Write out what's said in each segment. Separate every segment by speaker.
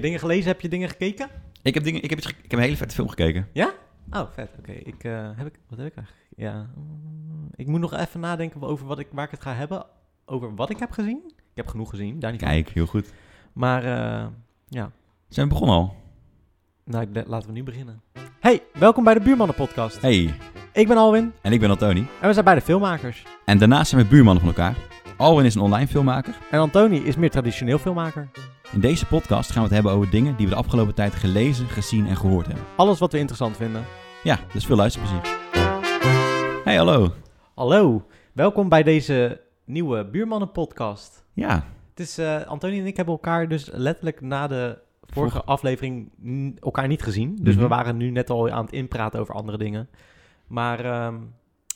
Speaker 1: dingen gelezen? Heb je dingen gekeken?
Speaker 2: Ik heb, dingen, ik, heb iets ge- ik heb een hele vette film gekeken.
Speaker 1: Oh, vet. Oké, ik eh, heb ik. Wat heb ik eigenlijk? Ja. mm, Ik moet nog even nadenken over wat ik, waar ik het ga hebben. Over wat ik heb gezien. Ik heb genoeg gezien, daar niet van.
Speaker 2: Kijk, heel goed.
Speaker 1: Maar eh, ja,
Speaker 2: Zijn we begonnen al?
Speaker 1: nou, ik de- laten we nu beginnen. Hey, welkom bij de Buurmannen Podcast.
Speaker 2: Hey,
Speaker 1: Ik ben Alwin
Speaker 2: en ik ben Antoni.
Speaker 1: en we zijn beide filmmakers.
Speaker 2: En daarnaast zijn we buurmannen van elkaar. Alwin is een online filmmaker.
Speaker 1: En Antoni is meer traditioneel filmmaker.
Speaker 2: In deze podcast gaan we het hebben over dingen die we de afgelopen tijd gelezen, gezien en gehoord hebben.
Speaker 1: Alles wat we interessant vinden.
Speaker 2: Ja, dus veel luisterplezier. Hey, hallo.
Speaker 1: Hallo, welkom bij deze nieuwe Buurmannen Podcast.
Speaker 2: Ja,
Speaker 1: Het is, eh Antonie en ik hebben elkaar dus letterlijk na de vorige
Speaker 2: Vorige-
Speaker 1: aflevering n- elkaar niet gezien. Dus
Speaker 2: Mhm.
Speaker 1: we waren nu net al aan het inpraten over andere dingen. Maar ehm,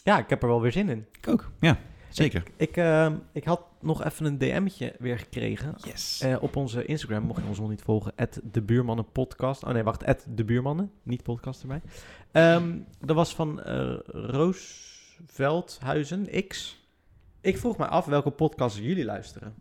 Speaker 1: ja, ik heb er wel weer zin in.
Speaker 2: ik ook. Ja, zeker.
Speaker 1: Ik, ehm, ik had nog even een DM'tje weer gekregen.
Speaker 2: Yes.
Speaker 1: eh, op onze Instagram, mocht je ons nog niet volgen, at de buurmannen podcast. Oh nee, wacht, at de buurmannen, niet podcast erbij. Ehm dat was van eh Roosveldhuizen X. Ik vroeg me af welke podcast jullie luisteren.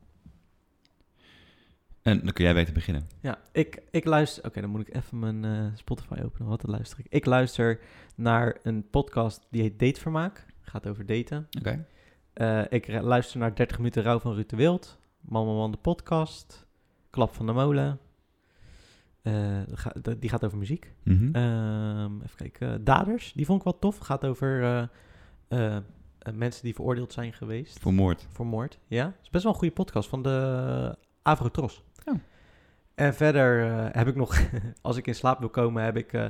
Speaker 2: En dan kun jij beter beginnen.
Speaker 1: Ja, ik, ik luister. Oké, dan moet ik even mijn eh, Spotify openen. Wat luister ik? Ik luister naar een podcast die heet Datevermaak. Gaat over daten.
Speaker 2: Oké.
Speaker 1: Eh, ik re- luister naar 30 minuten rouw van Ruud de Wild. Mama Man de podcast. Klap van de Molen. Eh, ga- d- die gaat over muziek.
Speaker 2: Mhm.
Speaker 1: Ehm, even kijken. eh, Daders, die vond ik wel tof. Gaat over eh, eh, eh, mensen die veroordeeld zijn geweest
Speaker 2: Vermoord.
Speaker 1: voor moord. Ja, het is best wel een goede podcast van de Avro Tros.
Speaker 2: Oh.
Speaker 1: En verder eh, heb ik nog, als ik in slaap wil komen, heb ik eh,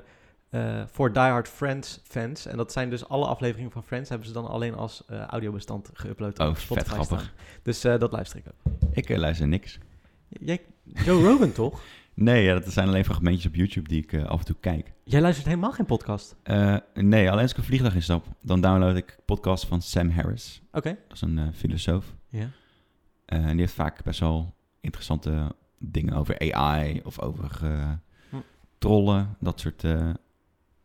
Speaker 1: eh, voor Die Hard Friends fans. En dat zijn dus alle afleveringen van Friends, hebben ze dan alleen als eh, audiobestand geüpload.
Speaker 2: Oh,
Speaker 1: op
Speaker 2: vet
Speaker 1: Spotify
Speaker 2: grappig.
Speaker 1: staan. Dus eh, dat luister ik ook.
Speaker 2: Ik eh, luister niks.
Speaker 1: Jij, Joe Rogan toch?
Speaker 2: Nee, ja, dat zijn alleen fragmentjes op YouTube die ik eh, af en toe kijk.
Speaker 1: Jij luistert helemaal geen podcast.
Speaker 2: Eh, nee, alleen als ik een vliegtuig instap, dan download ik podcasts van Sam Harris.
Speaker 1: Oké.
Speaker 2: Dat is een eh, filosoof.
Speaker 1: Ja.
Speaker 2: Eh, en die heeft vaak best wel interessante dingen over AI of over eh,
Speaker 1: Hm.
Speaker 2: trollen, dat soort eh,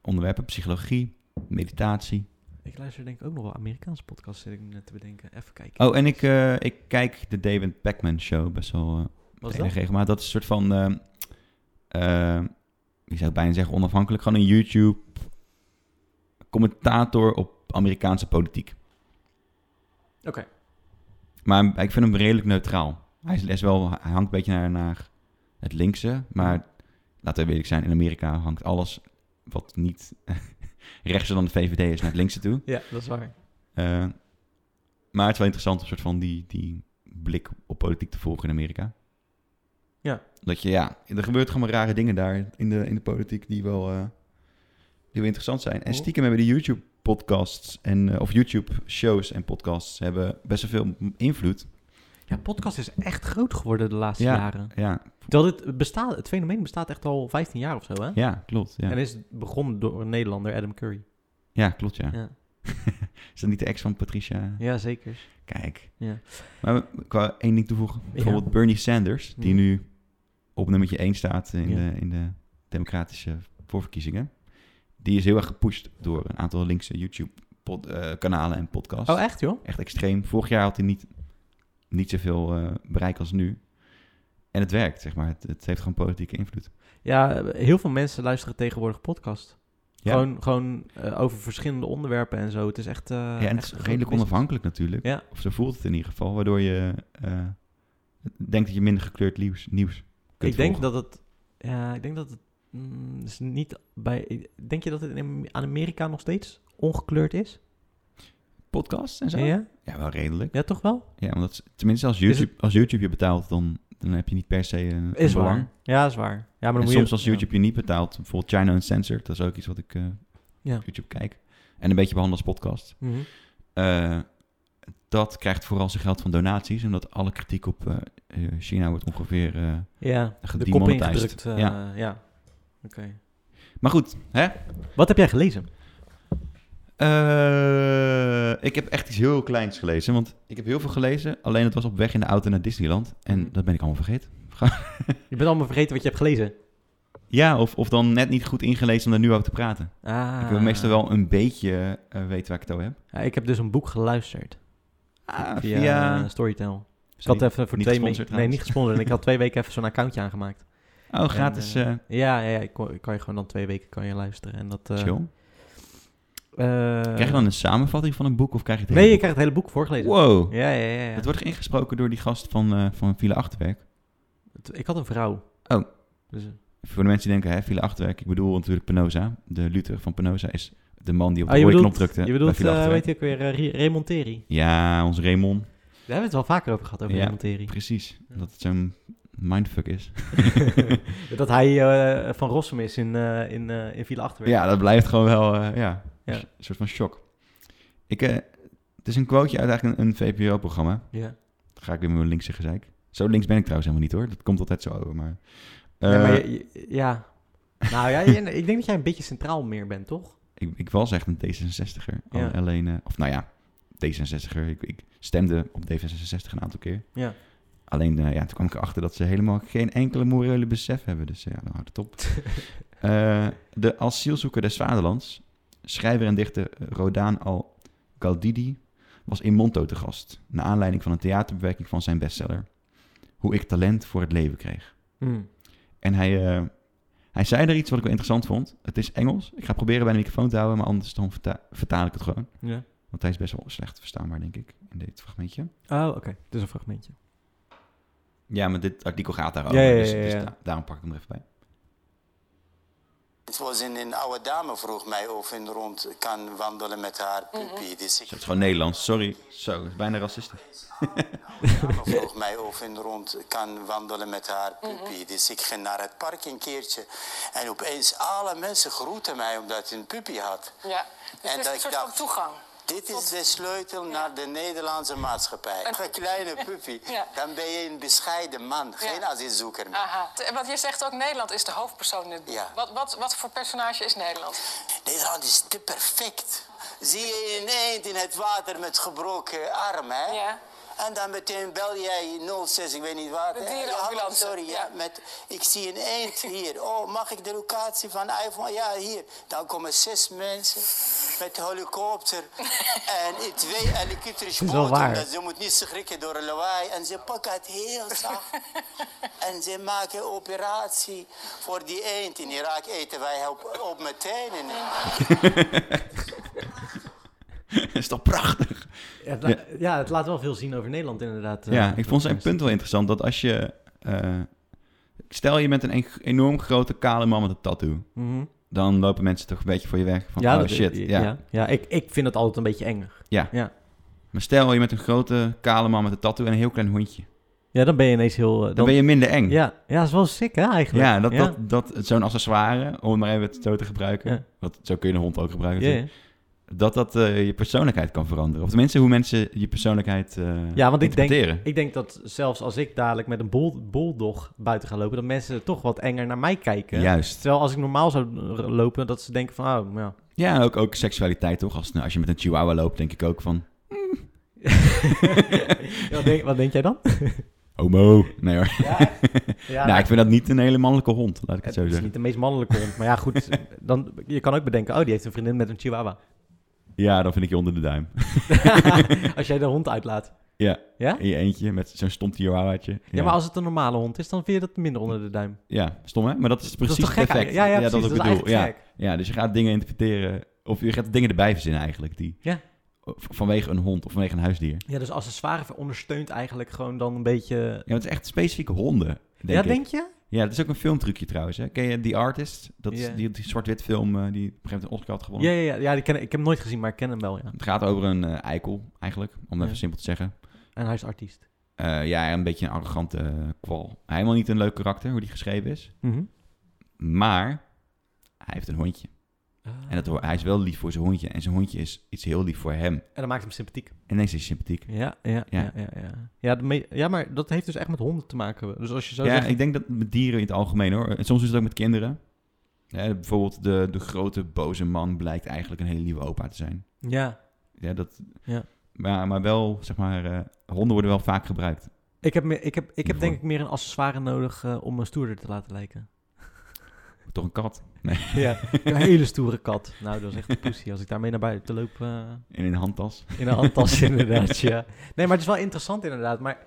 Speaker 2: onderwerpen, psychologie, meditatie.
Speaker 1: Ik luister denk ik ook nog wel Amerikaanse podcasts, zit ik nu net te bedenken. Even kijken.
Speaker 2: Oh, en ik, eh, ik kijk de David Beckman Show best wel eh,
Speaker 1: Wat is dat?
Speaker 2: enige regelmaat. Dat is een soort van, eh, eh, ik zou bijna zeggen onafhankelijk, gewoon een YouTube commentator op Amerikaanse politiek.
Speaker 1: Oké.
Speaker 2: Maar ik vind hem redelijk neutraal. Hij, is, hij is wel, hij hangt een beetje naar, naar het linkse. Maar laten we eerlijk zijn, in Amerika hangt alles wat niet rechtser dan de VVD is naar het linkse toe.
Speaker 1: Ja, dat is waar.
Speaker 2: Eh, maar het is wel interessant om soort van die, die blik op politiek te volgen in Amerika.
Speaker 1: Ja.
Speaker 2: Dat je, ja, er gebeurt gewoon maar rare dingen daar in de, in de politiek die wel, eh, die wel interessant zijn. En
Speaker 1: Cool.
Speaker 2: stiekem hebben die YouTube-podcasts en, eh, of YouTube-shows en podcasts hebben best wel veel invloed.
Speaker 1: Ja, podcast is echt groot geworden de laatste
Speaker 2: Ja.
Speaker 1: jaren.
Speaker 2: Ja,
Speaker 1: Dat het, bestaat, het fenomeen bestaat echt al 15 jaar of zo, hè?
Speaker 2: Ja, klopt. Ja,
Speaker 1: Oh. En is begonnen door een Nederlander, Adam Curry.
Speaker 2: ja klopt, ja.
Speaker 1: Ja,
Speaker 2: Is dat niet de ex van Patricia?
Speaker 1: ja zeker.
Speaker 2: Kijk.
Speaker 1: Ja.
Speaker 2: Maar we- ik wou één ding toevoegen. Bijvoorbeeld Bernie Sanders, die
Speaker 1: Ja.
Speaker 2: nu op nummertje 1 staat in,
Speaker 1: Ja.
Speaker 2: de, in de democratische voorverkiezingen. Die is heel erg gepusht door een aantal linkse YouTube-kanalen en podcasts.
Speaker 1: Oh, echt, joh?
Speaker 2: Echt extreem. Vorig jaar had hij niet, niet zoveel eh, bereik als nu. En het werkt, zeg maar. Het, het heeft gewoon politieke invloed.
Speaker 1: Ja, heel veel mensen luisteren tegenwoordig podcast.
Speaker 2: Ja,
Speaker 1: Gewoon, gewoon eh, over verschillende onderwerpen en zo. Het is echt... eh,
Speaker 2: ja en
Speaker 1: echt
Speaker 2: het
Speaker 1: een
Speaker 2: is redelijk
Speaker 1: grote business.
Speaker 2: onafhankelijk natuurlijk.
Speaker 1: Ja.
Speaker 2: Of zo voelt het in ieder geval. Waardoor je eh, denkt dat je minder gekleurd nieuws, nieuws kunt
Speaker 1: Ik denk
Speaker 2: volgen.
Speaker 1: dat het... Ja, ik denk dat het... mm, is niet bij, denk je dat het in, aan Amerika nog steeds ongekleurd is?
Speaker 2: Podcasts en zo? Ja,
Speaker 1: Ja?
Speaker 2: wel redelijk.
Speaker 1: ja, toch wel?
Speaker 2: Ja, omdat, s- tenminste als
Speaker 1: Is het-
Speaker 2: YouTube, als YouTube je betaalt, dan, dan heb je niet per se een, een
Speaker 1: Is
Speaker 2: belang.
Speaker 1: waar. Ja, is waar. Ja, maar dan
Speaker 2: En
Speaker 1: moet
Speaker 2: soms
Speaker 1: je,
Speaker 2: als YouTube je niet betaalt, bijvoorbeeld China Uncensored, dat is ook iets wat ik eh,
Speaker 1: Ja.
Speaker 2: op YouTube kijk. En een beetje behandel als podcast.
Speaker 1: Ja. Mhm.
Speaker 2: Eh, dat krijgt vooral zijn geld van donaties, omdat alle kritiek op eh, eh, China wordt ongeveer... eh,
Speaker 1: Ja, de kop
Speaker 2: Gedemonetized.
Speaker 1: ingedrukt. eh, ja. Oké.
Speaker 2: Maar goed, hè?
Speaker 1: Wat heb jij gelezen?
Speaker 2: Eh, ik heb echt iets heel kleins gelezen, want ik heb heel veel gelezen. Alleen het was op weg in de auto naar Disneyland.
Speaker 1: Mhm.
Speaker 2: En dat ben ik allemaal vergeten.
Speaker 1: Je bent allemaal vergeten wat je hebt gelezen.
Speaker 2: Ja, of, of dan net niet goed ingelezen om daar nu over te praten.
Speaker 1: Ah.
Speaker 2: Ik wil meestal wel een beetje eh, weten waar ik het over heb.
Speaker 1: Ja, ik heb dus een boek geluisterd
Speaker 2: Ah,
Speaker 1: via
Speaker 2: via...
Speaker 1: eh, Storytel. Ik
Speaker 2: Sorry.
Speaker 1: had even voor
Speaker 2: niet
Speaker 1: twee
Speaker 2: gesponsord
Speaker 1: weken... Nee,
Speaker 2: trouwens.
Speaker 1: niet gesponsord. En ik had twee weken even zo'n accountje aangemaakt.
Speaker 2: Oh, gratis.
Speaker 1: En,
Speaker 2: eh,
Speaker 1: Ja, ja, ja ik kon- kan je gewoon dan twee weken kan je luisteren. En dat, eh,
Speaker 2: chill.
Speaker 1: eh,
Speaker 2: Krijg je dan een samenvatting van een boek of krijg je het
Speaker 1: Nee,
Speaker 2: hele
Speaker 1: je
Speaker 2: boek?
Speaker 1: krijgt het hele boek voorgelezen.
Speaker 2: Wow.
Speaker 1: Ja, ja, ja. ja.
Speaker 2: Het wordt ingesproken door die gast van, eh, van Villa Achterwerk.
Speaker 1: Het- Ik had een vrouw.
Speaker 2: Oh.
Speaker 1: Dus, eh,
Speaker 2: Voor de mensen die denken, hè, Villa Achterwerk, ik bedoel natuurlijk Penosa. De Luther van Penosa is de man die op de
Speaker 1: ah, je
Speaker 2: rode
Speaker 1: bedoelt,
Speaker 2: knop drukte
Speaker 1: je
Speaker 2: bij
Speaker 1: bedoelt
Speaker 2: Villa
Speaker 1: eh,
Speaker 2: Achterwerk.
Speaker 1: weet je ook weer, eh, Re- Raymond Terry.
Speaker 2: Ja, onze Raymond.
Speaker 1: Daar hebben we het wel vaker over gehad, over
Speaker 2: Ja.
Speaker 1: Raymond Terry.
Speaker 2: Precies.
Speaker 1: Ja.
Speaker 2: Dat het zo'n mindfuck is.
Speaker 1: dat hij eh, van Rossum is in, eh in, eh, in Villa Achterwerk.
Speaker 2: Ja, dat blijft gewoon wel eh, ja,
Speaker 1: Ja.
Speaker 2: een soort van shock. Ik, eh, het is een quoteje uit eigenlijk een, een VPRO-programma.
Speaker 1: Ja.
Speaker 2: Dan ga ik weer met mijn linkse gezeik. Zo links ben ik trouwens helemaal niet hoor. Dat komt altijd zo over. Maar,
Speaker 1: Nee, maar
Speaker 2: Eh,
Speaker 1: je- je- ja. Nou ja, je- ik denk dat jij een beetje centraal meer bent, toch?
Speaker 2: ik, ik was echt een D66er.
Speaker 1: Ja.
Speaker 2: Alleen, eh, of nou ja, D66er. Ik, ik stemde op D66 een aantal keer.
Speaker 1: Ja.
Speaker 2: Alleen eh, ja, toen kwam ik erachter dat ze helemaal geen enkele morele besef hebben. Dus eh, ja, dan houdt het op. Eh, de asielzoeker des vaderlands, schrijver en dichter Rodaan al Galdidi, was in Monto te gast. Naar aanleiding van een theaterbewerking van zijn bestseller. Hoe ik talent voor het leven kreeg.
Speaker 1: Hmm.
Speaker 2: En hij, eh, hij zei er iets wat ik wel interessant vond. Het is Engels. Ik ga proberen bij de microfoon te houden, maar anders dan verta- vertaal ik het gewoon.
Speaker 1: Ja.
Speaker 2: Want hij is best wel slecht verstaanbaar, denk ik, in dit fragmentje.
Speaker 1: Oh, oké. Dus een fragmentje.
Speaker 2: Ja, maar dit artikel gaat daarover,
Speaker 1: Ja, ja,
Speaker 2: dus,
Speaker 1: ja,
Speaker 2: dus
Speaker 1: ja.
Speaker 2: da- daarom pak ik hem er even bij.
Speaker 3: Het was in een oude dame vroeg mij of ik rond kan wandelen met haar puppy. Dus ik
Speaker 2: Zo, het is gewoon Nederlands, sorry. Zo, het is bijna racistisch.
Speaker 3: dame vroeg mij of ik rond kan wandelen met haar puppy. Dus ik ging naar het park een keertje. En opeens alle mensen groeten mij omdat ik een puppy had.
Speaker 4: Ja, dus
Speaker 3: En
Speaker 4: het
Speaker 3: dat
Speaker 4: is
Speaker 3: ik
Speaker 4: een soort
Speaker 3: dacht-
Speaker 4: van toegang.
Speaker 3: Dit is de sleutel naar de Nederlandse maatschappij. Een kleine puppy.
Speaker 4: Ja.
Speaker 3: Dan ben je een bescheiden man. Geen
Speaker 4: Ja.
Speaker 3: asielzoeker meer.
Speaker 4: Aha. T- Want je zegt ook Nederland is de hoofdpersoon in het boek.
Speaker 3: Ja.
Speaker 4: Wat, wat, wat voor personage is Nederland?
Speaker 3: Nederland is te perfect. Zie je een eend in het water met gebroken arm, hè?
Speaker 4: Ja.
Speaker 3: En dan meteen bel jij 06, ik weet niet waar.
Speaker 4: De
Speaker 3: hè?
Speaker 4: dierenambulance,
Speaker 3: hallo, sorry, ja.
Speaker 4: ja.
Speaker 3: met, ik zie een eend hier. Oh, mag ik de locatie van iPhone? Ja, hier. Dan komen zes mensen met de helikopter en in twee elektrisch
Speaker 1: is wel waar.
Speaker 3: Ze moet niet schrikken door een lawaai. En ze pakken het heel zacht. En ze maken een operatie voor die eend. In Irak eten wij op, op meteen. En,
Speaker 2: is toch prachtig?
Speaker 1: Ja het, la-
Speaker 2: Ja.
Speaker 1: ja, het laat wel veel zien over Nederland inderdaad. eh,
Speaker 2: Ja, ik vond zijn
Speaker 1: podcast.
Speaker 2: punt wel interessant. Dat als je... eh, stel je bent een en- enorm grote kale man met een tattoo.
Speaker 1: Mhm.
Speaker 2: Dan lopen mensen toch een beetje voor je weg. Van,
Speaker 1: Ja,
Speaker 2: oh
Speaker 1: dat-
Speaker 2: shit.
Speaker 1: Ja, ja. ik, ik vind het altijd een beetje enger.
Speaker 2: Maar stel je bent een grote kale man met een tattoo en een heel klein hondje.
Speaker 1: Ja, dan ben je ineens heel... eh,
Speaker 2: Dan ben je minder eng. Ja,
Speaker 1: Ja, ja, dat is wel sick hè, eigenlijk.
Speaker 2: dat, dat, dat zo'n accessoire, om het maar even het zo te gebruiken.
Speaker 1: Ja.
Speaker 2: Want zo kun je een hond ook gebruiken.
Speaker 1: Ja, ja.
Speaker 2: natuurlijk. Dat dat eh, je persoonlijkheid kan veranderen. Of tenminste, hoe mensen je persoonlijkheid eh
Speaker 1: Ja, want ik denk-
Speaker 2: interpreteren.
Speaker 1: Ik denk dat zelfs als ik dadelijk met een bol, boldog buiten ga lopen, dat mensen toch wat enger naar mij kijken.
Speaker 2: Juist.
Speaker 1: Terwijl als ik normaal zou r- lopen, dat ze denken van, oh, ja.
Speaker 2: Ja, ook, ook seksualiteit toch? Als, nou, als je met een chihuahua loopt, denk ik ook van...
Speaker 1: wat, denk, wat denk jij dan?
Speaker 2: Homo. Nee hoor.
Speaker 1: Ja, ja
Speaker 2: nou, ik vind dat niet een hele mannelijke hond, laat ik het,
Speaker 1: het
Speaker 2: zo
Speaker 1: is
Speaker 2: zeggen.
Speaker 1: niet de meest mannelijke hond. Maar ja, goed, dan, je kan ook bedenken, oh, die heeft een vriendin met een chihuahua.
Speaker 2: Ja, dan vind ik je onder de duim.
Speaker 1: als jij de hond uitlaat.
Speaker 2: Ja.
Speaker 1: Ja?
Speaker 2: In je eentje, met zo'n stom chihuahuaatje.
Speaker 1: Ja, maar als het een normale hond is, dan vind je dat minder onder de duim.
Speaker 2: Ja, stom hè? Maar dat is precies
Speaker 1: dat is toch gek
Speaker 2: perfect.
Speaker 1: eigenlijk? Ja, ja,
Speaker 2: dat
Speaker 1: precies. Dat
Speaker 2: is wat
Speaker 1: is
Speaker 2: ik bedoel.
Speaker 1: eigenlijk
Speaker 2: Ja.
Speaker 1: gek.
Speaker 2: ja, dus je gaat dingen interpreteren. Of je gaat dingen erbij verzinnen eigenlijk. Die,
Speaker 1: Ja.
Speaker 2: Vanwege een hond of vanwege een huisdier.
Speaker 1: Ja, dus accessoire ondersteunt eigenlijk gewoon dan een beetje...
Speaker 2: Ja, want het is echt specifieke honden. Denk
Speaker 1: ja,
Speaker 2: ik.
Speaker 1: denk je?
Speaker 2: ja, dat is ook een filmtrucje trouwens. Hè? Ken je The Artist? Dat
Speaker 1: Ja.
Speaker 2: is die, die zwart-wit film eh, die op een gegeven moment een Oscar had gewonnen.
Speaker 1: Ja, ja, ja, ja die ken, ik ik heb hem nooit gezien, maar ik ken hem wel, ja.
Speaker 2: Het gaat over een eh, eikel eigenlijk, om het
Speaker 1: Ja.
Speaker 2: even simpel te zeggen.
Speaker 1: En hij is artiest.
Speaker 2: Eh, ja, een beetje een arrogante eh, kwal. Helemaal niet een leuk karakter, hoe die geschreven is. Maar hij heeft een hondje.
Speaker 1: Ah.
Speaker 2: En dat, ho- hij is wel lief voor zijn hondje. En zijn hondje is iets heel lief voor hem.
Speaker 1: En dat maakt hem sympathiek.
Speaker 2: En ineens is hij sympathiek.
Speaker 1: Ja, ja, ja,
Speaker 2: Ja.
Speaker 1: ja. Ja, ja, de me- ja, maar dat heeft dus echt met honden te maken. Dus als je zo
Speaker 2: ja,
Speaker 1: zegt...
Speaker 2: ik denk dat met dieren in het algemeen hoor. En soms is het ook met kinderen. Ja, bijvoorbeeld de, de grote boze man blijkt eigenlijk een hele lieve opa te zijn.
Speaker 1: Ja,
Speaker 2: Ja, dat,
Speaker 1: Ja.
Speaker 2: Maar, maar wel, zeg maar, eh, honden worden wel vaak gebruikt.
Speaker 1: ik heb, me- ik heb, ik heb
Speaker 2: Hiervoor.
Speaker 1: denk ik meer een accessoire nodig eh, om me stoerder te laten lijken.
Speaker 2: Toch een kat
Speaker 1: Ja, een hele stoere kat. Nou, dat is echt een poesie. Als ik daarmee naar buiten loop eh,
Speaker 2: in een handtas.
Speaker 1: in een handtas inderdaad, ja. Nee, maar het is wel interessant inderdaad. Maar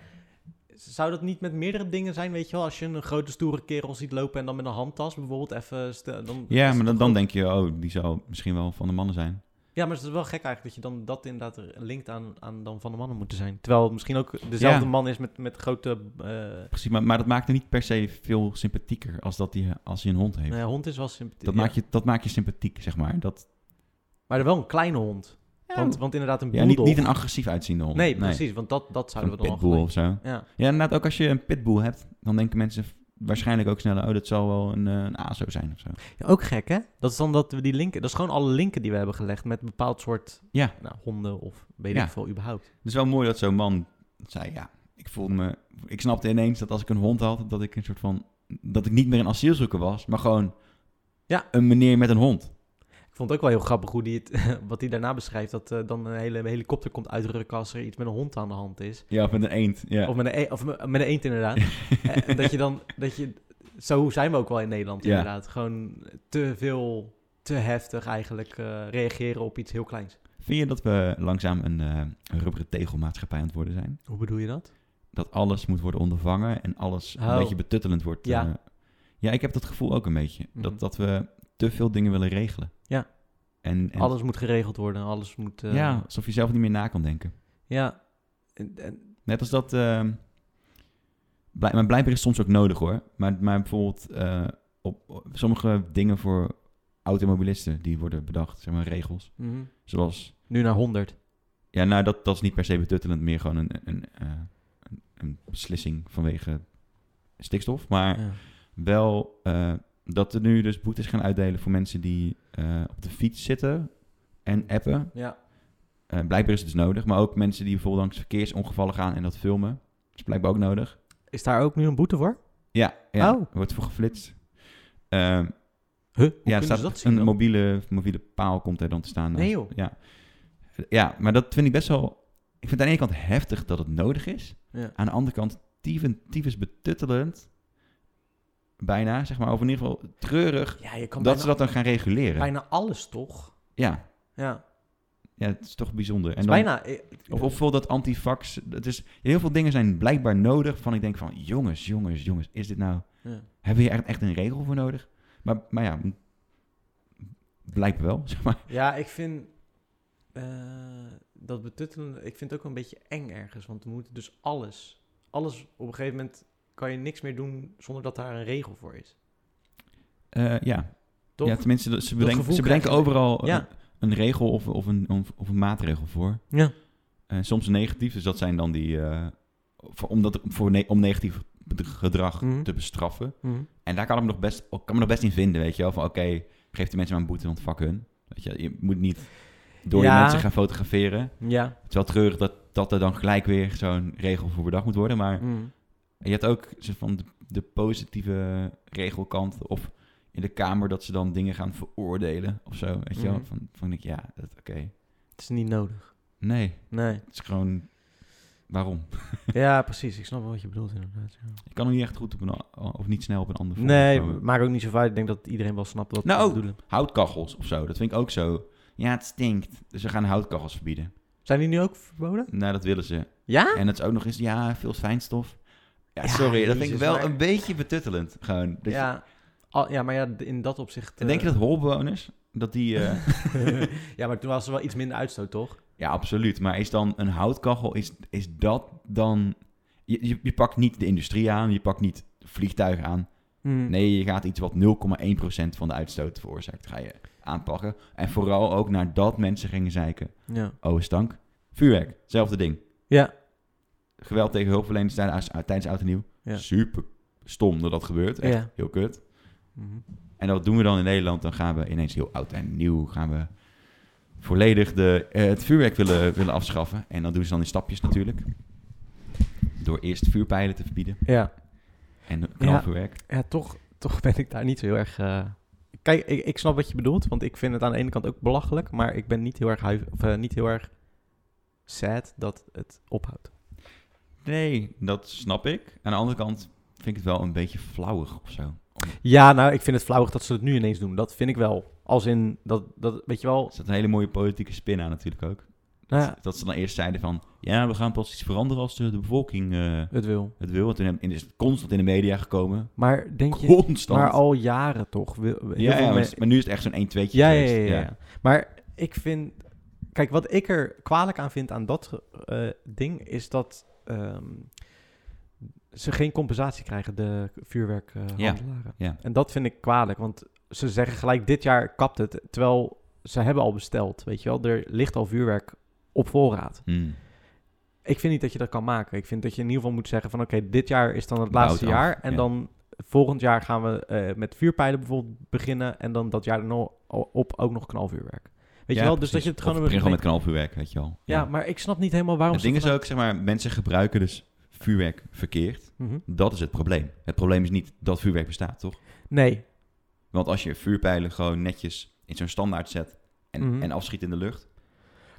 Speaker 1: zou dat niet met meerdere dingen zijn, weet je wel? Als je een grote stoere kerel ziet lopen en dan met een handtas bijvoorbeeld even... stel- Dan,
Speaker 2: Ja, maar dan, dan
Speaker 1: goed.
Speaker 2: denk je, oh, die zou misschien wel van de mannen zijn.
Speaker 1: Ja, maar het is wel gek eigenlijk dat je dan dat inderdaad er- linkt aan, aan dan van de mannen moeten zijn. Terwijl het misschien ook dezelfde
Speaker 2: Ja.
Speaker 1: man is met, met grote... eh
Speaker 2: Precies, maar, maar dat maakt hem niet per se veel sympathieker als, dat die, als hij een hond heeft.
Speaker 1: nou ja, hond is wel sympathiek.
Speaker 2: dat,
Speaker 1: ja.
Speaker 2: maakt je, dat maakt je sympathiek, zeg maar. Dat,
Speaker 1: Maar wel een kleine hond. Want, want inderdaad een
Speaker 2: ja, niet,
Speaker 1: poedel-
Speaker 2: niet een agressief uitziende hond.
Speaker 1: Nee, precies, want dat, dat
Speaker 2: Zo'n
Speaker 1: zouden we dan al gelijk-
Speaker 2: pitbull of zo. Ja,
Speaker 1: Ja.
Speaker 2: inderdaad, ook als je een pitbull hebt, dan denken mensen v- waarschijnlijk ook sneller, oh, dat zal wel een, eh, een ASO zijn of zo.
Speaker 1: Ja, ook gek, hè? Dat is dan dat we die linken... Dat is gewoon alle linken die we hebben gelegd met een bepaald soort
Speaker 2: Ja.
Speaker 1: nou, honden of weet
Speaker 2: Ja.
Speaker 1: ik veel überhaupt.
Speaker 2: Het is wel mooi dat zo'n man zei, ja, ik voelde me... Ik snapte ineens dat als ik een hond had, dat ik een soort van... Dat ik niet meer een asielzoeker was, maar gewoon
Speaker 1: Ja.
Speaker 2: een meneer met een hond.
Speaker 1: Ik vond het ook wel heel grappig hoe die het, wat hij daarna beschrijft... dat eh, dan een hele helikopter komt uitrukken als er iets met een hond aan de hand is.
Speaker 2: Ja, of met een eend. Ja.
Speaker 1: Of, met een, e- of met met een eend inderdaad. Eh, dat je dan, dat je, zo zijn we ook wel in Nederland
Speaker 2: Ja.
Speaker 1: inderdaad. Gewoon te veel, te heftig eigenlijk eh, reageren op iets heel kleins.
Speaker 2: Vind je dat we langzaam een eh, een rubberen tegelmaatschappij aan het worden zijn?
Speaker 1: Hoe bedoel je dat?
Speaker 2: Dat alles moet worden ondervangen en alles een
Speaker 1: Oh.
Speaker 2: beetje betuttelend wordt.
Speaker 1: Ja.
Speaker 2: eh. ja, ik heb dat gevoel ook een beetje.
Speaker 1: Mhm.
Speaker 2: dat, dat we te veel dingen willen regelen.
Speaker 1: Ja.
Speaker 2: En, en
Speaker 1: Alles moet geregeld worden, alles moet... eh,
Speaker 2: ja, alsof je zelf niet meer na kan denken.
Speaker 1: ja. En- en-
Speaker 2: Net als dat. ehm blij, maar blijkbaar is soms ook nodig hoor. Maar, maar bijvoorbeeld eh, op, op sommige dingen voor automobilisten die worden bedacht, zeg maar regels.
Speaker 1: mhm.
Speaker 2: Zoals
Speaker 1: Nu naar 100.
Speaker 2: Ja, nou, dat, dat is niet per se betuttelend. Meer gewoon een, een, eh, een, een beslissing vanwege stikstof. Maar
Speaker 1: Ja.
Speaker 2: wel eh, dat er nu dus boetes gaan uitdelen voor mensen die eh, op de fiets zitten en appen.
Speaker 1: ja.
Speaker 2: Eh, blijkbaar is het dus nodig. Maar ook mensen die bijvoorbeeld langs verkeersongevallen gaan en dat filmen. Dat is blijkbaar ook nodig.
Speaker 1: Is daar ook nu een boete voor?
Speaker 2: Ja, ja
Speaker 1: Oh.
Speaker 2: er wordt voor geflitst. Ehm,
Speaker 1: Huh? Hoe
Speaker 2: ja, er
Speaker 1: kunnen
Speaker 2: staat
Speaker 1: ze dat zien
Speaker 2: een
Speaker 1: dan?
Speaker 2: mobiele, mobiele paal komt er dan te staan.
Speaker 1: Nee, joh.
Speaker 2: Ja. ja, maar dat vind ik best wel... Ik vind het aan de ene kant heftig dat het nodig is.
Speaker 1: Ja.
Speaker 2: Aan de andere kant tieven, tyfus betuttelend. Bijna, zeg maar. Of in ieder geval treurig
Speaker 1: Ja, je kan
Speaker 2: dat ze
Speaker 1: bijna,
Speaker 2: dat dan gaan reguleren.
Speaker 1: bijna alles toch?
Speaker 2: Ja,
Speaker 1: Ja.
Speaker 2: ja, het is toch bijzonder. En
Speaker 1: Het is
Speaker 2: dan,
Speaker 1: bijna... eh,
Speaker 2: Of, of bijvoorbeeld dat antifax. Het is, heel veel dingen zijn blijkbaar nodig. Van ik denk van, jongens, jongens, jongens. Is dit nou...
Speaker 1: Ja.
Speaker 2: Hebben we hier echt, echt een regel voor nodig? Maar, maar ja, m- blijkt wel, zeg maar.
Speaker 1: Ja, ik vind eh, dat betuttelende, ik vind het ook een beetje eng ergens, want we moeten dus alles, alles op een gegeven moment kan je niks meer doen zonder dat daar een regel voor is.
Speaker 2: Eh, ja,
Speaker 1: Toch?
Speaker 2: Ja,
Speaker 1: Ja.
Speaker 2: tenminste, dat- ze
Speaker 1: Dat
Speaker 2: bedenken,
Speaker 1: gevoel
Speaker 2: ze bedenken
Speaker 1: krijg je.
Speaker 2: overal eh,
Speaker 1: Ja.
Speaker 2: een regel of, of, een, of, of een maatregel voor.
Speaker 1: Ja.
Speaker 2: Eh, soms negatief, dus dat zijn dan die... eh, voor, om, dat, voor ne- om negatief bed- gedrag
Speaker 1: Mhm.
Speaker 2: te bestraffen. En daar kan ik me nog best, ik kan me nog best in vinden, weet je wel. Van oké, geef die mensen maar een boete, want fuck hun. Weet je, je moet niet door
Speaker 1: Ja.
Speaker 2: die mensen gaan fotograferen. Het is wel treurig dat, dat er dan gelijk weer zo'n regel voor bedacht moet worden. Maar
Speaker 1: Mm.
Speaker 2: en je hebt ook zo van de, de positieve regelkant of in de kamer dat ze dan dingen gaan veroordelen of zo. Weet je wel?
Speaker 1: Mhm.
Speaker 2: Van, van ik, ja, dat oké.
Speaker 1: Het is niet nodig.
Speaker 2: Nee,
Speaker 1: Nee.
Speaker 2: het is gewoon waarom?
Speaker 1: ja, precies. Ik snap wel wat je bedoelt inderdaad. ja.
Speaker 2: Ik kan er niet echt goed op een a- of niet snel op een ander voorbeeld
Speaker 1: Nee,
Speaker 2: komen.
Speaker 1: maakt ook niet zo uit. Ik denk dat iedereen wel snapt wat we
Speaker 2: Nou,
Speaker 1: bedoelen.
Speaker 2: houtkachels of zo, dat vind ik ook zo. Ja, het stinkt. Dus ze gaan houtkachels verbieden.
Speaker 1: Zijn die nu ook verboden?
Speaker 2: Nou, dat willen ze.
Speaker 1: Ja?
Speaker 2: En het is ook nog eens, ja, veel fijnstof. Ja,
Speaker 1: Ja,
Speaker 2: sorry, dat vind ik
Speaker 1: jezus,
Speaker 2: wel
Speaker 1: maar-
Speaker 2: een beetje betuttelend. Gewoon. Dat je-
Speaker 1: ja. Dus Al- ja, maar ja, d- in dat opzicht... eh,
Speaker 2: En denk je dat holbewoners, dat die... eh,
Speaker 1: ja, maar toen was er wel iets minder uitstoot, toch?
Speaker 2: Ja, absoluut. Maar is dan een houtkachel, is, is dat dan... Je, je, je pakt niet de industrie aan, je pakt niet vliegtuigen aan.
Speaker 1: Mm.
Speaker 2: Nee, je gaat iets wat 0,1% van de uitstoot veroorzaakt, ga je aanpakken. En vooral ook nadat mensen gingen zeiken.
Speaker 1: Ja.
Speaker 2: Oh, stank. Vuurwerk, zelfde ding.
Speaker 1: Ja.
Speaker 2: Geweld tegen hulpverleners tijdens, tijdens Oud en Nieuw.
Speaker 1: Ja.
Speaker 2: Super stom dat dat gebeurt. Echt
Speaker 1: Ja.
Speaker 2: heel kut.
Speaker 1: Mhm.
Speaker 2: En wat doen we dan in Nederland? Dan gaan we ineens heel oud en nieuw, gaan we volledig de, eh, het vuurwerk willen, willen afschaffen. En dat doen ze dan in stapjes natuurlijk. Door eerst vuurpijlen te verbieden
Speaker 1: Ja.
Speaker 2: en knalvuurwerk.
Speaker 1: Ja, toch, toch ben ik daar niet zo heel erg. eh, Kijk, ik, ik snap wat je bedoelt, want ik vind het aan de ene kant ook belachelijk, maar ik ben niet heel erg, huif- of, eh, niet heel erg sad dat het ophoudt.
Speaker 2: Nee, dat snap ik. Aan de andere kant vind ik het wel een beetje flauwig of zo. Om-
Speaker 1: Ja, nou, ik vind het flauwig dat ze het nu ineens doen. Dat vind ik wel. Als in, dat, dat weet je
Speaker 2: Er
Speaker 1: wel.
Speaker 2: zat een hele mooie politieke spin aan natuurlijk ook.
Speaker 1: Nou ja,
Speaker 2: Dat ze dan eerst zeiden van... Ja, we gaan pas iets veranderen als de, de bevolking eh,
Speaker 1: het wil.
Speaker 2: het wil. En toen hebben- is het constant in de media gekomen.
Speaker 1: Maar denk je,
Speaker 2: Constant.
Speaker 1: maar al jaren toch? Wil- heel
Speaker 2: ja,
Speaker 1: veel
Speaker 2: ja, maar,
Speaker 1: men-
Speaker 2: het is- maar nu is het echt zo'n 1 2
Speaker 1: Ja, ja, ja, ja, ja. Maar ik vind... Kijk, wat ik er kwalijk aan vind aan dat eh, ding... is dat ehm, ze geen compensatie krijgen, de vuurwerkhandelaren.
Speaker 2: ja.
Speaker 1: En dat vind ik kwalijk, want ze zeggen gelijk... dit jaar kapt het, terwijl ze hebben al besteld, weet je wel. Er ligt al vuurwerk op voorraad.
Speaker 2: Hmm.
Speaker 1: Ik vind niet dat je dat kan maken. Ik vind dat je in ieder geval moet zeggen van... oké, dit jaar is dan het
Speaker 2: Bouw het
Speaker 1: laatste
Speaker 2: af,
Speaker 1: jaar... en
Speaker 2: ja.
Speaker 1: dan volgend jaar gaan we eh, met vuurpijlen bijvoorbeeld beginnen... en dan dat jaar erna op ook nog knalvuurwerk. Weet
Speaker 2: Ja,
Speaker 1: je wel? Dus
Speaker 2: precies.
Speaker 1: dat je het
Speaker 2: Of
Speaker 1: gewoon...
Speaker 2: begin gewoon
Speaker 1: een
Speaker 2: met knalvuurwerk, weet je wel.
Speaker 1: ja, maar ik snap niet helemaal waarom
Speaker 2: Het ding
Speaker 1: ze...
Speaker 2: is ook, zeg maar, mensen gebruiken dus vuurwerk verkeerd.
Speaker 1: Mhm.
Speaker 2: Dat is het probleem. Het probleem is niet dat vuurwerk bestaat, toch?
Speaker 1: Nee,
Speaker 2: Want als je vuurpijlen gewoon netjes in zo'n standaard zet en,
Speaker 1: Mhm.
Speaker 2: en afschiet in de lucht.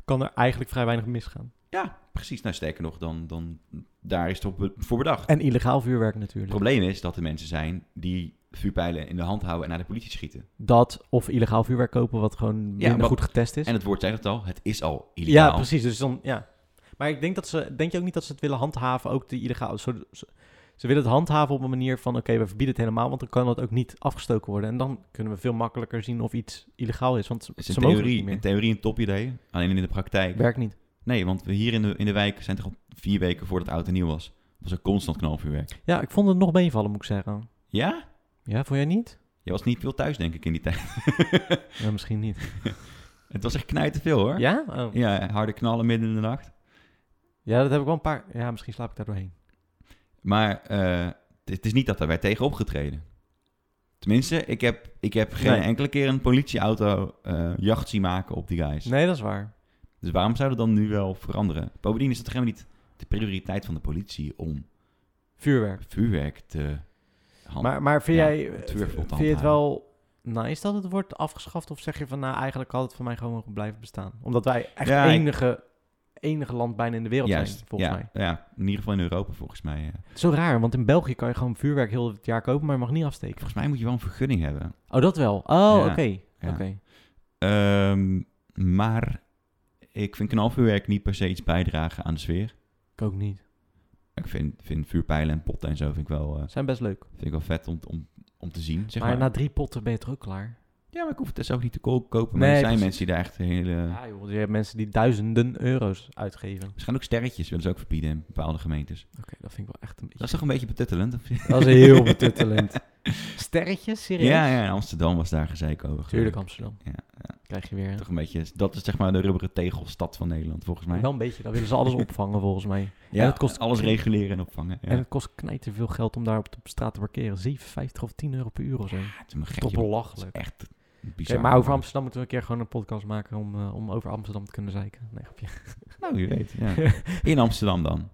Speaker 1: kan er eigenlijk vrij weinig misgaan.
Speaker 2: Ja, precies. Nou, sterker nog, dan, dan daar is het op, voor bedacht.
Speaker 1: En illegaal vuurwerk natuurlijk.
Speaker 2: Het probleem is dat er mensen zijn die vuurpijlen in de hand houden en naar de politie schieten.
Speaker 1: dat of illegaal vuurwerk kopen wat gewoon minder
Speaker 2: maar-
Speaker 1: goed getest is.
Speaker 2: En het woord zegt het al, het is al illegaal.
Speaker 1: ja, precies. Dus dan, ja. Maar ik denk dat ze, denk je ook niet dat ze het willen handhaven, ook de illegaal. Zo, ze, ze willen het handhaven op een manier van, oké, we verbieden het helemaal, want dan kan dat ook niet afgestoken worden. En dan kunnen we veel makkelijker zien of iets illegaal is, want ze,
Speaker 2: Het is
Speaker 1: ze
Speaker 2: in
Speaker 1: mogen het
Speaker 2: theorie,
Speaker 1: niet meer.
Speaker 2: in theorie een topidee, alleen in de praktijk.
Speaker 1: Werkt niet.
Speaker 2: Nee, want we hier in de, in de wijk zijn toch al vier weken voordat het oud en nieuw was. Was er constant knalvuurwerk.
Speaker 1: Ja, ik vond het nog meevallen, moet ik zeggen.
Speaker 2: Ja?
Speaker 1: Ja, vond jij niet?
Speaker 2: Je was niet veel thuis, denk ik, in die tijd.
Speaker 1: Ja, misschien niet.
Speaker 2: Het was echt knijten veel, hoor.
Speaker 1: Ja? Oh.
Speaker 2: Ja, harde knallen midden in de nacht.
Speaker 1: Ja, dat heb ik wel een paar. Ja, misschien slaap ik daar doorheen.
Speaker 2: Maar eh, het het is niet dat daar werd tegen opgetreden. Tenminste, ik heb, ik heb geen
Speaker 1: Nee.
Speaker 2: enkele keer een politieauto eh, jacht zien maken op die guys.
Speaker 1: Nee, dat is waar.
Speaker 2: Dus waarom zou dat dan nu wel veranderen? Bovendien is het toch helemaal niet de prioriteit van de politie om
Speaker 1: Vuurwerk.
Speaker 2: vuurwerk te handelen.
Speaker 1: Maar, maar vind
Speaker 2: Ja,
Speaker 1: jij
Speaker 2: het vuur vol
Speaker 1: vind
Speaker 2: te
Speaker 1: je het
Speaker 2: handhaven.
Speaker 1: wel nice dat het wordt afgeschaft? Of zeg je van, nou, eigenlijk had het voor mij gewoon mogen blijven bestaan? Omdat wij echt
Speaker 2: Ja, ik-
Speaker 1: enige, enige land bijna in de wereld
Speaker 2: Juist,
Speaker 1: zijn, volgens
Speaker 2: ja,
Speaker 1: mij.
Speaker 2: Ja, in ieder geval in Europa volgens mij. eh.
Speaker 1: Zo raar, want in België kan je gewoon vuurwerk heel het jaar kopen, maar je mag niet afsteken.
Speaker 2: Volgens mij moet je wel een vergunning hebben.
Speaker 1: Oh, dat wel? Oh, oké.
Speaker 2: Ja,
Speaker 1: Oké.
Speaker 2: ja. Ehm, maar ik vind knalvuurwerk niet per se iets bijdragen aan de sfeer.
Speaker 1: Ik ook niet.
Speaker 2: Ik vind, vind vuurpijlen en potten en zo vind ik wel, eh,
Speaker 1: Zijn best leuk.
Speaker 2: vind ik wel vet om, om, om te zien. Zeg
Speaker 1: maar,
Speaker 2: maar
Speaker 1: na drie potten ben je toch ook klaar?
Speaker 2: Ja, maar ik hoef het dus ook niet te ko- kopen. Maar
Speaker 1: Nee,
Speaker 2: er zijn
Speaker 1: precies.
Speaker 2: mensen die daar echt hele...
Speaker 1: Ja joh, want je hebt mensen die duizenden euro's uitgeven.
Speaker 2: Ze gaan ook sterretjes willen ze ook verbieden in bepaalde gemeentes.
Speaker 1: Oké, dat vind ik wel echt een
Speaker 2: Dat is
Speaker 1: beetje...
Speaker 2: toch een beetje betuttelend? of-
Speaker 1: Dat is heel betuttelend. Sterretjes, serieus?
Speaker 2: ja, ja, in Amsterdam was daar gezeik over.
Speaker 1: Tuurlijk, Amsterdam.
Speaker 2: Ja,
Speaker 1: Krijg je weer...
Speaker 2: Toch een beetje, dat is zeg maar de rubberen tegelstad van Nederland, volgens mij.
Speaker 1: Wel een beetje, dan willen ze alles opvangen volgens mij.
Speaker 2: Ja,
Speaker 1: en het kost-
Speaker 2: alles reguleren en opvangen. Ja.
Speaker 1: En het kost knijter veel geld om daar op de straat te parkeren. 7,50 of 10 euro per uur of zo.
Speaker 2: Ja, het is maar gek,
Speaker 1: Toch
Speaker 2: Ah, joh.
Speaker 1: belachelijk.
Speaker 2: Het is echt
Speaker 1: Oké,
Speaker 2: bizar.
Speaker 1: maar over Amsterdam moeten we een keer gewoon een podcast maken om, eh, om over Amsterdam te kunnen zeiken. Nee, grapje.
Speaker 2: Nou, wie weet. Ja. In Amsterdam dan.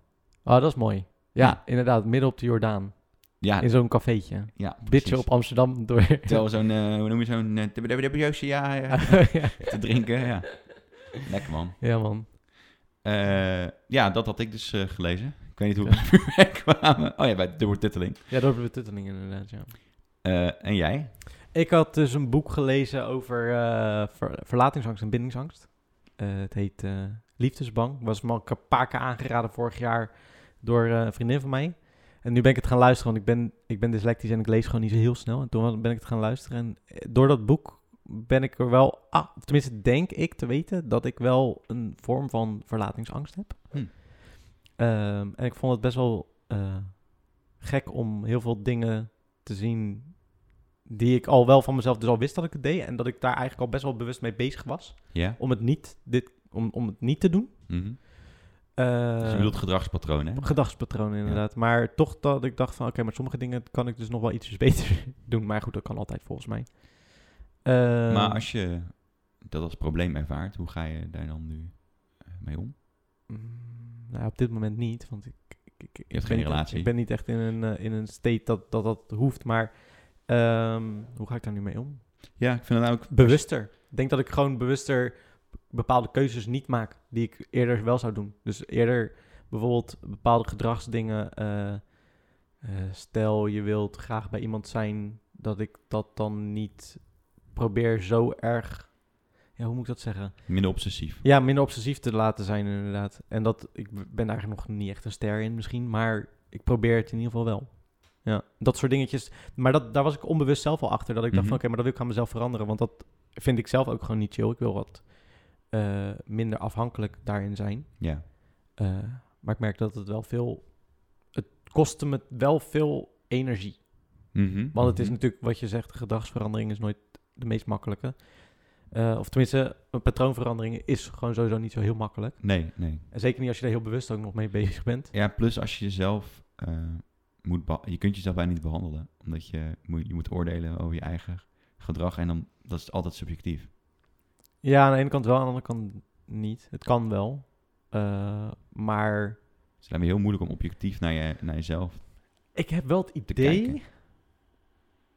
Speaker 1: Oh, dat is mooi. Ja, inderdaad, midden op de Jordaan.
Speaker 2: Ja,
Speaker 1: In zo'n cafeetje.
Speaker 2: ja
Speaker 1: Bitchen op Amsterdam door...
Speaker 2: Terwijl zo'n, eh, hoe noem je zo'n, eh, tbbdbdbdbdbdbdbdbdbdbdbdbdbdbdbdbdbdbdbdbdbdbdbdbdbdbdbdbdbdbdbdbdbdbdjose, ja, ja,
Speaker 1: ja.
Speaker 2: te drinken, ja. Lekker man.
Speaker 1: ja, man.
Speaker 2: Eh, ja, dat had ik dus eh, gelezen. Ik weet niet hoe we bij vuurwerk kwamen. Oh ja, bij de woordtitteling.
Speaker 1: Ja, door de betutteling inderdaad, ja.
Speaker 2: Eh en jij?
Speaker 1: Ik had dus een boek gelezen over eh, ver- verlatingsangst en bindingsangst. Eh, het heet eh, Liefdesbang. Was me al een paar keer aangeraden vorig jaar door eh, een vriendin van mij. En nu ben ik het gaan luisteren, want ik ben, ik ben dyslectisch en ik lees gewoon niet zo heel snel. En toen ben ik het gaan luisteren. En eh, door dat boek ben ik er wel, ah, of tenminste denk ik te weten, dat ik wel een vorm van verlatingsangst heb.
Speaker 2: Hm.
Speaker 1: Ehm, en ik vond het best wel eh, gek om heel veel dingen te zien die ik al wel van mezelf dus al wist dat ik het deed. En dat ik daar eigenlijk al best wel bewust mee bezig was.
Speaker 2: Ja?
Speaker 1: Om het niet, dit, om, om het niet te doen.
Speaker 2: Mhm.
Speaker 1: Eh,
Speaker 2: dus je bedoelt gedragspatronen, hè?
Speaker 1: Gedachtspatronen inderdaad. Maar toch dat ik dacht van... Oké, maar sommige dingen kan ik dus nog wel ietsjes beter doen. Maar goed, dat kan altijd volgens mij. Eh,
Speaker 2: maar als je dat als probleem ervaart, hoe ga je daar dan nu eh, mee om?
Speaker 1: Mm, nou, op dit moment niet, want ik, ik, ik, ik
Speaker 2: geen
Speaker 1: ben niet-
Speaker 2: relatie.
Speaker 1: ik ben niet echt in een, eh, in een state dat dat, dat hoeft. Maar ehm, hoe ga ik daar nu mee om?
Speaker 2: Ja, ik vind het ook...
Speaker 1: bewuster. Ik denk dat ik gewoon bewuster bepaalde keuzes niet maak die ik eerder wel zou doen. Dus eerder bijvoorbeeld bepaalde gedragsdingen. eh, eh, stel je wilt graag bij iemand zijn, dat ik dat dan niet probeer zo erg. Ja, ja, hoe moet ik dat zeggen?
Speaker 2: Minder obsessief.
Speaker 1: Ja, minder obsessief te laten zijn inderdaad. En dat, ik ben daar nog niet echt een ster in misschien, maar ik probeer het in ieder geval wel. Ja, dat soort dingetjes. Maar dat, daar was ik onbewust zelf al achter. Dat ik dacht
Speaker 2: Mhm.
Speaker 1: van, oké, maar dat wil ik aan mezelf veranderen. Want dat vind ik zelf ook gewoon niet chill. Ik wil wat eh, minder afhankelijk daarin zijn.
Speaker 2: Ja.
Speaker 1: Eh, maar ik merk dat het wel veel... Het kostte me wel veel energie.
Speaker 2: Mhm.
Speaker 1: Want het is
Speaker 2: Mhm.
Speaker 1: natuurlijk wat je zegt, gedragsverandering is nooit de meest makkelijke. Eh, of tenminste, een patroonverandering is gewoon sowieso niet zo heel makkelijk.
Speaker 2: Nee, nee.
Speaker 1: En zeker niet als je er heel bewust ook nog mee bezig bent.
Speaker 2: Ja, plus als je jezelf eh, moet... beha- Je kunt jezelf bijna niet behandelen. Omdat je moet, je moet oordelen over je eigen gedrag. En dan, dat is altijd subjectief.
Speaker 1: Ja, aan de ene kant wel, aan de andere kant niet. Het kan wel. Eh, maar
Speaker 2: Dus het lijkt me heel moeilijk om objectief naar, je, naar jezelf
Speaker 1: ik heb wel het
Speaker 2: te
Speaker 1: idee
Speaker 2: kijken.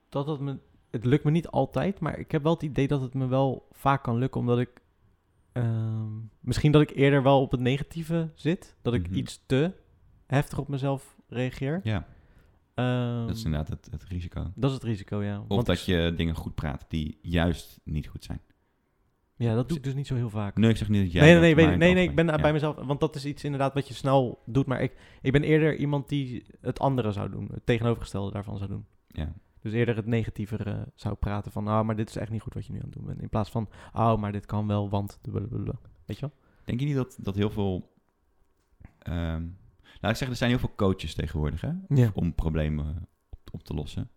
Speaker 1: dat het me... Het lukt me niet altijd, maar ik heb wel het idee dat het me wel vaak kan lukken, omdat ik... ehm, misschien dat ik eerder wel op het negatieve zit. Dat ik
Speaker 2: Mhm.
Speaker 1: iets te heftig op mezelf reageer.
Speaker 2: Ja,
Speaker 1: Ehm,
Speaker 2: dat is inderdaad het, het risico.
Speaker 1: Dat is het risico, ja.
Speaker 2: Of dat je dingen goed praat die juist niet goed zijn.
Speaker 1: Ja, dat doe ik dus niet zo heel vaak.
Speaker 2: Nee, ik zeg niet dat jij...
Speaker 1: nee, nee,
Speaker 2: dat,
Speaker 1: nee, weet
Speaker 2: maar
Speaker 1: ik.
Speaker 2: in
Speaker 1: nee,
Speaker 2: het
Speaker 1: nee, ik ben
Speaker 2: algemeen.
Speaker 1: bij
Speaker 2: Ja.
Speaker 1: mezelf... Want dat is iets inderdaad wat je snel doet. Maar ik, ik ben eerder iemand die het andere zou doen. Het tegenovergestelde daarvan zou doen.
Speaker 2: Ja.
Speaker 1: Dus eerder het negatievere zou praten van... Ah, maar dit is echt niet goed wat je nu aan het doen bent. In plaats van... Oh, maar dit kan wel, want... blablabla." Weet je wel?
Speaker 2: Denk je niet dat, dat heel veel... ehm, laat ik zeggen, er zijn heel veel coaches tegenwoordig hè,
Speaker 1: Ja. Mhm.
Speaker 2: om problemen op, op te lossen.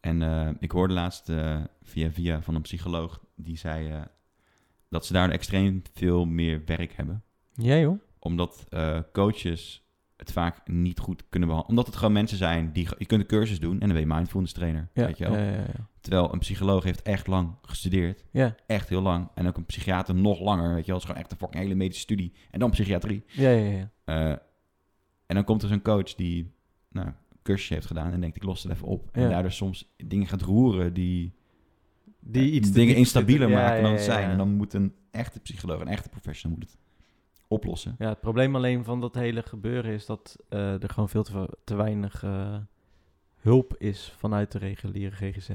Speaker 2: En eh, ik hoorde laatst eh, via via van een psycholoog die zei eh, dat ze daar extreem veel meer werk hebben.
Speaker 1: Ja, joh.
Speaker 2: Omdat eh, coaches het vaak niet goed kunnen behandelen. Omdat het gewoon mensen zijn die... ge- Je kunt een cursus doen en dan ben je mindfulness trainer.
Speaker 1: Ja,
Speaker 2: weet je wel?
Speaker 1: ja, ja, ja.
Speaker 2: Terwijl een psycholoog heeft echt lang gestudeerd.
Speaker 1: Ja,
Speaker 2: Echt heel lang. En ook een psychiater nog langer. Weet je wel? Het is gewoon echt een fucking hele medische studie. En dan psychiatrie.
Speaker 1: ja, ja, ja, ja.
Speaker 2: Eh, en dan komt er zo'n coach die nou, een cursusje heeft gedaan en denkt ik los het even op. En
Speaker 1: Ja.
Speaker 2: daardoor soms dingen gaat roeren die,
Speaker 1: Die
Speaker 2: eh,
Speaker 1: iets te
Speaker 2: dingen
Speaker 1: diep zitten.
Speaker 2: instabieler
Speaker 1: Ja,
Speaker 2: maken
Speaker 1: ja,
Speaker 2: dan
Speaker 1: ja,
Speaker 2: het zijn.
Speaker 1: ja.
Speaker 2: En dan moet een echte psycholoog, een echte professional moet het oplossen.
Speaker 1: Ja, het probleem alleen van dat hele gebeuren is dat eh, er gewoon veel te, te weinig eh, hulp is vanuit de reguliere GGZ.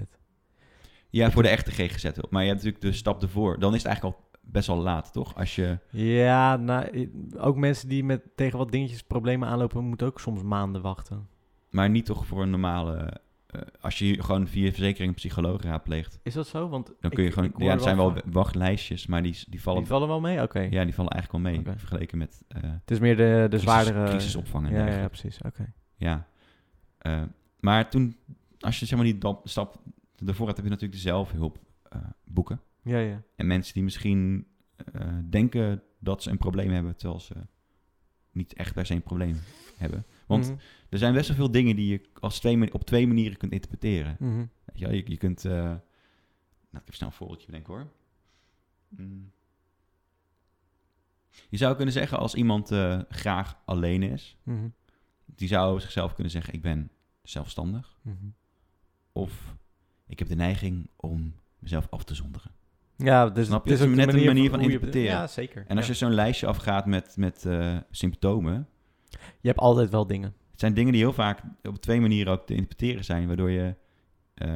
Speaker 2: Ja, voor de echte GGZ hulp. Maar je hebt natuurlijk de stap ervoor. Dan is het eigenlijk al best wel laat, toch? Als je,
Speaker 1: Ja, nou, i- ook mensen die met, tegen wat dingetjes problemen aanlopen, moeten ook soms maanden wachten.
Speaker 2: maar niet toch voor een normale... eh, als je gewoon via je verzekering een psycholoog raadpleegt,
Speaker 1: Is dat zo? Want
Speaker 2: dan kun je
Speaker 1: ik-
Speaker 2: gewoon...
Speaker 1: ik hoor
Speaker 2: Ja, er zijn wel
Speaker 1: van-
Speaker 2: wachtlijstjes, maar die, die, vallen,
Speaker 1: Die vallen wel mee? Oké.
Speaker 2: ja, die vallen eigenlijk wel mee
Speaker 1: Oké.
Speaker 2: vergeleken met eh,
Speaker 1: Het is meer de, de zwaardere...
Speaker 2: crisis, crisisopvang en
Speaker 1: ja, ja,
Speaker 2: dergelijke.
Speaker 1: ja, precies. Oké.
Speaker 2: Ja. Eh, maar toen, als je zeg maar die dap- stap ervoor hebt, heb je natuurlijk de zelfhulp eh, boeken.
Speaker 1: Ja, ja.
Speaker 2: En mensen die misschien eh, denken dat ze een probleem hebben, terwijl ze niet echt per se een probleem hebben. Want
Speaker 1: Mhm,
Speaker 2: er zijn best wel veel dingen die je als twee, mani- op twee manieren kunt interpreteren.
Speaker 1: mhm.
Speaker 2: Weet je, wel, je, je kunt... eh laat ik even snel een voorbeeldje bedenken hoor. Mm. Je zou kunnen zeggen als iemand eh, graag alleen is,
Speaker 1: Mhm,
Speaker 2: die zou over zichzelf kunnen zeggen ik ben zelfstandig.
Speaker 1: mhm.
Speaker 2: Of ik heb de neiging om mezelf af te zonderen.
Speaker 1: Ja, dus
Speaker 2: Snap je?
Speaker 1: het is
Speaker 2: Het
Speaker 1: ook
Speaker 2: is net een manier van
Speaker 1: hoe je-
Speaker 2: interpreteren.
Speaker 1: Ja, zeker.
Speaker 2: En als
Speaker 1: Ja.
Speaker 2: je zo'n lijstje afgaat met, met eh, symptomen...
Speaker 1: je hebt altijd wel dingen.
Speaker 2: Het zijn dingen die heel vaak op twee manieren ook te interpreteren zijn. Waardoor je... eh,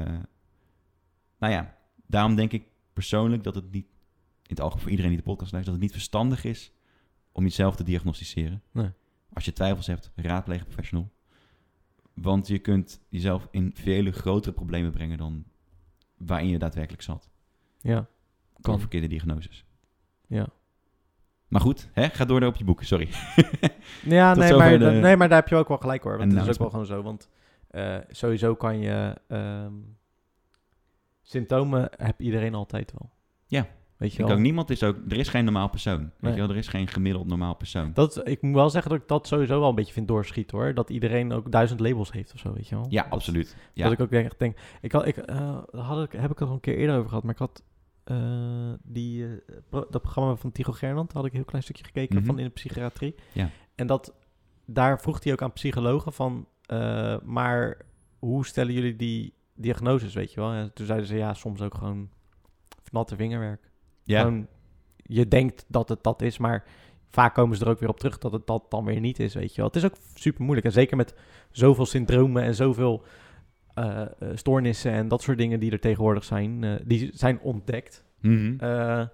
Speaker 2: nou ja, daarom denk ik persoonlijk dat het niet... In het algemeen voor iedereen die de podcast luistert... Dat het niet verstandig is om jezelf te diagnosticeren.
Speaker 1: Nee.
Speaker 2: Als je twijfels hebt, raadpleeg een professional. Want je kunt jezelf in vele grotere problemen brengen dan waarin je daadwerkelijk zat.
Speaker 1: Ja.
Speaker 2: Kan.
Speaker 1: Kan.
Speaker 2: verkeerde diagnoses.
Speaker 1: Ja.
Speaker 2: Maar goed, hè? ga door op je boek, sorry.
Speaker 1: Ja,
Speaker 2: Tot
Speaker 1: nee
Speaker 2: zover
Speaker 1: maar,
Speaker 2: de-
Speaker 1: dat- nee, maar daar heb je ook wel gelijk hoor. Want
Speaker 2: En
Speaker 1: het is ook wel gewoon zo. Want eh, sowieso kan je... ehm, symptomen heb iedereen altijd wel.
Speaker 2: Ja.
Speaker 1: Weet je
Speaker 2: Ik denk
Speaker 1: wel.
Speaker 2: ook niemand is ook, er is geen normaal persoon. Weet
Speaker 1: Nee.
Speaker 2: je wel, er is geen gemiddeld normaal persoon.
Speaker 1: Dat, ik moet wel zeggen dat ik dat sowieso wel een beetje vind doorschieten hoor. Dat iedereen ook duizend labels heeft of zo, weet je wel.
Speaker 2: ja,
Speaker 1: Dat-
Speaker 2: absoluut. Ja.
Speaker 1: Dat ik ook denk- echt denk... Ik had, ik, eh, had ik, heb ik het al een keer eerder over gehad, maar ik had eh, die, eh, pro- dat programma van Tycho Gernand, had ik een heel klein stukje gekeken
Speaker 2: Mhm.
Speaker 1: van in de psychiatrie.
Speaker 2: Ja.
Speaker 1: En dat, daar vroeg hij ook aan psychologen van, eh, maar hoe stellen jullie die diagnoses, weet je wel? En toen zeiden ze, ja, soms ook gewoon natte vingerwerk.
Speaker 2: ja.
Speaker 1: Gewoon, je denkt dat het dat is, maar vaak komen ze er ook weer op terug dat het dat dan weer niet is, weet je wel. Het is ook super moeilijk. En zeker met zoveel syndromen en zoveel eh, eh, stoornissen en dat soort dingen die er tegenwoordig zijn, eh, die zijn ontdekt.
Speaker 2: Mhm.
Speaker 1: eh,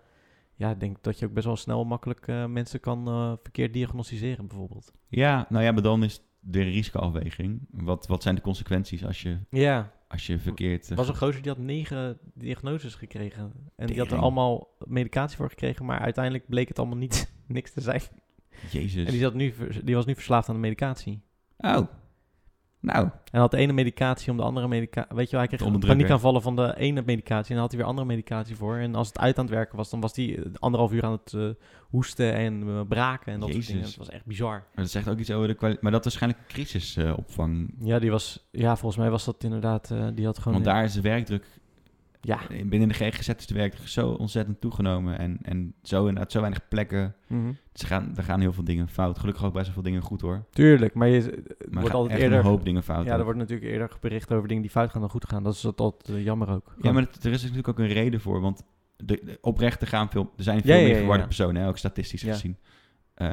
Speaker 1: Ja, ik denk dat je ook best wel snel makkelijk eh, mensen kan eh, verkeerd diagnosticeren bijvoorbeeld.
Speaker 2: Ja, nou ja, maar dan is de risicoafweging. Wat, wat zijn de consequenties als je,
Speaker 1: Ja,
Speaker 2: als je verkeerd...
Speaker 1: er
Speaker 2: eh,
Speaker 1: was een gozer die had negen diagnoses gekregen. En die had er
Speaker 2: Tering.
Speaker 1: allemaal medicatie voor gekregen, maar uiteindelijk bleek het allemaal niet, niks te zijn.
Speaker 2: Jezus.
Speaker 1: En die, zat nu, ver- die was nu verslaafd aan de medicatie.
Speaker 2: Oh. Nou,
Speaker 1: En had de ene medicatie om de andere medicatie. Weet je wel, hij
Speaker 2: Te
Speaker 1: kreeg
Speaker 2: onderdrukken.
Speaker 1: paniekaanvallen van de ene medicatie. En dan had hij weer andere medicatie voor. En als het uit aan het werken was, dan was hij eh, anderhalf uur aan het eh, hoesten en eh, braken en dat soort dingen.
Speaker 2: Jezus.
Speaker 1: Het was echt bizar.
Speaker 2: maar dat zegt ook iets over de kwaliteit. Maar dat is waarschijnlijk crisisopvang.
Speaker 1: Ja, die was. Ja, volgens mij was dat inderdaad. eh, die had gewoon.
Speaker 2: Want daar is de werkdruk...
Speaker 1: Ja.
Speaker 2: Binnen de GGZ is de werkdruk zo ontzettend toegenomen. En, en zo inderdaad zo weinig plekken.
Speaker 1: Mhm.
Speaker 2: Ze gaan, er gaan heel veel dingen fout. Gelukkig ook best wel veel dingen goed hoor.
Speaker 1: Tuurlijk, maar je het
Speaker 2: Maar
Speaker 1: wordt
Speaker 2: er gaan
Speaker 1: altijd
Speaker 2: echt
Speaker 1: eerder.
Speaker 2: een hoop dingen fout.
Speaker 1: ja, er wordt natuurlijk eerder bericht over dingen die fout gaan dan goed gaan. Dat is dat altijd eh, jammer ook.
Speaker 2: Ja, maar het- er is natuurlijk ook een reden voor. Want de, de- oprecht, er, gaan veel, er zijn veel
Speaker 1: Ja, ja,
Speaker 2: meer
Speaker 1: ja,
Speaker 2: verwarde
Speaker 1: ja.
Speaker 2: personen, hè, ook statistisch
Speaker 1: Ja.
Speaker 2: gezien. Eh,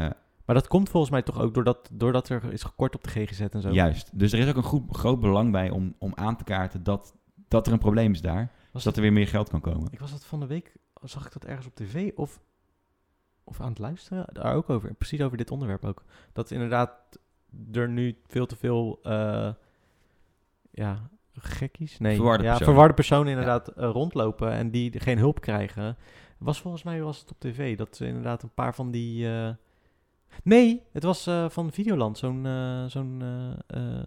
Speaker 1: Maar dat komt volgens mij toch ook doordat, doordat er is gekort op de GGZ en zo.
Speaker 2: juist. Dus er is ook een goed, groot belang bij om, om aan te kaarten dat, dat er een probleem is daar.
Speaker 1: Was
Speaker 2: zodat er weer meer geld kan komen.
Speaker 1: Ik was dat van de week, zag ik dat ergens op tv of, of aan het luisteren, daar ook over. Precies over dit onderwerp ook. Dat inderdaad er nu veel te veel, eh, ja, gekkies? Nee,
Speaker 2: Verwarde
Speaker 1: ja,
Speaker 2: personen.
Speaker 1: verwarde personen inderdaad eh, rondlopen en die geen hulp krijgen. Was volgens mij was het op tv dat ze inderdaad een paar van die... eh, Nee, het was eh, van Videoland, zo'n eh, zo'n eh, eh,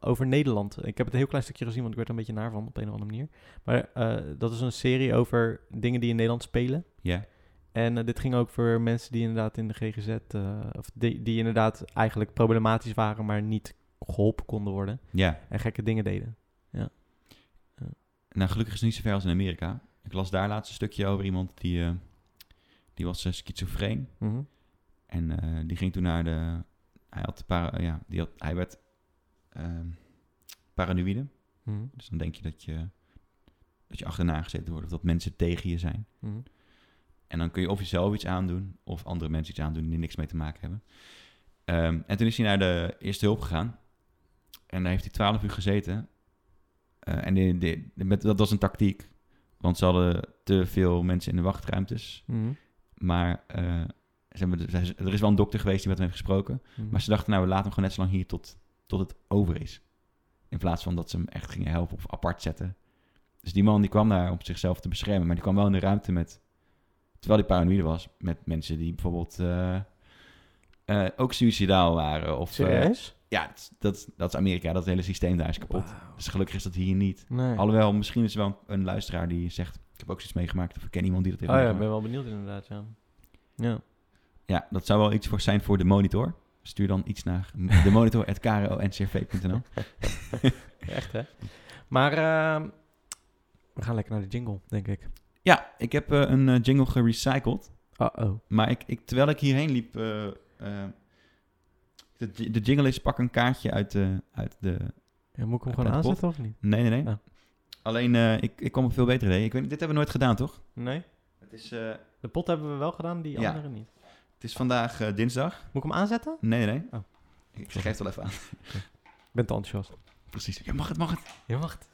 Speaker 1: over Nederland. Ik heb het een heel klein stukje gezien, want ik werd er een beetje naar van op een of andere manier. Maar eh, dat is een serie over dingen die in Nederland spelen.
Speaker 2: Ja.
Speaker 1: En eh, dit ging ook voor mensen die inderdaad in de GGZ, eh, of die, die inderdaad eigenlijk problematisch waren, maar niet geholpen konden worden
Speaker 2: ja.
Speaker 1: en gekke dingen deden.
Speaker 2: Nou, gelukkig is het niet zo ver als in Amerika. Ik las daar laatst een stukje over iemand die, eh, die was eh, schizofreen.
Speaker 1: Mhm.
Speaker 2: En eh, die ging toen naar de. Hij had para, ja, die had, hij werd ehm, paranoïde.
Speaker 1: Mhm.
Speaker 2: Dus dan denk je dat je, dat je achterna gezeten wordt of dat mensen tegen je zijn.
Speaker 1: Mhm.
Speaker 2: En dan kun je of jezelf iets aandoen of andere mensen iets aandoen die niks mee te maken hebben. Ehm, en toen is hij naar de eerste hulp gegaan. En daar heeft hij 12 uur gezeten. Eh, en die- die- met, dat was een tactiek. Want ze hadden te veel mensen in de wachtruimtes.
Speaker 1: Mhm.
Speaker 2: Maar eh, ze hebben, ze- er is wel een dokter geweest die met hem heeft gesproken.
Speaker 1: Mhm.
Speaker 2: Maar ze dachten, nou, we laten hem gewoon net zo lang hier tot, tot het over is. In plaats van dat ze hem echt gingen helpen of apart zetten. Dus die man die kwam daar om zichzelf te beschermen. Maar die kwam wel in de ruimte met, terwijl hij paranoïde was, met mensen die bijvoorbeeld eh, eh, ook suicidaal waren. Of, eh,
Speaker 1: Serieus?
Speaker 2: ja, dat, dat, dat is Amerika. Dat hele systeem daar is kapot.
Speaker 1: Wauw.
Speaker 2: Dus gelukkig is dat hier niet.
Speaker 1: Nee.
Speaker 2: Alhoewel, misschien is er wel een, een luisteraar die zegt, ik heb ook zoiets meegemaakt. Of ik ken iemand die dat heeft
Speaker 1: Oh ja, ik
Speaker 2: meegemaakt.
Speaker 1: ben wel benieuwd inderdaad, ja. Ja.
Speaker 2: Ja, dat zou wel iets voor zijn voor de monitor. Stuur dan iets naar de monitor@kro-ncrv.nl.
Speaker 1: Echt, hè? Maar ehm, we gaan lekker naar de jingle, denk ik.
Speaker 2: Ja, ik heb eh, een eh, jingle gerecycled.
Speaker 1: Uh-oh.
Speaker 2: Maar ik, ik, terwijl ik hierheen liep... eh, eh, de, j- de jingle is pak een kaartje uit de... Uit de
Speaker 1: Ja, moet ik hem
Speaker 2: Uit
Speaker 1: gewoon
Speaker 2: de pot?
Speaker 1: aanzetten of niet?
Speaker 2: nee, nee, nee.
Speaker 1: Ja.
Speaker 2: Alleen, eh, ik, ik kwam op veel betere ideeën. Ik weet, niet, dit hebben we nooit gedaan, toch?
Speaker 1: Nee.
Speaker 2: Het is, eh,
Speaker 1: De pot hebben we wel gedaan, die
Speaker 2: Ja.
Speaker 1: andere niet.
Speaker 2: het is vandaag eh, dinsdag.
Speaker 1: Moet ik hem aanzetten?
Speaker 2: Nee, nee, nee.
Speaker 1: Oh.
Speaker 2: Ik geef het wel even aan.
Speaker 1: Ik ben te enthousiast.
Speaker 2: Precies. Ja, mag het, mag het.
Speaker 1: Je wacht.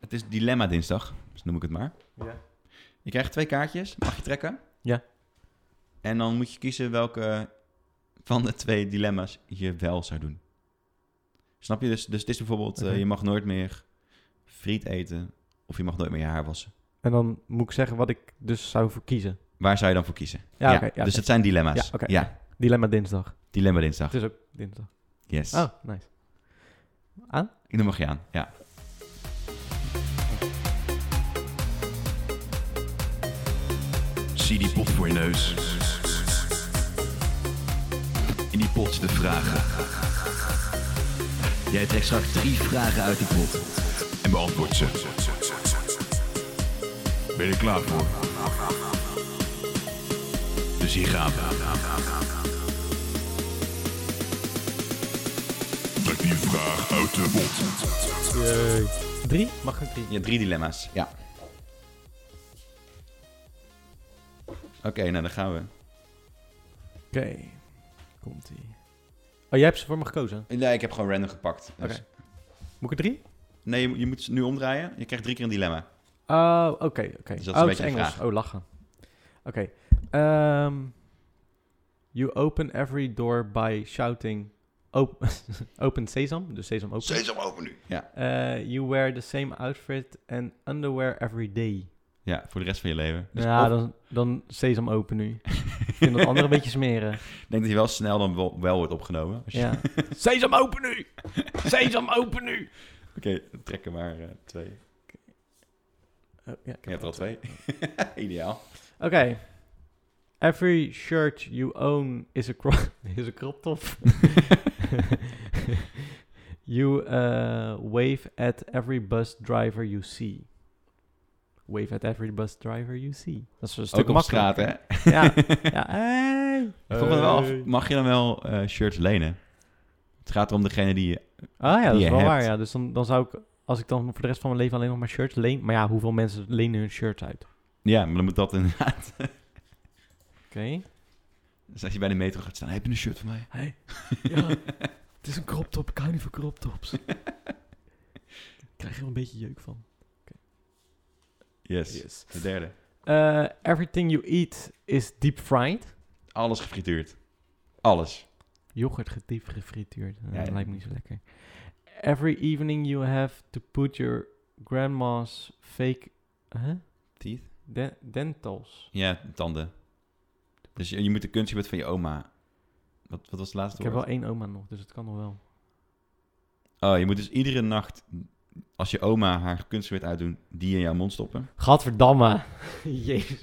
Speaker 2: Het is Dilemma Dinsdag, dus noem ik het maar.
Speaker 1: Ja.
Speaker 2: Je krijgt twee kaartjes, mag je trekken.
Speaker 1: Ja.
Speaker 2: En dan moet je kiezen welke van de twee dilemma's je wel zou doen. Snap je? Dus, dus het is bijvoorbeeld, eh,
Speaker 1: Oké.
Speaker 2: je mag nooit meer friet eten of je mag nooit meer je haar wassen.
Speaker 1: En dan moet ik zeggen wat ik dus zou verkiezen.
Speaker 2: Waar zou je dan voor kiezen?
Speaker 1: Ja, oké, ja,
Speaker 2: dus
Speaker 1: oké.
Speaker 2: het zijn dilemma's.
Speaker 1: Ja, oké.
Speaker 2: ja
Speaker 1: Dilemma dinsdag.
Speaker 2: dilemma
Speaker 1: Het
Speaker 2: dinsdag.
Speaker 1: is ook dinsdag.
Speaker 2: Yes.
Speaker 1: Oh, nice.
Speaker 2: Ik noem mag je aan, ja.
Speaker 5: Zie die pot voor je neus. In die pot de vragen. Jij trekt straks drie vragen uit die pot. En beantwoord ze. Ben je er klaar voor? Dus hier gaan we. Trek die vraag uit de pot.
Speaker 1: Drie? Mag ik drie?
Speaker 2: Je hebt drie dilemma's, ja. Oké, nou dan gaan we.
Speaker 1: Oké. Komt-ie. Oh, jij hebt ze voor me gekozen?
Speaker 2: Nee, ik heb gewoon random gepakt. Dus-
Speaker 1: Oké. Moet ik er drie?
Speaker 2: Nee, je, moet- je moet ze nu omdraaien. Je krijgt drie keer een dilemma.
Speaker 1: Oh, oké, oké.
Speaker 2: Dus dat is
Speaker 1: oh,
Speaker 2: een
Speaker 1: het
Speaker 2: beetje de
Speaker 1: Engels.
Speaker 2: vraag.
Speaker 1: Oh, lachen. Oké. ehm, you open every door by shouting op open sesam, dus sesam open.
Speaker 2: Sesam open nu. Ja.
Speaker 1: Eh, you wear the same outfit and underwear every day.
Speaker 2: ja, voor de rest van je leven. Dus
Speaker 1: ja,
Speaker 2: of-
Speaker 1: dan, dan sesam open nu. Ik vind dat andere een beetje smeren.
Speaker 2: Ik denk dat je wel snel dan wel, wel wordt opgenomen. Als je-
Speaker 1: Ja. sesam open nu! Sesam open nu!
Speaker 2: Oké, dan trekken maar eh, twee.
Speaker 1: Oh, ja, ik
Speaker 2: Je
Speaker 1: heb
Speaker 2: hebt er al twee. Ideaal.
Speaker 1: Oké. Every shirt you own is a crop, is a crop top. you uh, wave at every bus driver you see. Wave at every bus driver you see. Dat is een stuk
Speaker 2: Ook op straat, hè?
Speaker 1: makkelijker. Ja. ja. Hey.
Speaker 2: Ik vroeg me wel af,
Speaker 1: Hey.
Speaker 2: mag je dan wel eh, shirts lenen? Het gaat erom degene die... je-
Speaker 1: Ah ja, dat
Speaker 2: die
Speaker 1: is
Speaker 2: je
Speaker 1: wel waar.
Speaker 2: hebt.
Speaker 1: Ja. Dus dan, dan zou ik, als ik dan voor de rest van mijn leven alleen nog maar shirts leen... Maar ja, hoeveel mensen lenen hun shirts uit? Oké.
Speaker 2: Ja, maar dan moet dat inderdaad... Dus als je bij de metro gaat staan, heb je een shirt van mij?
Speaker 1: Hey. Ja, het is een crop top. Ik hou niet van crop tops. Ik krijg er een beetje jeuk van.
Speaker 2: Yes. De derde.
Speaker 1: Eh, everything you eat is deep fried.
Speaker 2: Alles gefrituurd. Alles.
Speaker 1: Yoghurt gediep gefrituurd. Eh,
Speaker 2: Ja, ja.
Speaker 1: lijkt me niet zo lekker. Every evening you have to put your grandma's fake huh?
Speaker 2: Teeth?
Speaker 1: De- dentals.
Speaker 2: Ja, tanden. Dus je, je moet de kunstje van je oma... Wat, wat was het laatste
Speaker 1: Ik heb
Speaker 2: woord?
Speaker 1: wel één oma nog, dus het kan nog wel.
Speaker 2: Oh, je moet dus iedere nacht, als je oma haar kunstgebied uitdoet, die in jouw mond stoppen.
Speaker 1: Gadverdamme. Jezus.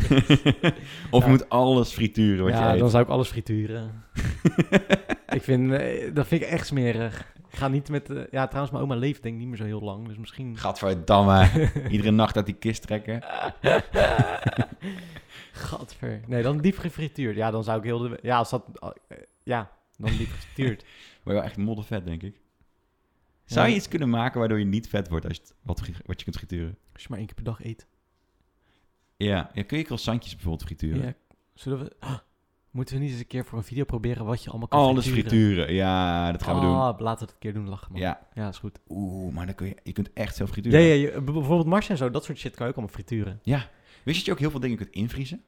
Speaker 2: of
Speaker 1: Ja.
Speaker 2: je moet alles frituren wat
Speaker 1: Ja,
Speaker 2: je
Speaker 1: dan
Speaker 2: eet.
Speaker 1: zou ik alles frituren. ik vind, eh, dat vind ik echt smerig. Ik ga niet met... eh, ja, trouwens, mijn oma leeft denk ik niet meer zo heel lang. Dus misschien...
Speaker 2: Gadverdamme. iedere nacht uit die kist trekken.
Speaker 1: Gadver. Nee, dan diep gefrituurd. Ja, dan zou ik heel de... Ja, als dat... eh, ja, dan diep gefrituurd.
Speaker 2: Maar wel echt moddervet, denk ik. Zou je
Speaker 1: Ja.
Speaker 2: iets kunnen maken waardoor je niet vet wordt als je het- wat, fri- wat je kunt frituren?
Speaker 1: Als je maar één keer per dag eet.
Speaker 2: Ja, ja kun je croissantjes bijvoorbeeld frituren?
Speaker 1: Ja. Zullen we... Ah, moeten we niet eens een keer voor een video proberen wat je allemaal kan
Speaker 2: Alles
Speaker 1: frituren?
Speaker 2: frituren. Ja, dat gaan we doen.
Speaker 1: Ah, laten we het een keer doen. Lachen, man. Ja,
Speaker 2: Ja.
Speaker 1: is goed.
Speaker 2: Oeh, maar dan kun je, je kunt echt zelf
Speaker 1: Ja,
Speaker 2: frituren.
Speaker 1: ja, je- b- bijvoorbeeld Mars en zo. Dat soort shit kan je ook allemaal frituren.
Speaker 2: Wist je dat je ook heel veel dingen kunt invriezen?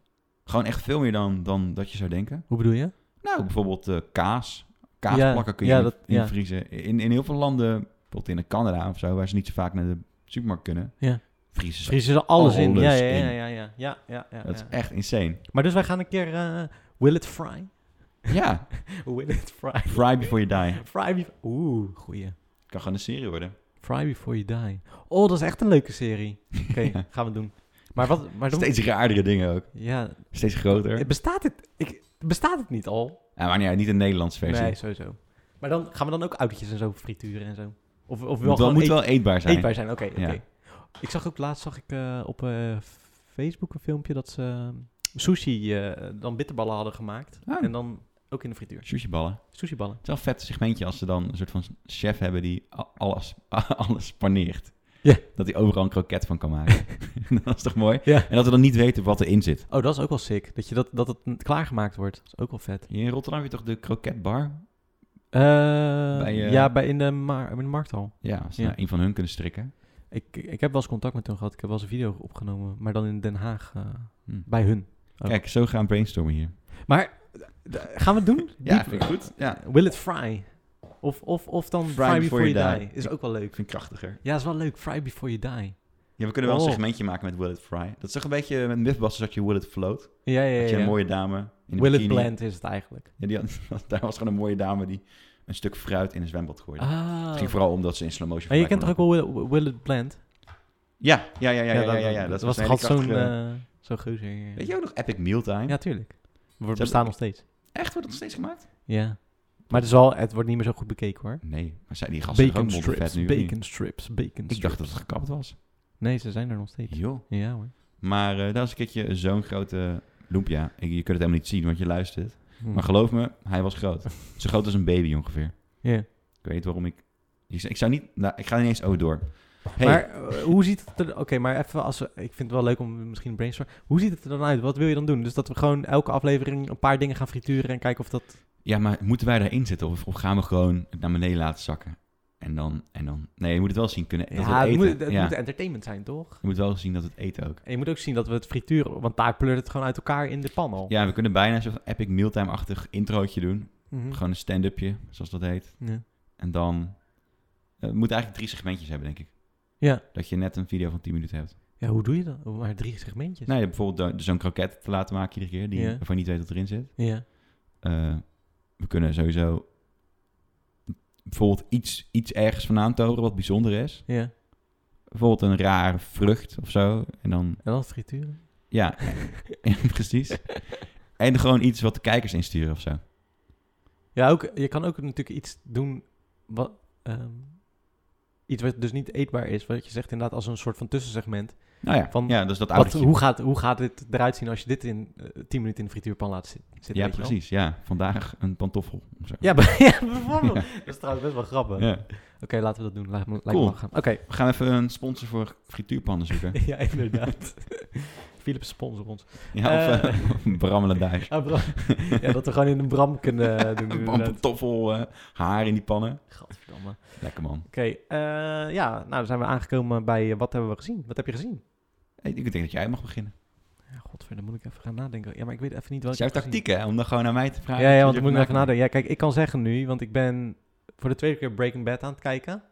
Speaker 2: Gewoon echt veel meer dan, dan dat je zou denken.
Speaker 1: Hoe bedoel je?
Speaker 2: Nou, bijvoorbeeld eh, kaas. Kaasplakken
Speaker 1: Ja,
Speaker 2: kun je
Speaker 1: ja,
Speaker 2: in-
Speaker 1: dat- ja.
Speaker 2: invriezen. In, in heel veel landen, bijvoorbeeld in Canada of zo, waar ze niet zo vaak naar de supermarkt kunnen,
Speaker 1: Ja.
Speaker 2: vriezen ze.
Speaker 1: Dus Vriezen ze alles, in. Ja,
Speaker 2: Alles
Speaker 1: ja, ja,
Speaker 2: in.
Speaker 1: ja, ja, ja, ja, ja,
Speaker 2: Dat
Speaker 1: ja.
Speaker 2: is echt insane.
Speaker 1: Maar dus wij gaan een keer eh, Will It Fry?
Speaker 2: Ja,
Speaker 1: Will It Fry?
Speaker 2: fry before you die.
Speaker 1: Fry before... Oeh, goeie.
Speaker 2: Kan gewoon een serie worden.
Speaker 1: Fry Before You Die. Oh, dat is echt een leuke serie. Oké,
Speaker 2: Ja.
Speaker 1: gaan we doen. Maar wat... Maar dan,
Speaker 2: Steeds raardere dingen ook.
Speaker 1: Ja,
Speaker 2: Steeds groter.
Speaker 1: eh, bestaat het... Ik, bestaat het niet al?
Speaker 2: Ja, maar ja, niet een Nederlandse versie.
Speaker 1: Nee, sowieso. Maar dan gaan we dan ook autootjes en zo frituren en zo? Of, of wel
Speaker 2: moet wel,
Speaker 1: gewoon
Speaker 2: moet
Speaker 1: eet-
Speaker 2: wel eetbaar zijn.
Speaker 1: eetbaar zijn? Oké, oké.
Speaker 2: Ja.
Speaker 1: Ik zag ook laatst zag ik, eh, op eh, Facebook een filmpje dat ze eh, sushi eh, dan bitterballen hadden gemaakt.
Speaker 2: Ah.
Speaker 1: En dan ook in de frituur.
Speaker 2: Sushiballen. Het
Speaker 1: Sushiballen.
Speaker 2: is wel een vet segmentje als ze dan een soort van chef hebben die a- alles, alles paneert.
Speaker 1: Ja.
Speaker 2: Dat hij overal een kroket van kan maken. dat is toch mooi?
Speaker 1: Ja.
Speaker 2: En dat we dan niet weten wat erin zit.
Speaker 1: Oh, dat is ook wel sick. Dat, je dat, dat het klaargemaakt wordt. Dat is ook wel vet.
Speaker 2: Hier in Rotterdam heb je toch de kroketbar?
Speaker 1: Eh,
Speaker 2: Bij, eh,
Speaker 1: ja, bij in, de mar- in de markthal.
Speaker 2: Ja, als ze
Speaker 1: Ja.
Speaker 2: nou een van hun kunnen strikken.
Speaker 1: Ik, ik heb wel eens contact met hun gehad. Ik heb wel eens een video opgenomen. Maar dan in Den Haag. eh,
Speaker 2: Hm.
Speaker 1: Bij hun. Oh.
Speaker 2: Kijk, zo gaan brainstormen hier.
Speaker 1: Maar d- gaan we het doen? Diep-
Speaker 2: ik goed. Ja,
Speaker 1: Will it fry? Of, of, of dan fry, before, you die. Is ook wel
Speaker 2: ik
Speaker 1: leuk.
Speaker 2: vind het krachtiger.
Speaker 1: Ja, is wel leuk. Fry before you die.
Speaker 2: Ja, we kunnen wel
Speaker 1: Oh.
Speaker 2: een segmentje maken met Will It Fry. Dat is toch een beetje met Mythbusters dat je Will It Float.
Speaker 1: Ja, ja,
Speaker 2: Dat je
Speaker 1: ja.
Speaker 2: een
Speaker 1: ja.
Speaker 2: mooie dame in een
Speaker 1: Will it
Speaker 2: bikini-
Speaker 1: blend is het eigenlijk.
Speaker 2: Ja, die had- daar was gewoon een mooie dame die een stuk fruit in een zwembad gooide. Het
Speaker 1: Ah.
Speaker 2: ging vooral omdat ze in slow motion
Speaker 1: Maar je
Speaker 2: voorbij
Speaker 1: kent toch ook
Speaker 2: kwam
Speaker 1: wel Will, Will it blend?
Speaker 2: lopen. Ja, ja, ja, ja, ja, ja, ja, ja.
Speaker 1: Dat,
Speaker 2: Dat
Speaker 1: was
Speaker 2: een
Speaker 1: toch altijd
Speaker 2: hele
Speaker 1: zo'n
Speaker 2: krachtige-
Speaker 1: eh, zo'n geuzer.
Speaker 2: Weet je ook nog Epic Mealtime?
Speaker 1: Ja, tuurlijk. We
Speaker 2: dat-
Speaker 1: bestaan nog steeds.
Speaker 2: Echt, wordt dat nog steeds gemaakt?
Speaker 1: Ja. Maar het, is wel, het wordt niet meer zo goed bekeken hoor.
Speaker 2: Nee, maar zijn die gasten
Speaker 1: Bacon
Speaker 2: toch ook vet
Speaker 1: strips,
Speaker 2: nu? of niet?
Speaker 1: bacon strips, bacon strips.
Speaker 2: Ik dacht dat het gekapt was.
Speaker 1: Nee, ze zijn er nog steeds.
Speaker 2: Joh.
Speaker 1: Ja hoor.
Speaker 2: Maar eh dat is een keertje zo'n grote loempia. Ik- Je kunt het helemaal niet zien, want je luistert.
Speaker 1: Hm.
Speaker 2: Maar geloof me, hij was groot. Zo groot als een baby ongeveer.
Speaker 1: Ja.
Speaker 2: Ik weet niet waarom ik... Ik, z- ik zou niet... Nou, ik ga niet eens over door. Hey,
Speaker 1: Maar eh, hoe ziet het er... Oké, maar even als... we- Ik vind het wel leuk om misschien een brainstorm... Hoe ziet het er dan uit? Wat wil je dan doen? Dus dat we gewoon elke aflevering een paar dingen gaan frituren en kijken of dat...
Speaker 2: Ja, maar moeten wij daarin zitten? Of, of gaan we gewoon het naar beneden laten zakken? En dan, en dan... Nee, je moet het wel zien kunnen. dat we
Speaker 1: ja, het,
Speaker 2: eten.
Speaker 1: moet, het
Speaker 2: ja.
Speaker 1: moet entertainment zijn, toch?
Speaker 2: Je moet wel zien dat we het eten ook.
Speaker 1: En je moet ook zien dat we het frituren, want daar pleurt het gewoon uit elkaar in de pan al.
Speaker 2: Ja, we kunnen bijna zo'n epic mealtime-achtig introotje doen.
Speaker 1: Mhm.
Speaker 2: Gewoon een stand-upje, zoals dat heet.
Speaker 1: Ja.
Speaker 2: En dan... eh, we moeten eigenlijk drie segmentjes hebben, denk ik.
Speaker 1: Ja.
Speaker 2: Dat je net een video van 10 minuten hebt.
Speaker 1: Ja, hoe doe je dat? Oh, Maar drie segmentjes.
Speaker 2: Nou, je hebt bijvoorbeeld do- zo'n kroket te laten maken iedere keer, die,
Speaker 1: Ja.
Speaker 2: waarvan je niet weet wat erin zit.
Speaker 1: Ja.
Speaker 2: Eh, we kunnen sowieso bijvoorbeeld iets, iets ergens vandaan toveren wat bijzonder is.
Speaker 1: Ja.
Speaker 2: Bijvoorbeeld een rare vrucht of zo. En dan,
Speaker 1: En dan frituren.
Speaker 2: ja, ja, precies. En gewoon iets wat de kijkers insturen of zo.
Speaker 1: Ja, ook, je kan ook natuurlijk iets doen wat... ehm, iets wat dus niet eetbaar is. Wat je zegt inderdaad als een soort van tussensegment.
Speaker 2: Nou ja,
Speaker 1: Van,
Speaker 2: ja dat is dat
Speaker 1: Wat,
Speaker 2: oudertje.
Speaker 1: hoe, gaat, hoe gaat dit eruit zien als je dit in eh, 10 minuten in de frituurpan laat zi- zitten?
Speaker 2: ja,
Speaker 1: weet je wel?
Speaker 2: precies. Ja, vandaag een pantoffel. of zo.
Speaker 1: Ja, b- ja, bijvoorbeeld. Dat is trouwens best wel grappig.
Speaker 2: Ja.
Speaker 1: Oké, laten we dat doen. Laat me, laat
Speaker 2: Cool.
Speaker 1: me maar gaan. Oké,
Speaker 2: We gaan even een sponsor voor frituurpannen zoeken.
Speaker 1: ja, inderdaad. Philips sponsor ons.
Speaker 2: Ja, of,
Speaker 1: Eh.
Speaker 2: eh, of een brammelen duis.
Speaker 1: Ah, Bram. ja, dat we gewoon in een bram kunnen eh, doen.
Speaker 2: Een
Speaker 1: inderdaad.
Speaker 2: pantoffel eh, haar in die pannen.
Speaker 1: Gadverdamme. Oké,
Speaker 2: Lekker man.
Speaker 1: eh, ja, nou dan zijn we aangekomen bij eh, wat hebben we gezien? Wat heb je gezien?
Speaker 2: Hey, Ik denk dat jij mag beginnen.
Speaker 1: Ja, godver, dan moet ik even gaan nadenken. Ja, maar ik weet even niet
Speaker 2: Dat
Speaker 1: wat
Speaker 2: is jouw
Speaker 1: ik heb gezien.
Speaker 2: tactiek hè, om dan gewoon naar mij te vragen.
Speaker 1: Ja, ja,
Speaker 2: wat
Speaker 1: want
Speaker 2: je
Speaker 1: ik moet nog
Speaker 2: ervan
Speaker 1: even nadenken. Ja, kijk, ik kan zeggen nu, want ik ben voor de tweede keer Breaking Bad aan het kijken.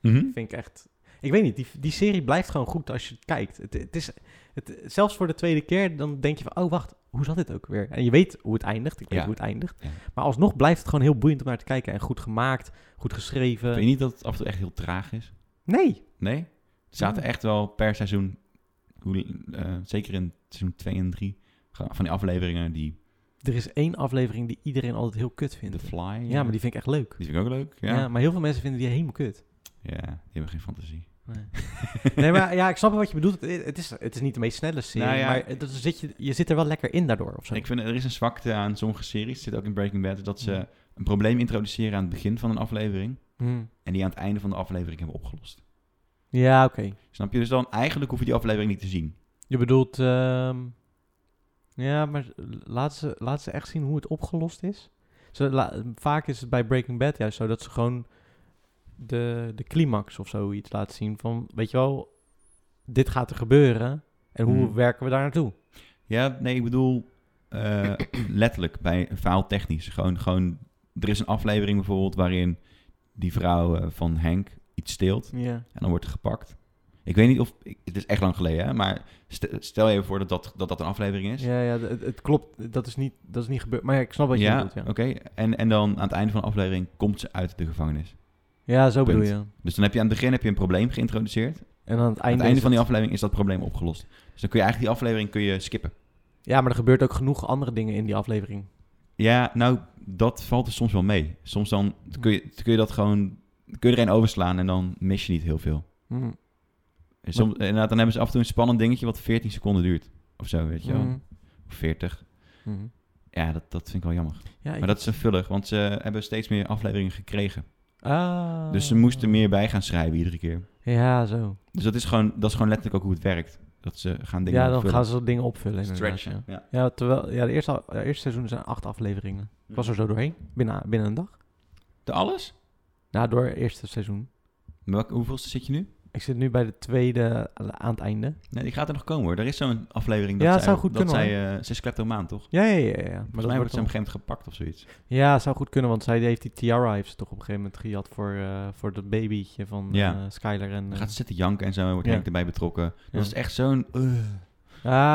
Speaker 2: Mhm.
Speaker 1: Vind ik echt... Ik weet niet, die, die serie blijft gewoon goed als je het kijkt. Het, het is, het, zelfs voor de tweede keer, dan denk je van... Oh, wacht, hoe zat dit ook weer? En je weet hoe het eindigt. Ik weet
Speaker 2: Ja.
Speaker 1: hoe het eindigt.
Speaker 2: Ja.
Speaker 1: Maar alsnog blijft het gewoon heel boeiend om naar te kijken. En goed gemaakt, goed geschreven.
Speaker 2: Vind je niet dat het af en toe echt heel traag is?
Speaker 1: Nee.
Speaker 2: Nee? Er zaten echt wel per seizoen, hoe, eh, zeker in seizoen 2 en 3, van die afleveringen die
Speaker 1: Er is één aflevering die iedereen altijd heel kut
Speaker 2: The
Speaker 1: vindt.
Speaker 2: Fly... eh,
Speaker 1: ja, maar die vind ik echt leuk.
Speaker 2: die vind ik ook leuk.
Speaker 1: Ja.
Speaker 2: Ja. ja.
Speaker 1: maar heel veel mensen vinden die helemaal kut.
Speaker 2: die hebben geen fantasie.
Speaker 1: Nee, nee maar ja, ik snap wat je bedoelt. Het, het is, het is niet de meest snelle serie,
Speaker 2: Nou ja,
Speaker 1: maar het- dat zit je, je zit er wel lekker in daardoor of zo.
Speaker 2: Ik vind, er is een zwakte aan sommige series, zit ook in Breaking Bad, dat ze
Speaker 1: Ja.
Speaker 2: een probleem introduceren aan het begin van een aflevering
Speaker 1: Hmm.
Speaker 2: en die aan het einde van de aflevering hebben opgelost.
Speaker 1: Ja, oké.
Speaker 2: Snap je? Dus dan eigenlijk hoef je die aflevering niet te zien.
Speaker 1: Je bedoelt, ehm, ja, maar laat ze, laat ze echt zien hoe het opgelost is. Ze, la- vaak is het bij Breaking Bad juist zo dat ze gewoon de, de climax of zoiets laten zien van, weet je wel, dit gaat er gebeuren en hoe
Speaker 2: Mhm.
Speaker 1: werken we daar naartoe?
Speaker 2: Ja, nee, ik bedoel eh, letterlijk bij verhaal technisch. Gewoon, gewoon, er is een aflevering bijvoorbeeld waarin die vrouw eh, van Henk iets steelt
Speaker 1: Ja.
Speaker 2: en dan wordt ze gepakt. Ik weet niet of, ik- het is echt lang geleden, hè, maar ste- stel je even voor dat dat, dat, dat een aflevering is.
Speaker 1: Ja, ja, d- het, het klopt. Dat is niet, dat is niet gebeurd. Maar ja, ik snap wat je
Speaker 2: Ja,
Speaker 1: bedoelt.
Speaker 2: oké.
Speaker 1: Ja,
Speaker 2: En, en dan aan het einde van de aflevering komt ze uit de gevangenis.
Speaker 1: ja zo
Speaker 2: Punt.
Speaker 1: bedoel je.
Speaker 2: Dus dan heb je aan het begin heb je een probleem geïntroduceerd.
Speaker 1: En aan het einde,
Speaker 2: aan het einde
Speaker 1: is
Speaker 2: van die
Speaker 1: het-
Speaker 2: aflevering is dat probleem opgelost. Dus dan kun je eigenlijk die aflevering kun je skippen.
Speaker 1: Ja, maar er gebeurt ook genoeg andere dingen in die aflevering.
Speaker 2: Ja, nou, dat valt er soms wel mee. Soms dan kun je, kun je dat gewoon... Kun je er een overslaan en dan mis je niet heel veel.
Speaker 1: Mm.
Speaker 2: En soms, inderdaad, dan hebben ze af en toe een spannend dingetje wat 14 seconden duurt. Of zo, weet je wel.
Speaker 1: Mm.
Speaker 2: Of 40.
Speaker 1: Mhm.
Speaker 2: Ja, dat, dat vind ik wel jammer.
Speaker 1: Ja,
Speaker 2: Maar dat is een vuller, want ze hebben steeds meer afleveringen gekregen.
Speaker 1: Ah.
Speaker 2: Dus ze moesten meer bij gaan schrijven iedere keer.
Speaker 1: Ja, zo.
Speaker 2: Dus dat is gewoon, dat is gewoon letterlijk ook hoe het werkt. Dat ze gaan dingen
Speaker 1: ja, dan
Speaker 2: vullen.
Speaker 1: gaan ze dat dingen opvullen. inderdaad,
Speaker 2: stretchen.
Speaker 1: Ja.
Speaker 2: Ja.
Speaker 1: ja, terwijl ja, de, eerste, de eerste seizoen zijn acht afleveringen. Ik
Speaker 2: Mhm.
Speaker 1: was er zo doorheen, binnen, binnen een dag.
Speaker 2: De alles?
Speaker 1: Nou, door het eerste seizoen.
Speaker 2: Welk, hoeveelste zit je nu?
Speaker 1: Ik zit nu bij de tweede eh, aan het einde.
Speaker 2: Nee, die gaat er nog komen hoor. Er is zo'n aflevering dat
Speaker 1: Ja, het
Speaker 2: zij,
Speaker 1: zou goed
Speaker 2: dat
Speaker 1: kunnen,
Speaker 2: zij, eh, ze is kleptomaan, toch?
Speaker 1: Ja, ja, ja. ja.
Speaker 2: Maar
Speaker 1: Maar
Speaker 2: Volgens mij
Speaker 1: wordt
Speaker 2: wordt ze op
Speaker 1: dan-
Speaker 2: een gegeven moment gepakt of zoiets.
Speaker 1: Ja, zou goed kunnen, want zij heeft die tiara heeft ze toch op een gegeven moment gejat voor, eh, voor dat babytje van
Speaker 2: Ja.
Speaker 1: eh, Skyler. En,
Speaker 2: Dan
Speaker 1: eh,
Speaker 2: gaat ze zitten janken en zo en wordt
Speaker 1: Ja.
Speaker 2: Henk erbij betrokken.
Speaker 1: Ja.
Speaker 2: Dat is echt zo'n... eh.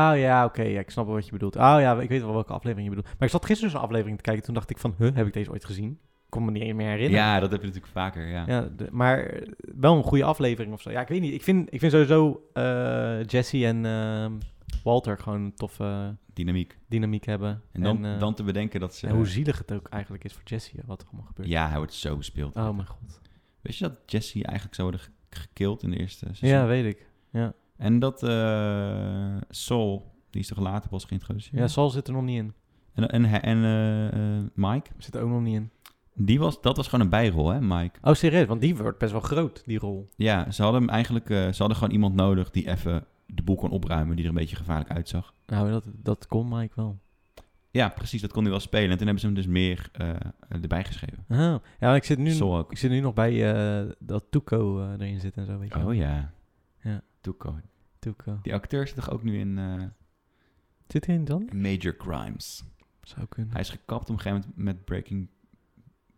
Speaker 1: Ah ja, oké, ja, ik snap wel wat je bedoelt. Ah ja, ik weet wel welke aflevering je bedoelt. Maar ik zat gisteren dus een aflevering te kijken, toen dacht ik van, huh, heb ik deze ooit gezien? Ik kon me niet meer herinneren.
Speaker 2: Ja, dat heb je natuurlijk vaker, ja.
Speaker 1: Ja, de- maar eh, wel een goede aflevering of zo. Ja, ik weet niet. Ik vind, ik vind sowieso eh, Jesse en ehm, Walter gewoon een toffe
Speaker 2: Dynamiek.
Speaker 1: dynamiek hebben.
Speaker 2: En dan,
Speaker 1: eh,
Speaker 2: dan te bedenken dat ze...
Speaker 1: en hoe zielig het ook eigenlijk is voor Jesse, eh, wat er allemaal gebeurt.
Speaker 2: ja, hij wordt zo bespeeld.
Speaker 1: Oh mijn god.
Speaker 2: Weet je dat Jesse eigenlijk zou worden ge- gekild in de eerste seizoen?
Speaker 1: Ja, weet ik.
Speaker 2: En dat eh Sol, die is toch later pas geïntroduceerd?
Speaker 1: Ja, Sal zit er nog niet in.
Speaker 2: En, en, hij- en eh, eh, Mike,
Speaker 1: Zit er ook nog niet in.
Speaker 2: die was, dat was gewoon een bijrol, hè, Mike?
Speaker 1: Oh, serieus? Want die wordt best wel groot, die rol.
Speaker 2: Ja, ze hadden hem eigenlijk, eh, ze hadden gewoon iemand nodig die even de boel kon opruimen, die er een beetje gevaarlijk uitzag.
Speaker 1: Nou, dat, dat kon Mike wel.
Speaker 2: Ja, precies, dat kon hij wel spelen. En toen hebben ze hem dus meer eh, erbij geschreven.
Speaker 1: Oh, ja, maar ik zit nu,
Speaker 2: Sol ook.
Speaker 1: ik zit nu nog bij eh, dat Tuco eh, erin zit en zo, weet je wel.
Speaker 2: Oh ja.
Speaker 1: Ja.
Speaker 2: Tuco.
Speaker 1: Tuco.
Speaker 2: Die acteur zit toch ook nu in eh,
Speaker 1: Zit hij in dan?
Speaker 2: Major Crimes.
Speaker 1: Zou kunnen.
Speaker 2: Hij is gekapt op een gegeven moment met Breaking...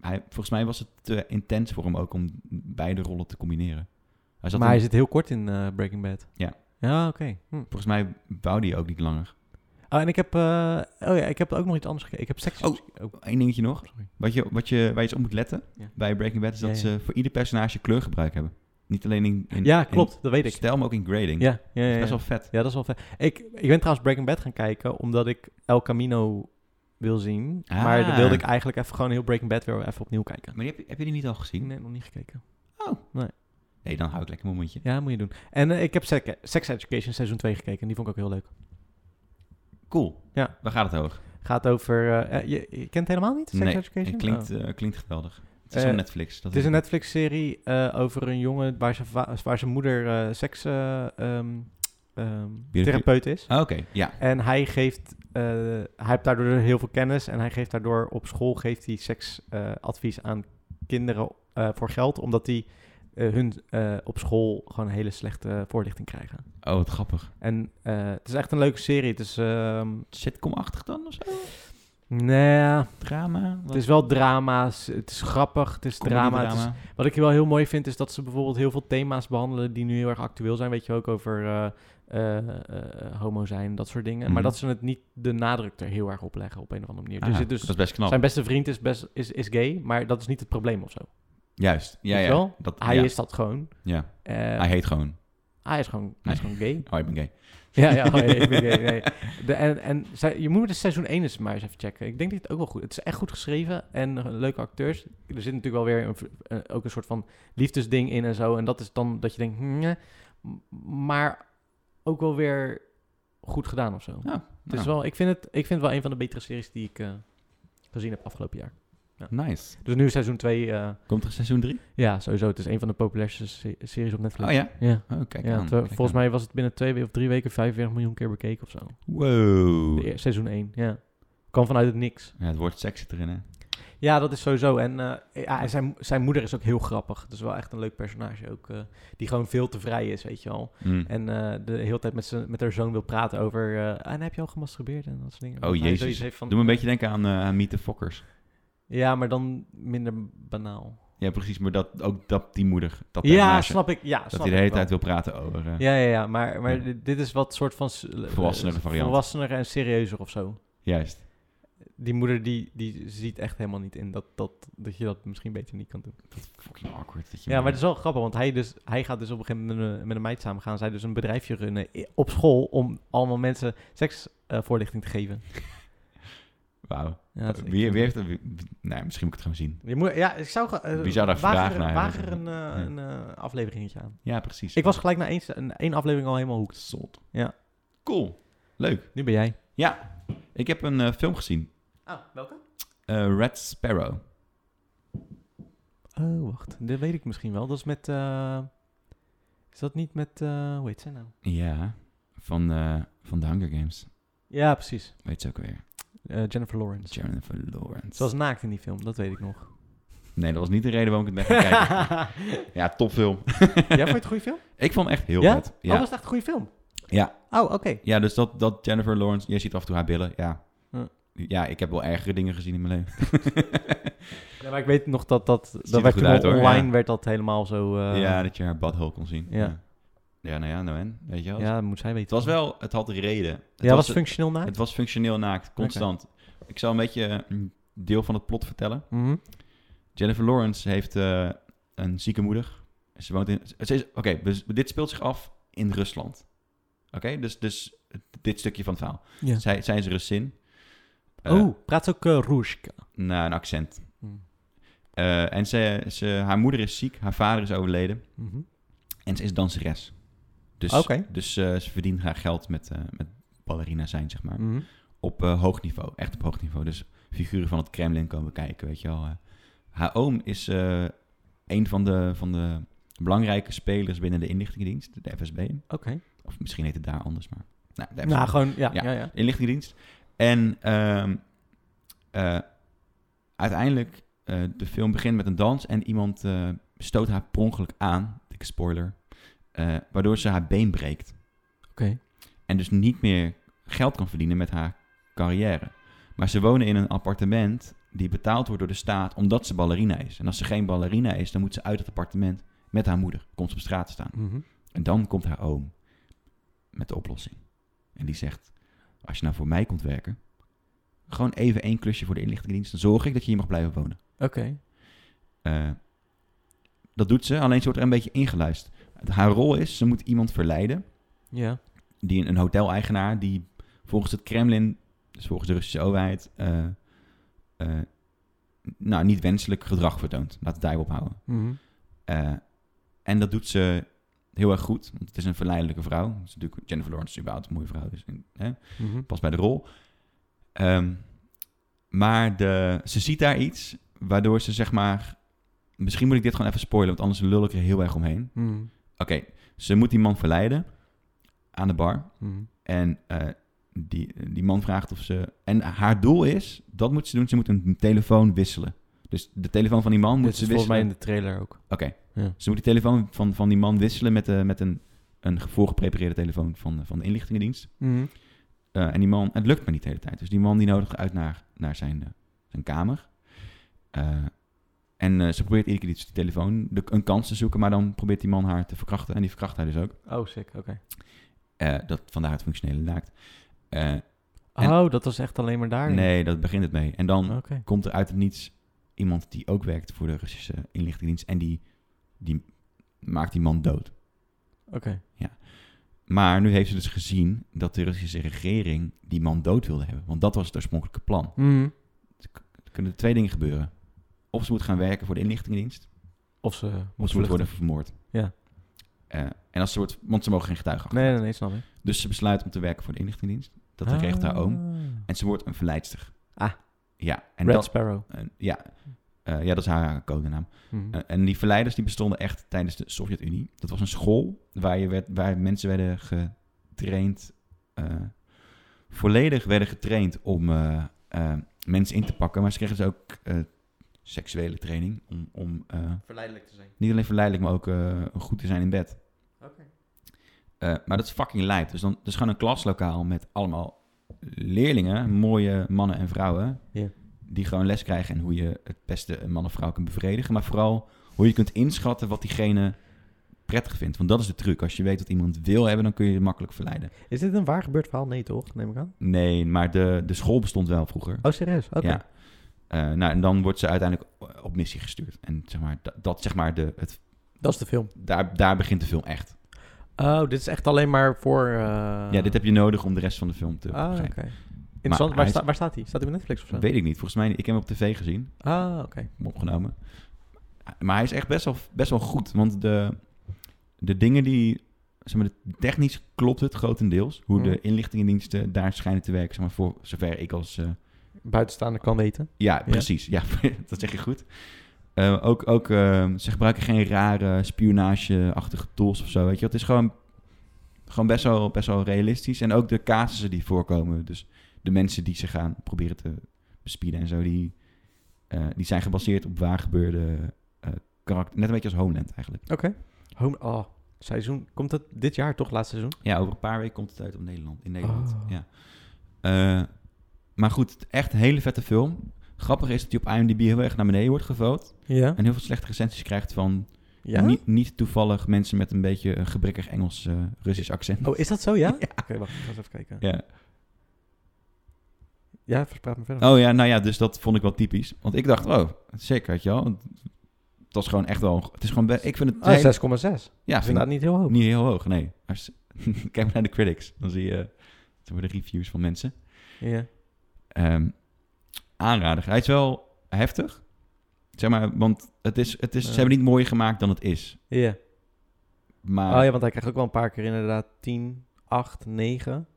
Speaker 2: Hij, volgens mij was het te intens voor hem ook om beide rollen te combineren. Hij zat
Speaker 1: maar
Speaker 2: in-
Speaker 1: hij zit heel kort in eh, Breaking Bad.
Speaker 2: Ja.
Speaker 1: Ja, oké. Hm.
Speaker 2: Volgens mij wou die ook niet langer.
Speaker 1: Oh, en ik heb, eh, oh ja, ik heb ook nog iets anders gekeken. Ik heb seks.
Speaker 2: Oh. Eén dingetje nog.
Speaker 1: sorry.
Speaker 2: Wat je, wat je, waar je eens op moet letten
Speaker 1: Ja.
Speaker 2: bij Breaking Bad is dat
Speaker 1: Ja, ja.
Speaker 2: ze voor ieder personage kleurgebruik hebben. Niet alleen in, in
Speaker 1: Ja,
Speaker 2: in
Speaker 1: klopt. Dat weet ik.
Speaker 2: stijl, maar ook in grading.
Speaker 1: Ja, ja,
Speaker 2: Dat
Speaker 1: ja,
Speaker 2: is
Speaker 1: ja.
Speaker 2: best wel vet.
Speaker 1: Ja, dat is wel vet. Ik, ik ben trouwens Breaking Bad gaan kijken, omdat ik El Camino wil zien.
Speaker 2: Ah.
Speaker 1: Maar dan wilde ik eigenlijk even gewoon heel Breaking Bad weer even opnieuw kijken.
Speaker 2: Maar die heb, je- heb je die niet al gezien?
Speaker 1: Nee, nog niet gekeken.
Speaker 2: Nee, dan hou ik lekker mijn mondje.
Speaker 1: Ja, moet je doen. En eh, ik heb Sex, Sex Education seizoen 2 gekeken. En die vond ik ook heel leuk.
Speaker 2: Cool.
Speaker 1: Ja.
Speaker 2: Waar gaat het over?
Speaker 1: Gaat over... eh, eh, je, je kent het helemaal niet? Sex
Speaker 2: nee,
Speaker 1: Education?
Speaker 2: het klinkt,
Speaker 1: Oh.
Speaker 2: eh, klinkt geweldig. Het is
Speaker 1: Eh,
Speaker 2: op Netflix. Dat
Speaker 1: Het is een Netflix-serie eh, over een jongen waar zijn, va- waar zijn moeder eh, seks eh, ehm, ehm, therapeut is.
Speaker 2: Ah, Oké, ja.
Speaker 1: En hij geeft, eh, hij heeft daardoor heel veel kennis en hij geeft daardoor op school geeft hij seksadvies aan kinderen eh, voor geld, omdat die eh, hun eh, op school gewoon een hele slechte voorlichting krijgen.
Speaker 2: Oh, wat grappig.
Speaker 1: En eh, het is echt een leuke serie. Het is, ehm
Speaker 2: Sitcomachtig dan of zo?
Speaker 1: nou,
Speaker 2: Drama?
Speaker 1: het is wel drama's, het is grappig, het is drama. Het is- Wat ik wel heel mooi vind, is dat ze bijvoorbeeld heel veel thema's behandelen die nu heel erg actueel zijn. Weet je ook over eh, eh, eh, homo zijn, dat soort dingen. Maar
Speaker 2: Mhm.
Speaker 1: dat ze het niet de nadruk er heel erg op leggen op een of andere manier. dus het
Speaker 2: Ah, dat
Speaker 1: dus
Speaker 2: is best knap.
Speaker 1: zijn beste vriend is, best, is, is gay, maar dat is niet het probleem of zo.
Speaker 2: Juist. Ja,
Speaker 1: Weet je
Speaker 2: ja.
Speaker 1: wel?
Speaker 2: Dat,
Speaker 1: Hij
Speaker 2: ja.
Speaker 1: is dat gewoon.
Speaker 2: Ja.
Speaker 1: Eh,
Speaker 2: Hij heet gewoon.
Speaker 1: hij, is gewoon hij is gewoon gay.
Speaker 2: Oh, ik ben gay.
Speaker 1: ja, ja, oh, ik ben gay. Nee. De, en en zij- je moet de seizoen 1 eens maar eens even checken. Ik denk dat het ook wel goed Het is echt goed geschreven en eh, leuke acteurs. Er zit natuurlijk wel weer een, v- eh, ook een soort van liefdesding in en zo. En dat is dan dat je denkt, hm, eh, m- maar ook wel weer goed gedaan of zo.
Speaker 2: Ja,
Speaker 1: Het is
Speaker 2: nou.
Speaker 1: wel, ik, vind het, ik vind het wel een van de betere series die ik eh, gezien heb afgelopen jaar.
Speaker 2: Nice.
Speaker 1: Dus nu seizoen 2,
Speaker 2: Komt er seizoen 3?
Speaker 1: ja, sowieso. Het is een van de populairste se- series op Netflix.
Speaker 2: Oh ja.
Speaker 1: Ja.
Speaker 2: Oh, kijk
Speaker 1: Ja,
Speaker 2: aan,
Speaker 1: het, eh,
Speaker 2: kijk
Speaker 1: volgens
Speaker 2: aan.
Speaker 1: mij was het binnen twee we- of drie weken 45 miljoen keer bekeken of zo.
Speaker 2: Wow.
Speaker 1: De eer- seizoen 1, ja. Kwam vanuit het niks.
Speaker 2: Ja, het woord seks zit erin, hè?
Speaker 1: Ja, dat is sowieso. En eh, ja, en zijn, zijn moeder is ook heel grappig. Dat is wel echt een leuk personage ook. eh, die gewoon veel te vrij is, weet je wel.
Speaker 2: Mm.
Speaker 1: En eh, de hele tijd met, zijn- met haar zoon wil praten over... eh, en heb je al gemasturbeerd en dat soort dingen.
Speaker 2: Oh,
Speaker 1: Dat hij
Speaker 2: jezus.
Speaker 1: zoiets heeft van-
Speaker 2: Doe me een beetje denken aan, eh aan Meet the Fockers.
Speaker 1: Ja, maar dan minder banaal.
Speaker 2: Ja, precies. Maar dat, ook dat die moeder. Dat
Speaker 1: Ja,
Speaker 2: personage,
Speaker 1: snap ik. Ja, snap
Speaker 2: Dat hij de
Speaker 1: ik
Speaker 2: hele
Speaker 1: wel.
Speaker 2: tijd wil praten over... eh, ja.
Speaker 1: Ja, ja, ja. Maar, maar
Speaker 2: Ja.
Speaker 1: dit- dit is wat soort van... s- eh,
Speaker 2: Volwassenere variant.
Speaker 1: Volwassener en serieuzer of zo.
Speaker 2: Juist.
Speaker 1: Die moeder die, die ziet echt helemaal niet in dat, dat, dat je dat misschien beter niet kan doen.
Speaker 2: Fucking awkward. Dat je
Speaker 1: Ja, maar het is wel grappig, want hij, dus, hij gaat dus op een gegeven moment met een, met een meid samen gaan. Zij dus een bedrijfje runnen i- op school om allemaal mensen seksvoorlichting te geven.
Speaker 2: Wauw.
Speaker 1: Ja, dat is- ik
Speaker 2: Wie,
Speaker 1: vind-
Speaker 2: wie heeft... dat- wie- wie- nou, misschien moet ik het gaan zien.
Speaker 1: Je moet, ja, ik zou... ge- eh,
Speaker 2: Bizarre
Speaker 1: waag
Speaker 2: vraag
Speaker 1: er-
Speaker 2: naar
Speaker 1: waag er een,
Speaker 2: eigenlijk.
Speaker 1: eh,
Speaker 2: Ja.
Speaker 1: een eh, afleveringetje aan.
Speaker 2: Ja, precies.
Speaker 1: Ik was gelijk na één, se- een- één aflevering al helemaal hoekt.
Speaker 2: Zot.
Speaker 1: Ja.
Speaker 2: Cool. Leuk.
Speaker 1: Nu ben jij.
Speaker 2: Ja. Ik heb een eh, film gezien.
Speaker 1: Ah, welke?
Speaker 2: Eh, Red Sparrow.
Speaker 1: Oh, wacht. Dat weet ik misschien wel. Dat is met... eh, is dat niet met... eh hoe heet zij nou?
Speaker 2: Ja. Van, eh, van de Hunger Games.
Speaker 1: Ja, precies.
Speaker 2: Weet ze ook weer.
Speaker 1: Eh, Jennifer Lawrence.
Speaker 2: Jennifer Lawrence.
Speaker 1: Ze was naakt in die film, dat weet ik nog.
Speaker 2: Nee, dat was niet de reden waarom ik het ben gaan kijken.
Speaker 1: ja,
Speaker 2: Ja, topfilm.
Speaker 1: vond je het een goede film?
Speaker 2: Ik vond hem echt heel
Speaker 1: Ja?
Speaker 2: vet.
Speaker 1: Ja. Oh,
Speaker 2: Ja,
Speaker 1: was het echt een goede film?
Speaker 2: Ja.
Speaker 1: Oh, oké.
Speaker 2: ja dus dat, dat Jennifer Lawrence... Je ziet af en toe haar billen, ja.
Speaker 1: Ja.
Speaker 2: Ja, ik heb wel ergere dingen gezien in mijn leven.
Speaker 1: Ja, maar ik weet nog dat dat, dat
Speaker 2: er
Speaker 1: werd
Speaker 2: goed
Speaker 1: toen
Speaker 2: uit,
Speaker 1: al
Speaker 2: hoor,
Speaker 1: online
Speaker 2: ja.
Speaker 1: werd dat helemaal zo... eh,
Speaker 2: ja, dat je haar butthole kon zien.
Speaker 1: Ja.
Speaker 2: Ja, Ja, nou ja, nou en. Weet je wel.
Speaker 1: ja, dat moet zij weten.
Speaker 2: Het was wel... Het had reden. Het
Speaker 1: ja, was,
Speaker 2: het,
Speaker 1: functioneel naakt?
Speaker 2: was functioneel naakt, constant. Ik zal een beetje eh, een deel van het plot vertellen.
Speaker 1: Mhm.
Speaker 2: Jennifer Lawrence heeft eh, een zieke moeder. Ze woont in. ze is- Oké, dus dit speelt zich af in Rusland. Oké, dus, dus dit stukje van het verhaal.
Speaker 1: Ja.
Speaker 2: Zij, zij is Russin. Eh,
Speaker 1: oh, praat ze ook uh, Roeska.
Speaker 2: Nou, een accent.
Speaker 1: Mm.
Speaker 2: Eh, en ze, ze, haar moeder is ziek, haar vader is overleden
Speaker 1: Mhm.
Speaker 2: en ze is danseres. Dus,
Speaker 1: Oké.
Speaker 2: dus eh, ze verdient haar geld met, eh, met ballerina zijn, zeg maar.
Speaker 1: Mhm.
Speaker 2: Op eh, hoog niveau, echt op hoog niveau. Dus figuren van het Kremlin komen kijken, weet je wel. eh. haar oom is eh, een van de, van de belangrijke spelers binnen de inlichtingendienst, de FSB.
Speaker 1: Oké.
Speaker 2: Of misschien heet het daar anders, maar... Nou, de FSB.
Speaker 1: Nou, gewoon, ja, ja.
Speaker 2: Ja.
Speaker 1: ja,
Speaker 2: inlichtingendienst. En ehm, eh, uiteindelijk, eh de film begint met een dans en iemand eh, stoot haar per ongeluk aan, dikke spoiler, eh, waardoor ze haar been breekt
Speaker 1: Oké.
Speaker 2: en dus niet meer geld kan verdienen met haar carrière. Maar ze wonen in een appartement die betaald wordt door de staat omdat ze ballerina is. En als ze geen ballerina is, dan moet ze uit het appartement met haar moeder. Komt ze op straat te staan.
Speaker 1: Mhm.
Speaker 2: En dan komt haar oom met de oplossing. En die zegt, als je nou voor mij komt werken, gewoon even één klusje voor de inlichtingendienst, dan zorg ik dat je hier mag blijven wonen.
Speaker 1: Oké.
Speaker 2: Eh, dat doet ze, alleen ze wordt er een beetje ingeluisterd. Haar rol is, ze moet iemand verleiden
Speaker 1: Ja.
Speaker 2: die een hoteleigenaar die volgens het Kremlin, dus volgens de Russische overheid, eh, eh, nou, niet wenselijk gedrag vertoont. Laat het daarop houden.
Speaker 1: Mhm.
Speaker 2: Eh, en dat doet ze heel erg goed, want het is een verleidelijke vrouw. Het is natuurlijk Jennifer Lawrence is überhaupt een mooie vrouw, dus hè,
Speaker 1: Mhm.
Speaker 2: past bij de rol. Ehm, maar de, ze ziet daar iets waardoor ze zeg maar... Misschien moet ik dit gewoon even spoilen, want anders lul ik er heel erg omheen.
Speaker 1: Mhm.
Speaker 2: Oké, ze moet die man verleiden aan de bar.
Speaker 1: Mhm.
Speaker 2: En eh, die, die man vraagt of ze. En haar doel is: dat moet ze doen. Ze moet een telefoon wisselen. Dus de telefoon van die man
Speaker 1: Dit
Speaker 2: moet
Speaker 1: is
Speaker 2: ze
Speaker 1: volgens
Speaker 2: wisselen.
Speaker 1: mij in de trailer ook.
Speaker 2: Oké.
Speaker 1: Ja.
Speaker 2: Ze moet de telefoon van, van die man wisselen met, eh, met een, een voorgeprepareerde telefoon van, de- van de inlichtingendienst.
Speaker 1: Mhm.
Speaker 2: Eh, en die man, het lukt maar niet de hele tijd. Dus die man die nodigt uit naar, naar zijn, eh, zijn kamer. Eh, en eh, ze probeert iedere keer die die telefoon de, een kans te zoeken, maar dan probeert die man haar te verkrachten. En die verkracht hij dus ook.
Speaker 1: Oh, sick. Oké.
Speaker 2: Eh, dat, vandaar het functionele naakt. Eh, En-
Speaker 1: Oh, dat was echt alleen maar daar?
Speaker 2: nee, dat begint het mee. En dan
Speaker 1: Oké.
Speaker 2: komt er uit het niets iemand die ook werkt voor de Russische inlichtingendienst en die, die maakt die man dood.
Speaker 1: Oké.
Speaker 2: Maar nu heeft ze dus gezien dat de Russische regering die man dood wilde hebben, want dat was het oorspronkelijke plan.
Speaker 1: Mhm.
Speaker 2: Er kunnen twee dingen gebeuren. Of ze moet gaan werken voor de inlichtingendienst,
Speaker 1: Of ze
Speaker 2: of
Speaker 1: moet
Speaker 2: ze moet worden
Speaker 1: vluchten.
Speaker 2: vermoord.
Speaker 1: Ja.
Speaker 2: Eh, en als ze wordt, want ze mogen geen getuigen achter.
Speaker 1: Nee, nee, nee, snap ik.
Speaker 2: Dus ze besluit om te werken voor de inlichtingendienst. Dat regelt haar oom. En ze wordt een verleidster.
Speaker 1: Ah.
Speaker 2: Ja, en
Speaker 1: En Red
Speaker 2: dat,
Speaker 1: Sparrow.
Speaker 2: eh, ja, Eh, ja, dat is haar codenaam.
Speaker 1: Mhm.
Speaker 2: Eh, en die verleiders die bestonden echt tijdens de Sovjet-Unie. Dat was een school waar, je werd, waar mensen werden getraind, eh, volledig werden getraind om eh, eh, mensen in te pakken. Maar ze kregen dus ook eh, seksuele training om, om eh,
Speaker 1: Verleidelijk te zijn.
Speaker 2: niet alleen verleidelijk, maar ook eh, goed te zijn in bed.
Speaker 1: Oké.
Speaker 2: Eh, maar dat is fucking lijp. Dus dan dat is gewoon een klaslokaal met allemaal leerlingen, mooie mannen en vrouwen,
Speaker 1: Ja.
Speaker 2: die gewoon les krijgen en hoe je het beste een man of vrouw kunt bevredigen. Maar vooral hoe je kunt inschatten wat diegene prettig vindt. Want dat is de truc. Als je weet wat iemand wil hebben, dan kun je je makkelijk verleiden.
Speaker 1: Is dit een waar gebeurd verhaal? Nee, toch? Neem ik aan.
Speaker 2: Nee, maar de, de school bestond wel vroeger.
Speaker 1: Oh, serieus? Oké.
Speaker 2: Ja. Eh, nou, en dan wordt ze uiteindelijk op missie gestuurd. En zeg maar, dat, dat zeg maar de, het,
Speaker 1: Dat is de film.
Speaker 2: daar, daar begint de film echt.
Speaker 1: Oh, dit is echt alleen maar voor... eh,
Speaker 2: Ja, dit heb je nodig om de rest van de film te
Speaker 1: Ah, oké.
Speaker 2: begrijpen.
Speaker 1: Interessant.
Speaker 2: hij
Speaker 1: Waar,
Speaker 2: is-
Speaker 1: sta- waar staat hij? Staat hij op Netflix of zo?
Speaker 2: Weet ik niet. Volgens mij, niet. ik heb hem op tv gezien.
Speaker 1: Ah, oké.
Speaker 2: opgenomen. Maar hij is echt best wel, best wel goed. Want de, de dingen die. Zeg maar, technisch klopt het grotendeels. Hoe
Speaker 1: Mhm.
Speaker 2: de inlichtingendiensten daar schijnen te werken. Zeg maar, voor zover ik als. eh,
Speaker 1: Buitenstaander kan weten.
Speaker 2: ja, precies. Ja, dat zeg je goed. Eh, ook ook eh, ze gebruiken geen rare spionageachtige tools of zo. Weet je, het is gewoon, gewoon best, wel, best wel realistisch. En ook de casussen die voorkomen. Dus de mensen die ze gaan proberen te bespieden en zo. Die, eh, die zijn gebaseerd op waar gebeurde eh karakter. Net een beetje als Homeland eigenlijk.
Speaker 1: Oké. Home... Oh, seizoen... Komt dat dit jaar toch, laatste seizoen?
Speaker 2: Ja, over een paar weken komt het uit op Nederland. In Nederland.
Speaker 1: Oh.
Speaker 2: Ja. Eh, maar goed, echt een hele vette film. Grappig is dat die op IMDb heel erg naar beneden wordt gevoot.
Speaker 1: Ja.
Speaker 2: en heel veel slechte recensies krijgt van
Speaker 1: Ja?
Speaker 2: niet, niet toevallig mensen met een beetje een gebrekkig Engels, eh, Russisch accent.
Speaker 1: Oh, is dat zo, ja? Oké, wacht. Ik ga eens even kijken.
Speaker 2: Ja.
Speaker 1: Ja, verspraat me verder.
Speaker 2: Oh ja, nou ja, dus dat vond ik wel typisch. Want ik dacht, oh, zeker, weet je wel. Het was gewoon echt wel... Het is gewoon... be- Ik vind het...
Speaker 1: Ah, nou, 6,6.
Speaker 2: heel-
Speaker 1: Dat is
Speaker 2: ja, vind
Speaker 1: inderdaad
Speaker 2: ik
Speaker 1: niet heel hoog.
Speaker 2: niet heel hoog, nee. Als, kijk maar naar de critics. Dan zie je zeg maar, de reviews van mensen.
Speaker 1: Ja.
Speaker 2: Ehm, aanrader. Hij is wel heftig. Zeg maar, want het is, het is,
Speaker 1: Ja.
Speaker 2: ze hebben het niet mooier gemaakt dan het is.
Speaker 1: Ja.
Speaker 2: Maar
Speaker 1: Oh
Speaker 2: ja.
Speaker 1: ja, want hij krijgt ook wel een paar keer inderdaad 10, 8, 9.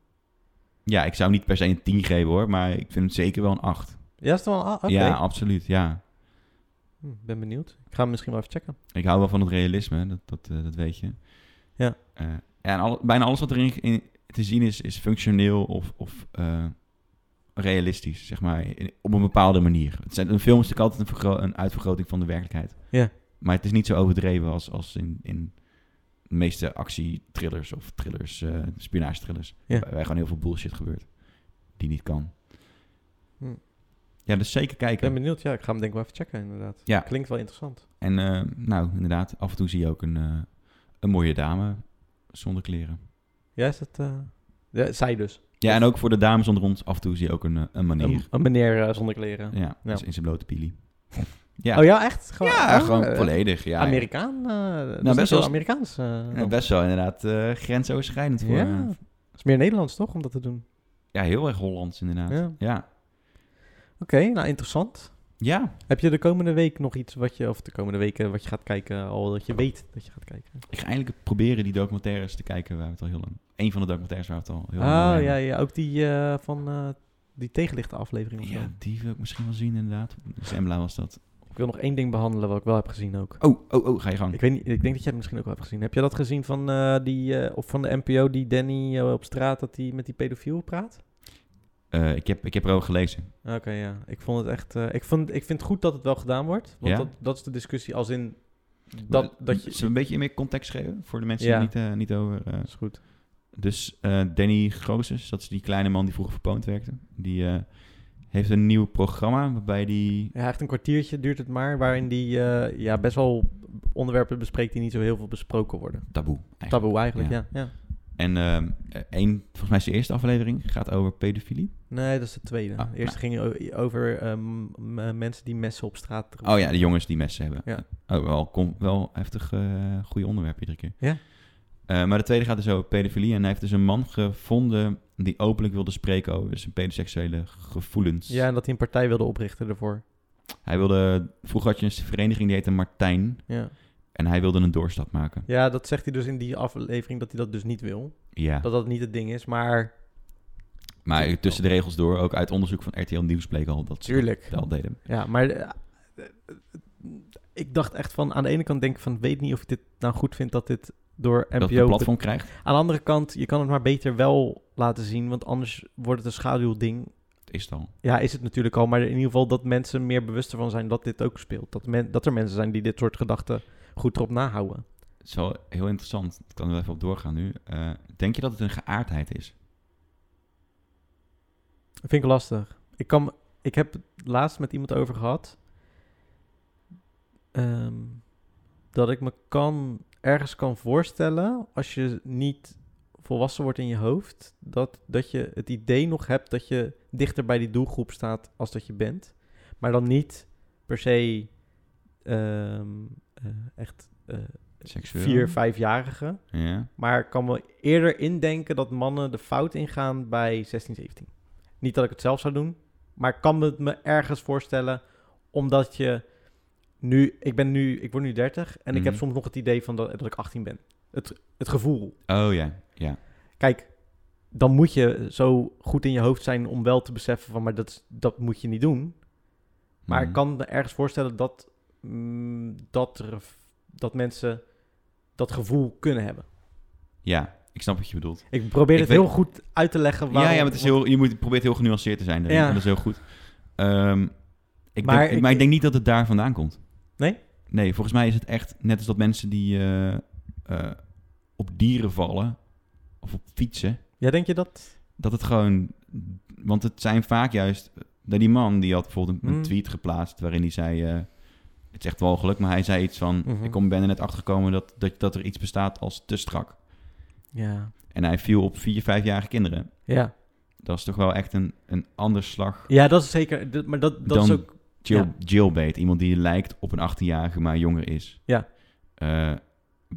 Speaker 2: ik zou hem niet per se een 10 geven hoor. Maar ik vind het zeker wel een 8.
Speaker 1: Ja, is toch wel een a- oké.
Speaker 2: Ja, absoluut. Ja.
Speaker 1: Hm, ben benieuwd. Ik ga hem misschien wel even checken.
Speaker 2: Ik hou wel van het realisme, dat, dat, eh, dat weet je.
Speaker 1: Ja.
Speaker 2: Eh, en al, bijna alles wat erin in te zien is, is functioneel of, of eh, realistisch, zeg maar, in- op een bepaalde manier. Het zijn, een film is natuurlijk altijd een, vergro- een uitvergroting van de werkelijkheid.
Speaker 1: Ja.
Speaker 2: Maar het is niet zo overdreven als, als in, in de meeste actietrillers of thrillers, eh spionagetrillers.
Speaker 1: Ja.
Speaker 2: Waar, waar gewoon heel veel bullshit gebeurt, die niet kan.
Speaker 1: Hm.
Speaker 2: Ja, dus zeker
Speaker 1: Ik ben
Speaker 2: kijken.
Speaker 1: benieuwd. Ja, ik ga hem denk ik wel even checken inderdaad.
Speaker 2: Ja.
Speaker 1: Klinkt wel interessant.
Speaker 2: En eh, nou, inderdaad, af en toe zie je ook een, eh, een mooie dame zonder kleren.
Speaker 1: Ja, is dat... eh, ja, zij dus.
Speaker 2: Ja, en ook voor de dames onder ons, af en toe zie je ook een, eh, een
Speaker 1: Een,
Speaker 2: manier.
Speaker 1: een meneer eh, zonder kleren.
Speaker 2: Ja,
Speaker 1: Ja.
Speaker 2: dus in zijn blote pili. Ja.
Speaker 1: Oh ja, echt? Gewoon,
Speaker 2: Ja,
Speaker 1: oh,
Speaker 2: gewoon
Speaker 1: eh,
Speaker 2: volledig. Ja, Nou,
Speaker 1: Amerikaan? eh dat is
Speaker 2: best
Speaker 1: best wel
Speaker 2: wel-
Speaker 1: Amerikaans. eh,
Speaker 2: Ja,
Speaker 1: dan.
Speaker 2: best wel inderdaad eh, grensoverschrijdend voor.
Speaker 1: Ja.
Speaker 2: Ja.
Speaker 1: is meer Nederlands toch, om dat te doen?
Speaker 2: ja, heel erg Hollands inderdaad.
Speaker 1: Ja.
Speaker 2: Ja. ja.
Speaker 1: Oké, nou interessant. Heb je de komende week nog iets wat je, of de komende weken wat je gaat kijken, al dat je weet dat je gaat kijken?
Speaker 2: ik ga eigenlijk proberen die documentaires te kijken waar we het al heel lang... Eén van de documentaires waar we het al heel lang
Speaker 1: Ah
Speaker 2: over
Speaker 1: ja,
Speaker 2: hebben.
Speaker 1: ja, ook die eh, van eh, die tegenlichte aflevering. of zo.
Speaker 2: Ja, die wil ik misschien wel zien inderdaad. Zembla was dat.
Speaker 1: Ik wil nog één ding behandelen wat ik wel heb gezien ook.
Speaker 2: Oh, oh, oh, ga je gang.
Speaker 1: Ik weet niet, ik denk dat jij het misschien ook wel hebt gezien. Heb je dat gezien van, eh, die, eh, of van de NPO die Danny eh, op straat, dat hij met die pedofiel praat?
Speaker 2: Eh, ik, heb, ik heb erover gelezen.
Speaker 1: Oké, ja. Ik vond het echt. eh, ik, vond, ik vind het goed dat het wel gedaan wordt. Want
Speaker 2: Ja?
Speaker 1: dat, dat is de discussie als in. Dat, dat je.
Speaker 2: Zullen we een beetje meer context geven voor de mensen
Speaker 1: Ja.
Speaker 2: die niet, eh, niet over... eh,
Speaker 1: is goed.
Speaker 2: Dus eh, Danny Grozes, dat is die kleine man die vroeger verpoond werkte. Die eh, heeft een nieuw programma waarbij die...
Speaker 1: Ja, echt een kwartiertje duurt het maar. Waarin die eh, ja, best wel onderwerpen bespreekt die niet zo heel veel besproken worden.
Speaker 2: Taboe. eigenlijk.
Speaker 1: Taboe eigenlijk, ja. ja.
Speaker 2: En ehm, eh, één, volgens mij is de eerste aflevering, gaat over pedofilie.
Speaker 1: Nee, dat is de tweede.
Speaker 2: Ah,
Speaker 1: De Eerst ging het o- over ehm, m- eh, mensen die messen op straat. droegen.
Speaker 2: Oh ja, de jongens die messen hebben.
Speaker 1: Ja.
Speaker 2: Oh, wel, kom, wel heftig eh goede onderwerp iedere keer.
Speaker 1: Ja.
Speaker 2: Eh, maar de tweede gaat dus over pedofilie. En hij heeft dus een man gevonden die openlijk wilde spreken over zijn pedoseksuele gevoelens.
Speaker 1: Ja, en dat hij een partij wilde oprichten ervoor.
Speaker 2: Hij wilde, vroeger had je een vereniging die heette Martijn.
Speaker 1: Ja.
Speaker 2: En hij wilde een doorstap maken.
Speaker 1: ja, dat zegt hij dus in die aflevering dat hij dat dus niet wil.
Speaker 2: Ja.
Speaker 1: Dat dat niet het ding is, maar
Speaker 2: Maar tussen de regels door, ook uit onderzoek van RTL Nieuws bleek al dat ze
Speaker 1: Tuurlijk.
Speaker 2: dat al deden.
Speaker 1: Ja, maar eh, eh, ik dacht echt van, aan de ene kant denk ik van, weet niet of ik dit nou goed vind dat dit door
Speaker 2: Dat het een
Speaker 1: NPO...
Speaker 2: platform krijgt,
Speaker 1: Aan de andere kant, je kan het maar beter wel laten zien, want anders wordt het een schaduwding.
Speaker 2: is het al.
Speaker 1: Ja, is het natuurlijk al, maar in ieder geval dat mensen meer bewust ervan zijn dat dit ook speelt. Dat, men, dat er mensen zijn die dit soort gedachten goed erop nahouden.
Speaker 2: Het is wel heel interessant. Ik kan er wel even op doorgaan nu. Eh, denk je dat het een geaardheid is?
Speaker 1: Dat vind ik lastig. Ik, kan, ik heb het laatst met iemand over gehad. ehm, dat ik me kan, ergens kan voorstellen, als je niet volwassen wordt in je hoofd, dat, dat je het idee nog hebt dat je dichter bij die doelgroep staat als dat je bent. Maar dan niet per se ehm, eh, echt eh
Speaker 2: Seksueel?
Speaker 1: vier, vijfjarigen.
Speaker 2: Ja.
Speaker 1: Maar ik kan me eerder indenken dat mannen de fout ingaan bij 16, 17. Niet dat ik het zelf zou doen, maar ik kan het me ergens voorstellen omdat je nu, ik ben nu, ik word nu 30 en ik
Speaker 2: Mhm.
Speaker 1: heb soms nog het idee van dat, dat ik 18 ben. Het, het gevoel.
Speaker 2: Oh ja, ja.
Speaker 1: Kijk, dan moet je zo goed in je hoofd zijn om wel te beseffen van, maar dat, is- dat moet je niet doen. Maar
Speaker 2: Mhm.
Speaker 1: ik kan me ergens voorstellen dat, mm, dat, er, dat mensen dat gevoel kunnen hebben.
Speaker 2: Ja, ik snap wat je bedoelt.
Speaker 1: Ik probeer
Speaker 2: Ik
Speaker 1: het
Speaker 2: weet-
Speaker 1: heel goed uit te leggen waarom...
Speaker 2: ja, ja, maar het is heel, je moet, probeert heel genuanceerd te zijn. daarin.
Speaker 1: Ja.
Speaker 2: En Dat is heel goed. Ehm,
Speaker 1: Maar
Speaker 2: ik maar, denk,
Speaker 1: ik-
Speaker 2: ik, maar ik denk niet dat het daar vandaan komt.
Speaker 1: Nee?
Speaker 2: Nee, volgens mij is het echt net als dat mensen die eh, eh, op dieren vallen of op fietsen,
Speaker 1: Ja, denk je dat...
Speaker 2: dat het gewoon... Want het zijn vaak juist... dat Die man die had bijvoorbeeld een, een
Speaker 1: Mm.
Speaker 2: tweet geplaatst... waarin hij zei... eh, het is echt wel geluk, maar hij zei iets van...
Speaker 1: Mhm.
Speaker 2: Ik kom, ben er net achtergekomen dat, dat, dat er iets bestaat als te strak.
Speaker 1: Ja.
Speaker 2: En hij viel op vier, vijfjarige kinderen.
Speaker 1: Ja,
Speaker 2: Dat is toch wel echt een, een ander slag...
Speaker 1: ja dat is zeker... dat- maar dat, dat is
Speaker 2: Dan-
Speaker 1: ook...
Speaker 2: Jill,
Speaker 1: Ja.
Speaker 2: Jailbait. Iemand die lijkt op een 18-jarige, maar jonger is.
Speaker 1: Ja.
Speaker 2: Eh,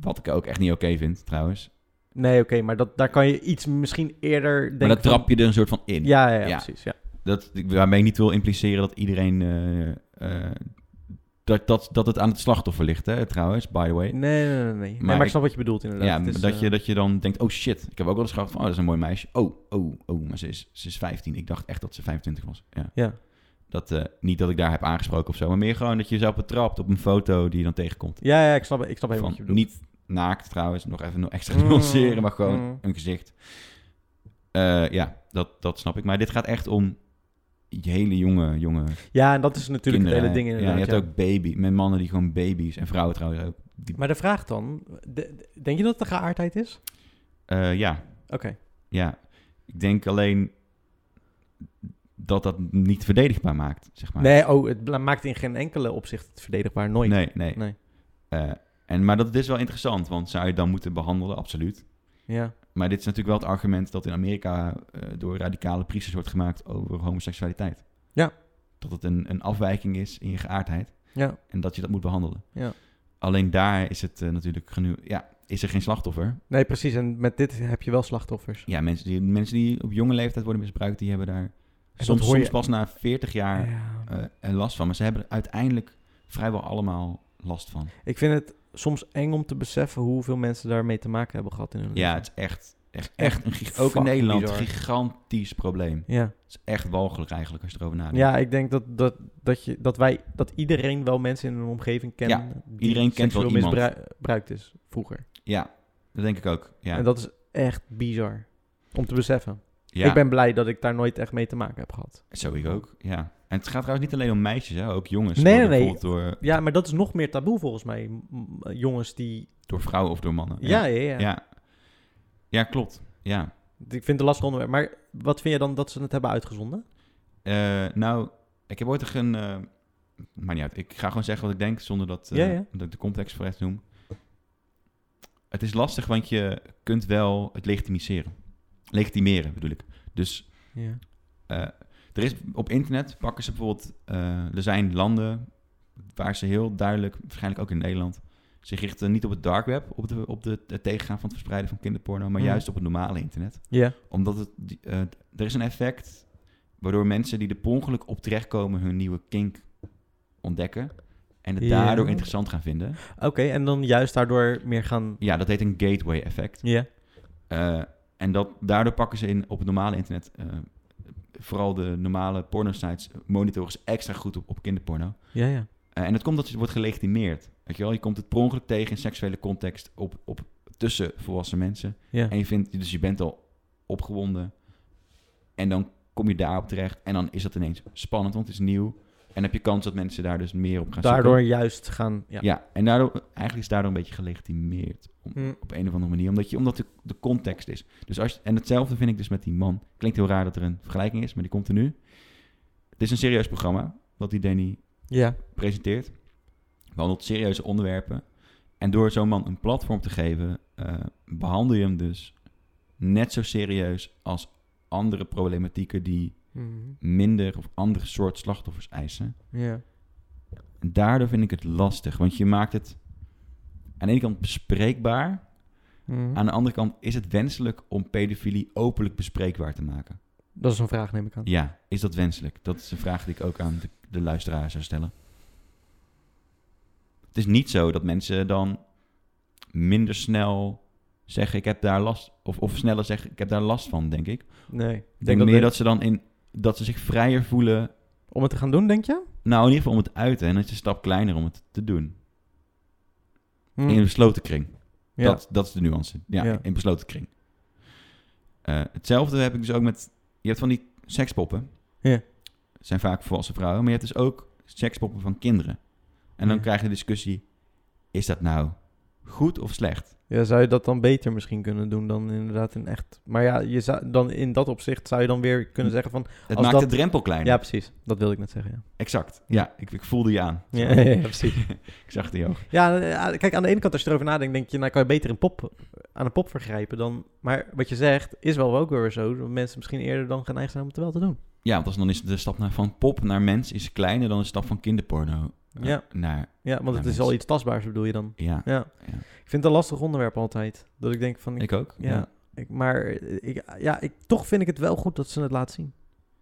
Speaker 2: wat ik ook echt niet oké vind, trouwens.
Speaker 1: Nee, oké, maar dat, daar kan je iets misschien eerder... denken
Speaker 2: maar dat
Speaker 1: van-
Speaker 2: trap je er een soort van in.
Speaker 1: Ja, ja, ja,
Speaker 2: Ja.
Speaker 1: precies. Ja.
Speaker 2: dat, waarmee ik niet wil impliceren dat iedereen... eh, eh, dat, dat, dat het aan het slachtoffer ligt, hè, trouwens, by the way.
Speaker 1: Nee, nee, nee, nee. Nee, Nee, Maar,
Speaker 2: Maar
Speaker 1: ik
Speaker 2: ik-
Speaker 1: snap wat je bedoelt inderdaad.
Speaker 2: ja,
Speaker 1: Het is,
Speaker 2: dat,
Speaker 1: eh,
Speaker 2: je, dat je dan denkt, oh shit, ik heb ook wel eens gedacht van, oh, dat is een mooi meisje. Oh, oh, oh, maar ze is, ze is 15. Ik dacht echt dat ze 25 was. Ja.
Speaker 1: Ja.
Speaker 2: Dat, eh, niet dat ik daar heb aangesproken of zo, maar meer gewoon dat je jezelf betrapt op een foto die je dan tegenkomt.
Speaker 1: Ja, ja, ik snap, ik snap helemaal
Speaker 2: Van,
Speaker 1: wat je bedoelt.
Speaker 2: niet naakt trouwens, nog even extra
Speaker 1: Mm,
Speaker 2: nuanceren, maar gewoon
Speaker 1: mm.
Speaker 2: een gezicht. Eh, ja, dat, dat snap ik. Maar dit gaat echt om hele jonge, jonge
Speaker 1: Ja, en dat is natuurlijk
Speaker 2: kinderen.
Speaker 1: het hele ding
Speaker 2: ja, je
Speaker 1: inderdaad.
Speaker 2: hebt
Speaker 1: ja.
Speaker 2: ook baby, met mannen die gewoon baby's en vrouwen trouwens ook. Die,
Speaker 1: Maar de vraag dan, de- de- denk je dat het de geaardheid is?
Speaker 2: Eh, ja,
Speaker 1: Oké.
Speaker 2: ja. Ik denk alleen dat dat niet verdedigbaar maakt, zeg maar.
Speaker 1: Nee, oh, het bla- maakt in geen enkele opzicht het verdedigbaar, nooit.
Speaker 2: nee, nee.
Speaker 1: Nee.
Speaker 2: Eh, en, maar dat is wel interessant, want zou je het dan moeten behandelen? Absoluut.
Speaker 1: Ja.
Speaker 2: Maar dit is natuurlijk wel het argument dat in Amerika eh, door radicale priesters wordt gemaakt over homoseksualiteit.
Speaker 1: Ja.
Speaker 2: Dat het een, een afwijking is in je geaardheid
Speaker 1: Ja.
Speaker 2: en dat je dat moet behandelen.
Speaker 1: Ja.
Speaker 2: Alleen daar is het eh, natuurlijk genu ja, is er geen slachtoffer.
Speaker 1: Nee, precies. En met dit heb je wel slachtoffers.
Speaker 2: Ja, mensen die, mensen die op jonge leeftijd worden misbruikt, die hebben daar
Speaker 1: dat
Speaker 2: soms,
Speaker 1: hoor je-
Speaker 2: soms pas na 40 jaar
Speaker 1: Ja.
Speaker 2: eh, er last van. Maar ze hebben er uiteindelijk vrijwel allemaal last van.
Speaker 1: Ik vind het soms eng om te beseffen hoeveel mensen daarmee te maken hebben gehad in hun
Speaker 2: Ja,
Speaker 1: leven.
Speaker 2: het is echt, echt,
Speaker 1: Echt
Speaker 2: echt een, gig- ook in
Speaker 1: fucking
Speaker 2: Nederland,
Speaker 1: bizar.
Speaker 2: gigantisch probleem.
Speaker 1: Ja.
Speaker 2: Het is echt walgelijk eigenlijk als je erover nadenkt.
Speaker 1: Ja, ik denk dat, dat, dat, je, dat wij dat iedereen wel mensen in hun omgeving kent.
Speaker 2: Ja, iedereen kent wel iemand.
Speaker 1: misbruikt is vroeger.
Speaker 2: Ja, dat denk ik ook. Ja.
Speaker 1: En dat is echt bizar om te beseffen.
Speaker 2: ja.
Speaker 1: Ik ben blij dat ik daar nooit echt mee te maken heb gehad.
Speaker 2: Zo ik ook, ja. En het gaat trouwens niet alleen om meisjes, hè. ook jongens.
Speaker 1: Nee,
Speaker 2: worden
Speaker 1: nee, nee.
Speaker 2: bijvoorbeeld Door,
Speaker 1: Ja, maar dat is nog meer taboe volgens mij. M- m- Jongens die.
Speaker 2: door vrouwen of door mannen.
Speaker 1: Ja, ja, ja.
Speaker 2: ja. ja. Ja, klopt. Ja.
Speaker 1: Ik vind het een lastig onderwerp. Maar wat vind je dan dat ze het hebben uitgezonden?
Speaker 2: Eh, nou, ik heb ooit een... eh maar niet uit. Ik ga gewoon zeggen wat ik denk, zonder dat, eh,
Speaker 1: Ja, ja.
Speaker 2: dat ik de context voor echt noem. Het is lastig, want je kunt wel het legitimiseren. Legitimeren, bedoel ik. Dus
Speaker 1: Ja.
Speaker 2: Eh, er is op internet pakken ze bijvoorbeeld. eh, er zijn landen waar ze heel duidelijk, waarschijnlijk ook in Nederland, zich richten niet op het dark web, op, de, op de, het tegengaan van het verspreiden van kinderporno, maar
Speaker 1: Mhm.
Speaker 2: juist op het normale internet.
Speaker 1: Ja.
Speaker 2: Omdat het, die- eh, er is een effect waardoor mensen die er per ongeluk op terechtkomen hun nieuwe kink ontdekken en het
Speaker 1: Ja.
Speaker 2: daardoor interessant gaan vinden.
Speaker 1: Oké, en dan juist daardoor meer gaan.
Speaker 2: Ja, dat heet een gateway effect.
Speaker 1: Ja.
Speaker 2: Eh, en dat, daardoor pakken ze in, op het normale internet, eh, vooral de normale porno-sites, eh, monitoren ze extra goed op, op kinderporno.
Speaker 1: Ja, ja.
Speaker 2: Eh, en dat komt dat je wordt gelegitimeerd. Weet je, wel? je komt het per ongeluk tegen in seksuele context op, op, tussen volwassen mensen.
Speaker 1: Ja.
Speaker 2: En je vindt, dus je bent al opgewonden. En dan kom je daarop terecht. En dan is dat ineens spannend, want het is nieuw. En heb je kans dat mensen daar dus meer op gaan
Speaker 1: Daardoor
Speaker 2: zoeken.
Speaker 1: juist gaan. Ja.
Speaker 2: Ja. en daardoor, eigenlijk is daardoor een beetje gelegitimeerd. Om,
Speaker 1: Mm.
Speaker 2: op een of andere manier. Omdat, je, omdat de, de context is. Dus als, je- en hetzelfde vind ik dus met die man. Klinkt heel raar dat er een vergelijking is, maar die komt er nu. Het is een serieus programma wat die Danny
Speaker 1: ja.
Speaker 2: presenteert. Behandelt serieuze onderwerpen. En door zo'n man een platform te geven, eh, behandel je hem dus net zo serieus als andere problematieken die Mm-hmm. minder of andere soort slachtoffers eisen.
Speaker 1: Ja.
Speaker 2: En daardoor vind ik het lastig, want je maakt het aan de ene kant bespreekbaar,
Speaker 1: Mm-hmm.
Speaker 2: aan de andere kant is het wenselijk om pedofilie openlijk bespreekbaar te maken.
Speaker 1: Dat is een vraag, neem ik aan.
Speaker 2: Ja, is dat wenselijk? Dat is een vraag die ik ook aan de, de luisteraar zou stellen. Het is niet zo dat mensen dan minder snel zeggen ik heb daar last of, of sneller zeggen ik heb daar last van, denk ik. Ik
Speaker 1: Nee. Ik
Speaker 2: denk meer dat ze dan in dat ze zich vrijer voelen.
Speaker 1: Om het te gaan doen, denk je?
Speaker 2: Nou, in ieder geval om het uiten en het is een stap kleiner om het te doen.
Speaker 1: Mm.
Speaker 2: In een besloten kring.
Speaker 1: Ja.
Speaker 2: Dat, dat is de nuance. Ja,
Speaker 1: Ja.
Speaker 2: in besloten kring. Eh, hetzelfde heb ik dus ook met... Je hebt van die sekspoppen.
Speaker 1: Ja.
Speaker 2: Het Zijn vaak volwassen vrouwen. Maar je hebt dus ook sekspoppen van kinderen. En dan
Speaker 1: Ja.
Speaker 2: krijg je de discussie... Is dat nou goed of slecht?
Speaker 1: ja, zou je dat dan beter misschien kunnen doen dan inderdaad in echt... Maar ja, je zou, dan in dat opzicht zou je dan weer kunnen zeggen van...
Speaker 2: Het
Speaker 1: Als
Speaker 2: maakt
Speaker 1: dat-
Speaker 2: de drempel kleiner.
Speaker 1: Ja, precies. Dat wilde ik net zeggen, ja.
Speaker 2: Exact. Ja, ik, ik voelde je aan.
Speaker 1: Ja, ja, ja, precies.
Speaker 2: ik zag het in je ogen.
Speaker 1: Ja, eh, kijk, aan de ene kant als je erover nadenkt, denk je... Nou, kan je beter een pop, aan een pop vergrijpen dan... Maar wat je zegt is wel ook weer zo... dat mensen misschien eerder dan geneigd zijn om het wel te doen.
Speaker 2: Ja, want als dan is de stap naar, van pop naar mens... is kleiner dan de stap van kinderporno eh,
Speaker 1: Ja.
Speaker 2: naar...
Speaker 1: Ja, want
Speaker 2: Ja,
Speaker 1: het is
Speaker 2: mensen-
Speaker 1: al iets tastbaars, bedoel je dan?
Speaker 2: Ja,
Speaker 1: Ja.
Speaker 2: Ja.
Speaker 1: Ik vind het een lastig onderwerp altijd. Dat ik denk van... Ik,
Speaker 2: ik ook.
Speaker 1: ja, Ik, maar eh, ik, ja, ik, toch vind ik het wel goed dat ze het laten zien.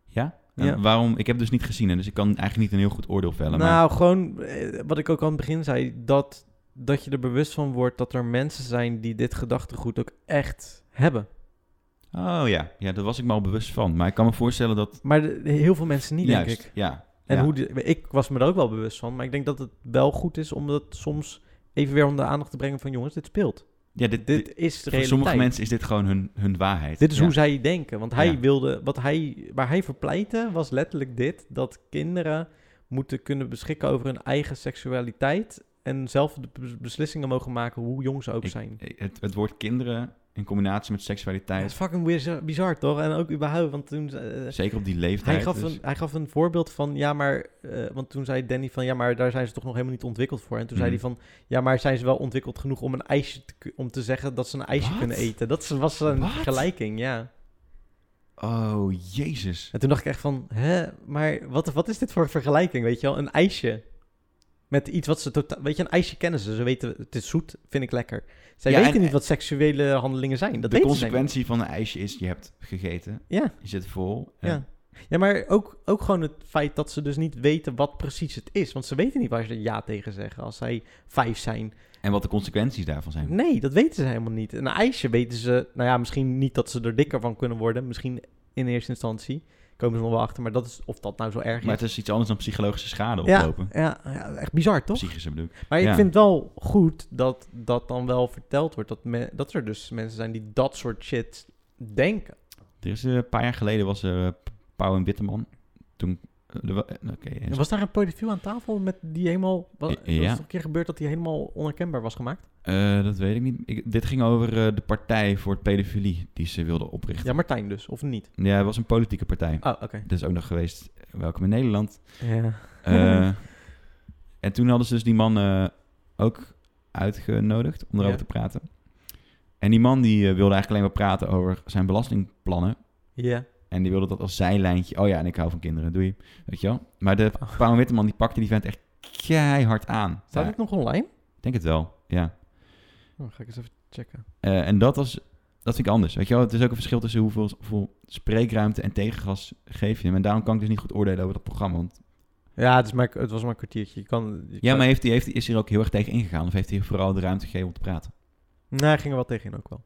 Speaker 2: Ja?
Speaker 1: Ja.
Speaker 2: En Waarom? Ik heb het dus niet gezien, hè, dus ik kan eigenlijk niet een heel goed oordeel vellen. maar
Speaker 1: Nou, gewoon eh, wat ik ook aan het begin zei, dat, dat je er bewust van wordt dat er mensen zijn die dit gedachtegoed ook echt hebben.
Speaker 2: Oh ja. ja, daar was ik me al bewust van. Maar ik kan me voorstellen dat...
Speaker 1: Maar de- heel veel mensen niet,
Speaker 2: juist,
Speaker 1: denk ik.
Speaker 2: ja.
Speaker 1: En
Speaker 2: ja.
Speaker 1: hoe die- ik was me er ook wel bewust van, maar ik denk dat het wel goed is om dat soms even weer onder de aandacht te brengen van jongens, dit speelt.
Speaker 2: Ja, dit, dit,
Speaker 1: Dit is de
Speaker 2: voor
Speaker 1: realiteit.
Speaker 2: sommige mensen is dit gewoon hun, hun waarheid.
Speaker 1: Dit is
Speaker 2: Ja.
Speaker 1: hoe zij denken. Want hij
Speaker 2: Ja.
Speaker 1: wilde, wat hij, waar hij voor pleitte, was letterlijk dit: dat kinderen moeten kunnen beschikken over hun eigen seksualiteit. En zelf de bes- beslissingen mogen maken hoe jong ze ook
Speaker 2: Ik-
Speaker 1: zijn.
Speaker 2: Het, het woord kinderen in combinatie met
Speaker 1: Ja, dat is
Speaker 2: seksualiteit,
Speaker 1: fucking bizar, bizar, toch? En ook überhaupt, want toen. eh,
Speaker 2: zeker op die leeftijd.
Speaker 1: hij, gaf
Speaker 2: dus-
Speaker 1: een, hij gaf een voorbeeld van, ja, maar. eh, want toen zei Danny van, ja, maar daar zijn ze toch nog helemaal niet ontwikkeld voor. En toen zei
Speaker 2: Mhm.
Speaker 1: hij van, ja, maar zijn ze wel ontwikkeld genoeg om een ijsje te, ku- om te zeggen dat ze een ijsje
Speaker 2: Wat?
Speaker 1: kunnen eten? Dat was een
Speaker 2: Wat?
Speaker 1: vergelijking, ja.
Speaker 2: Oh, jezus.
Speaker 1: En toen dacht ik echt van, hè, maar wat, wat is dit voor vergelijking, weet je wel? Een ijsje. Met iets wat ze totaal... Weet je, een ijsje kennen ze. Ze weten, het is zoet, vind ik lekker. Zij
Speaker 2: Ja,
Speaker 1: weten
Speaker 2: en-
Speaker 1: niet wat seksuele handelingen zijn. Dat
Speaker 2: de
Speaker 1: weten ze niet.
Speaker 2: consequentie van een ijsje is, je hebt gegeten,
Speaker 1: Ja,
Speaker 2: je zit vol. en-
Speaker 1: ja. Ja, maar ook, ook gewoon het feit dat ze dus niet weten wat precies het is. Want ze weten niet waar ze ja tegen zeggen als zij vijf zijn.
Speaker 2: En wat de consequenties daarvan zijn.
Speaker 1: Nee, dat weten ze helemaal niet. Een ijsje weten ze... Nou ja, misschien niet dat ze er dikker van kunnen worden. Misschien in eerste instantie. Komen ze nog wel achter. Maar dat is of dat nou zo erg is.
Speaker 2: Maar het is iets anders dan psychologische schade
Speaker 1: ja,
Speaker 2: oplopen.
Speaker 1: ja, ja, echt bizar, toch?
Speaker 2: Psychische bedoel ik.
Speaker 1: Maar ik
Speaker 2: Ja.
Speaker 1: vind het wel goed dat dat dan wel verteld wordt. Dat, me- dat er dus mensen zijn die dat soort shit denken.
Speaker 2: Er is eh, een paar jaar geleden was er eh, Pauw en Witteman. Toen... eh, er wa- eh, Oké, eh,
Speaker 1: Was daar een pedofiel aan tafel met die helemaal... Wat,
Speaker 2: Ja.
Speaker 1: was het een keer gebeurd dat die helemaal onherkenbaar was gemaakt?
Speaker 2: eh, dat weet ik niet. Ik- dit ging over eh, de partij voor het pedofilie die ze wilden oprichten.
Speaker 1: Ja, Martijn dus, of niet?
Speaker 2: Ja, het was een politieke partij.
Speaker 1: Oh, oké.
Speaker 2: Dat is ook nog geweest, welkom in Nederland.
Speaker 1: Ja.
Speaker 2: Eh, en toen hadden ze dus die man eh, ook uitgenodigd om erover
Speaker 1: Ja.
Speaker 2: te praten. En die man die eh, wilde eigenlijk alleen maar praten over zijn belastingplannen.
Speaker 1: Ja.
Speaker 2: En die wilde dat als zijlijntje. Oh ja, en ik hou van kinderen, doei. Weet je wel? Maar de Paul Witteman die pakte die vent echt keihard aan.
Speaker 1: Staat
Speaker 2: Ja,
Speaker 1: dit nog online?
Speaker 2: Ik denk het wel, ja.
Speaker 1: Oh, ga ik eens even checken.
Speaker 2: Eh, en dat, was, dat vind ik anders. Weet je wel? Het is ook een verschil tussen hoeveel, hoeveel spreekruimte en tegengas geef je hem. En daarom kan ik dus niet goed oordelen over dat programma. Want
Speaker 1: Ja, het, is maar, het was maar een kwartiertje. Je kan, je
Speaker 2: Ja,
Speaker 1: kan-
Speaker 2: maar heeft hij, heeft hij, is hij er ook heel erg tegen ingegaan? Of heeft hij vooral de ruimte gegeven om te praten?
Speaker 1: Nee, hij ging er wel tegenin ook wel.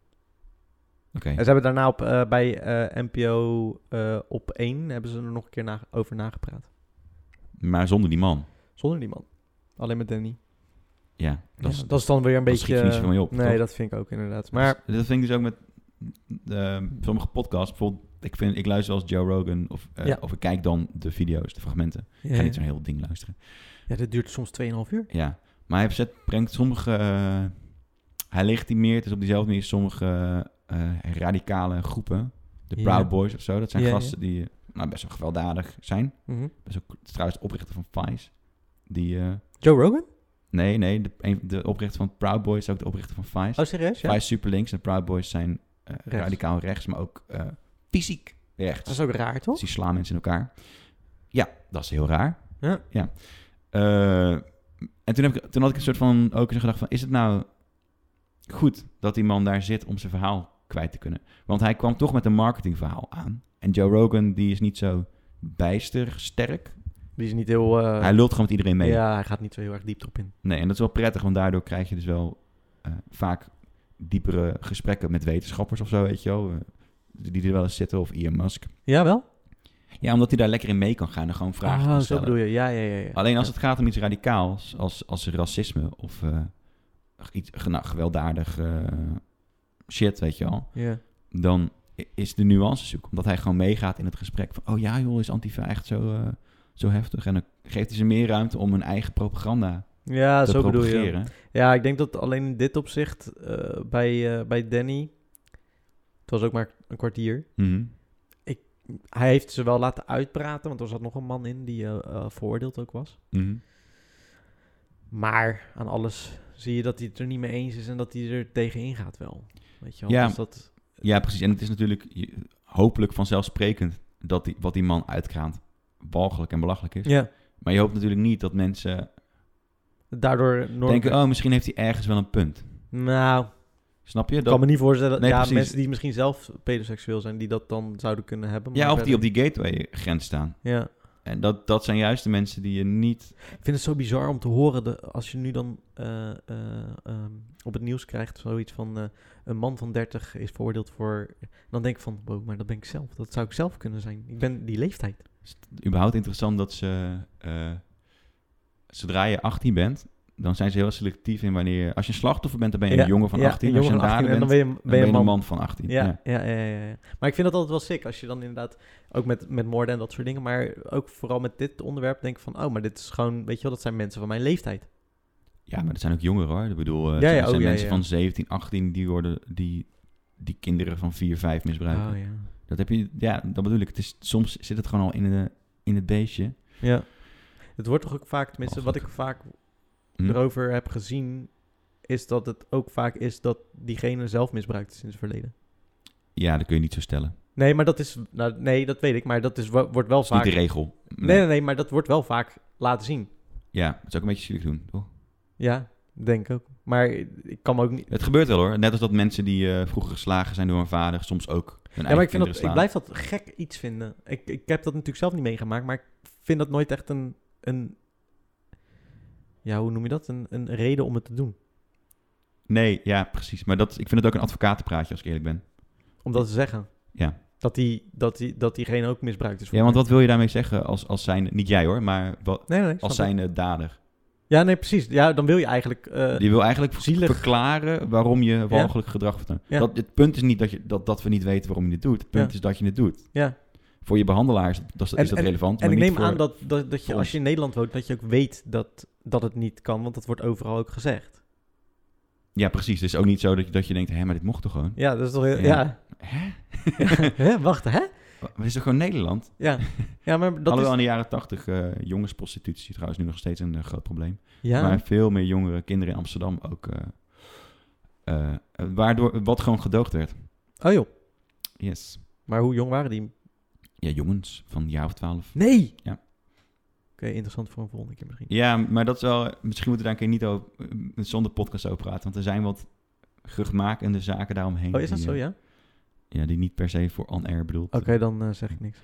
Speaker 2: Oké.
Speaker 1: En ze hebben daarna op, eh, bij eh, NPO eh, op 1... hebben ze er nog een keer na- over nagepraat.
Speaker 2: Maar zonder die man.
Speaker 1: Zonder die man. Alleen met Danny.
Speaker 2: Ja, dat is,
Speaker 1: ja, dat is dan weer een
Speaker 2: dat
Speaker 1: beetje... eh,
Speaker 2: schiet er niet zoveel mee op,
Speaker 1: nee,
Speaker 2: toch?
Speaker 1: dat vind ik ook inderdaad. Maar
Speaker 2: dat vind ik dus ook met eh, sommige podcasts. Bijvoorbeeld, ik, vind, ik luister als Joe Rogan. Of, eh,
Speaker 1: Ja.
Speaker 2: of ik kijk dan de video's, de fragmenten. Ik ga
Speaker 1: ja,
Speaker 2: niet zo'n heel ding luisteren.
Speaker 1: dit duurt soms 2,5 uur.
Speaker 2: Ja. Maar hij verzet, brengt sommige... eh, hij legitimeert dus op diezelfde manier sommige eh, eh, radicale groepen. De
Speaker 1: Ja.
Speaker 2: Proud Boys of zo. Dat zijn
Speaker 1: Ja, ja.
Speaker 2: gasten die eh, nou, best wel gewelddadig zijn. Dat is ook trouwens de oprichter van Vice. Die... eh,
Speaker 1: Joe Rogan?
Speaker 2: Nee, nee. De, een- de oprichter van Proud Boys is ook de oprichter van Vice.
Speaker 1: Oh, serieus? Ja?
Speaker 2: Vice super links en Proud Boys zijn eh,
Speaker 1: Rechts.
Speaker 2: radicaal rechts, maar ook eh, fysiek rechts.
Speaker 1: Dat is ook raar, toch?
Speaker 2: Dus die slaan mensen in elkaar. Ja, dat is heel raar.
Speaker 1: Ja.
Speaker 2: ja. Eh, en toen, heb ik, toen had ik een soort van ook eens gedacht van... is het nou goed dat die man daar zit om zijn verhaal kwijt te kunnen? Want hij kwam toch met een marketingverhaal aan. En Joe Rogan, die is niet zo bijster sterk.
Speaker 1: Die is niet heel... eh,
Speaker 2: hij lult gewoon met iedereen mee.
Speaker 1: Ja, hij gaat niet zo heel erg diep erop in.
Speaker 2: Nee, en dat is wel prettig, want daardoor krijg je dus wel eh, vaak diepere gesprekken met wetenschappers of zo, weet je wel. eh, die er wel eens zitten, of Elon Musk.
Speaker 1: Ja, wel?
Speaker 2: Ja, omdat hij daar lekker in mee kan gaan en gewoon vragen
Speaker 1: Ah,
Speaker 2: kan
Speaker 1: zo
Speaker 2: stellen.
Speaker 1: bedoel je. Ja, ja, ja. ja.
Speaker 2: Alleen als
Speaker 1: Ja.
Speaker 2: het gaat om iets radicaals, als, als racisme of eh, iets ge- nou, gewelddadig eh, shit, weet je wel.
Speaker 1: Ja.
Speaker 2: Dan i- is de nuance zoek, omdat hij gewoon meegaat in het gesprek van... Oh ja joh, is Antifa echt zo, eh, zo heftig? En dan geeft hij ze meer ruimte om hun eigen propaganda
Speaker 1: Ja,
Speaker 2: te
Speaker 1: zo bedoel je.
Speaker 2: propageren.
Speaker 1: Ja, ik denk dat alleen in dit opzicht eh, bij, eh, bij Danny... Het was ook maar een kwartier.
Speaker 2: Mhm.
Speaker 1: Hij heeft ze wel laten uitpraten, want er zat nog een man in die eh, eh, veroordeeld ook was.
Speaker 2: Mhm.
Speaker 1: Maar aan alles zie je dat hij het er niet mee eens is en dat hij er tegenin gaat wel. Weet je wel?
Speaker 2: Ja.
Speaker 1: Dus dat,
Speaker 2: Ja, precies. En het is natuurlijk je- hopelijk vanzelfsprekend dat die, wat die man uitkraamt walgelijk en belachelijk is.
Speaker 1: ja.
Speaker 2: Maar je hoopt natuurlijk niet dat mensen
Speaker 1: Daardoor... Norm...
Speaker 2: denken, oh, misschien heeft hij ergens wel een punt.
Speaker 1: Nou,
Speaker 2: Snap je?
Speaker 1: ik kan
Speaker 2: Dat,
Speaker 1: me niet voorstellen.
Speaker 2: Nee,
Speaker 1: ja,
Speaker 2: precies.
Speaker 1: mensen die misschien zelf pedoseksueel zijn, die dat dan zouden kunnen hebben. maar
Speaker 2: ja, of die op
Speaker 1: verder-
Speaker 2: die gateway-grens staan.
Speaker 1: Ja.
Speaker 2: En dat, dat zijn juist de mensen die je niet...
Speaker 1: Ik vind het zo bizar om te horen, de, als je nu dan eh, eh, ehm, op het nieuws krijgt, zoiets van eh, een man van 30 is veroordeeld voor... Dan denk ik van, wow, maar dat ben ik zelf. Dat zou ik zelf kunnen zijn. Ik ben die leeftijd.
Speaker 2: Het is überhaupt interessant dat ze... eh, zodra je 18 bent, dan zijn ze heel selectief in wanneer... Als je een slachtoffer bent, dan ben je
Speaker 1: Ja,
Speaker 2: een jongen van
Speaker 1: ja,
Speaker 2: 18.
Speaker 1: een
Speaker 2: als je
Speaker 1: jongen
Speaker 2: een
Speaker 1: van
Speaker 2: dader
Speaker 1: 18 en
Speaker 2: bent,
Speaker 1: dan
Speaker 2: dan
Speaker 1: ben je, ben je
Speaker 2: ben je
Speaker 1: man.
Speaker 2: een man van 18. Ja.
Speaker 1: Ja, ja. Ja, ja, ja, Maar ik vind dat altijd wel sick als je dan inderdaad ook met, met moorden en dat soort dingen, maar ook vooral met dit onderwerp denk ik van, oh, maar dit is gewoon, weet je wel, dat zijn mensen van mijn leeftijd.
Speaker 2: Ja, maar dat zijn ook jongeren hoor. Ik bedoel, eh,
Speaker 1: Ja, ja,
Speaker 2: er zijn
Speaker 1: oh, ja,
Speaker 2: mensen
Speaker 1: ja.
Speaker 2: van 17, 18 die, worden, die, die kinderen van 4, 5 misbruiken.
Speaker 1: Oh, ja.
Speaker 2: Dat heb je, ja, dat bedoel ik. Het is, soms zit het gewoon al in, de, in het beestje.
Speaker 1: Ja. Het wordt toch ook vaak, tenminste, wat ik
Speaker 2: Walgelijk.
Speaker 1: vaak
Speaker 2: Hm?
Speaker 1: erover heb gezien, is dat het ook vaak is dat diegene zelf misbruikt is in het verleden.
Speaker 2: Ja, dat kun je niet zo stellen.
Speaker 1: Nee, maar dat is, nou, nee, dat weet ik, maar dat is, wa- wordt wel
Speaker 2: Dat is
Speaker 1: vaak...
Speaker 2: niet de regel.
Speaker 1: Nee, nee, nee, maar dat wordt wel vaak laten zien.
Speaker 2: Ja, dat zou ik een beetje zielig doen. toch?
Speaker 1: Ja, denk ik ook. Maar ik kan me ook niet...
Speaker 2: Het gebeurt wel hoor. Net als dat mensen die eh, vroeger geslagen zijn door hun vader, soms ook hun eigen
Speaker 1: Ja, maar ik, vind
Speaker 2: kinderen
Speaker 1: dat, ik
Speaker 2: slaan.
Speaker 1: blijf dat gek iets vinden. Ik, ik heb dat natuurlijk zelf niet meegemaakt, maar ik vind dat nooit echt een... een ja, hoe noem je dat? Een, een reden om het te doen.
Speaker 2: Nee, ja, precies. Maar dat, ik vind het ook een advocatenpraatje als ik eerlijk ben.
Speaker 1: Om dat te zeggen.
Speaker 2: Ja.
Speaker 1: Dat, die, dat, die, dat diegene ook misbruikt is.
Speaker 2: Ja, want wat wil je daarmee zeggen als, als zijn, niet jij hoor, maar wat,
Speaker 1: Nee, nee, snap
Speaker 2: als
Speaker 1: ik.
Speaker 2: zijn eh, dader?
Speaker 1: Ja, nee, precies. Ja, dan wil je eigenlijk... eh,
Speaker 2: Je wil eigenlijk
Speaker 1: zielig.
Speaker 2: verklaren waarom je walgelijk gedrag vertoont.
Speaker 1: Ja.
Speaker 2: Dat, het punt is niet dat, je, dat, dat we niet weten waarom je dit doet. Het punt
Speaker 1: Ja.
Speaker 2: is dat je het doet.
Speaker 1: Ja.
Speaker 2: Voor je behandelaar is dat, is
Speaker 1: En-
Speaker 2: dat relevant.
Speaker 1: en
Speaker 2: maar
Speaker 1: ik
Speaker 2: niet
Speaker 1: neem
Speaker 2: voor-
Speaker 1: aan dat, dat, dat je
Speaker 2: voor
Speaker 1: als
Speaker 2: ons.
Speaker 1: je in Nederland woont, dat je ook weet dat, dat het niet kan. Want dat wordt overal ook gezegd.
Speaker 2: Ja, precies. Het is ook niet zo dat je, dat je denkt, hé, maar dit mocht toch gewoon?
Speaker 1: Ja, dat is toch... heel- Ja.
Speaker 2: Ja. Hè?
Speaker 1: Hè? Wacht, hè?
Speaker 2: Maar het is toch gewoon Nederland?
Speaker 1: Ja, ja maar dat
Speaker 2: Alhoewel
Speaker 1: is...
Speaker 2: in de jaren tachtig eh, jongensprostitutie trouwens nu nog steeds een eh, groot probleem.
Speaker 1: Ja,
Speaker 2: Maar veel meer jongere kinderen in Amsterdam ook. eh, eh, eh, waardoor wat gewoon gedoogd werd.
Speaker 1: oh joh.
Speaker 2: Yes.
Speaker 1: Maar hoe jong waren die?
Speaker 2: Ja, jongens van een jaar of twaalf.
Speaker 1: Nee!
Speaker 2: Ja.
Speaker 1: Oké, interessant voor een volgende keer misschien.
Speaker 2: Ja, maar dat is wel. Misschien moeten we daar een keer niet over, eh, zonder podcast over praten. Want er zijn wat geruchtmakende zaken daaromheen.
Speaker 1: Oh, is dat
Speaker 2: die,
Speaker 1: zo,
Speaker 2: eh,
Speaker 1: ja?
Speaker 2: Ja, die niet per se voor on-air bedoeld.
Speaker 1: Oké, dan eh, zeg ik niks.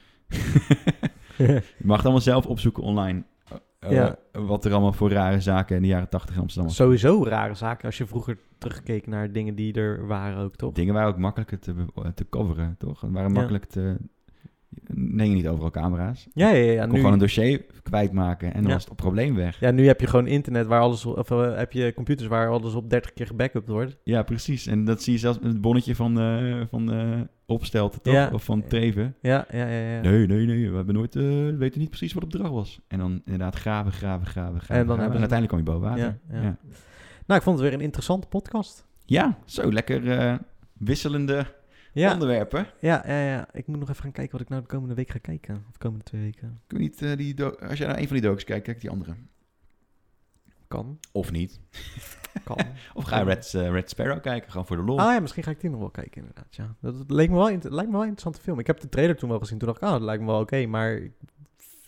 Speaker 2: Je mag het allemaal zelf opzoeken online. eh, eh,
Speaker 1: Ja.
Speaker 2: Wat er allemaal voor rare zaken in de jaren tachtig in Amsterdam was.
Speaker 1: Sowieso rare zaken als je vroeger terugkeek naar dingen die er waren ook, toch?
Speaker 2: Dingen waren ook makkelijker te, be- te coveren, toch? Het waren
Speaker 1: Ja.
Speaker 2: makkelijk te... Nee, niet overal camera's.
Speaker 1: Ja, ja, ja.
Speaker 2: Je kon
Speaker 1: Nu,
Speaker 2: gewoon een dossier kwijtmaken en dan
Speaker 1: Ja.
Speaker 2: was het probleem weg.
Speaker 1: ja, nu heb je gewoon internet waar alles... Of eh, heb je computers waar alles op 30 keer gebackupt wordt.
Speaker 2: Ja, precies. En dat zie je zelfs met het bonnetje van, eh van eh Opstelte, toch?
Speaker 1: Ja.
Speaker 2: Of van Treven.
Speaker 1: Ja, ja, ja. ja.
Speaker 2: Nee, nee, nee. We hebben nooit, eh, we weten niet precies wat het bedrag was. En dan inderdaad graven, graven, graven, graven.
Speaker 1: hebben
Speaker 2: graven.
Speaker 1: ze-
Speaker 2: en uiteindelijk kom je boven water.
Speaker 1: Ja, ja.
Speaker 2: Ja, ja.
Speaker 1: Nou, ik vond het weer een interessante podcast.
Speaker 2: zo lekker eh, wisselende
Speaker 1: Ja,
Speaker 2: onderwerpen.
Speaker 1: ja, ja, ja. Ik moet nog even gaan kijken wat ik nou de komende week ga kijken. Of de komende twee weken.
Speaker 2: Kun je niet, eh, die do- als jij naar een van die docs kijkt, kijk die andere.
Speaker 1: Kan,
Speaker 2: Of niet.
Speaker 1: kan.
Speaker 2: Of ga je Red, eh, Red Sparrow kijken, gewoon voor de lol.
Speaker 1: Ah ja, misschien ga ik die nog wel kijken inderdaad, ja. Dat, dat leek, me wel, inter- lijkt me wel een interessante film. Ik heb de trailer toen wel gezien, toen dacht ik, ah, dat lijkt me wel oké. maar ik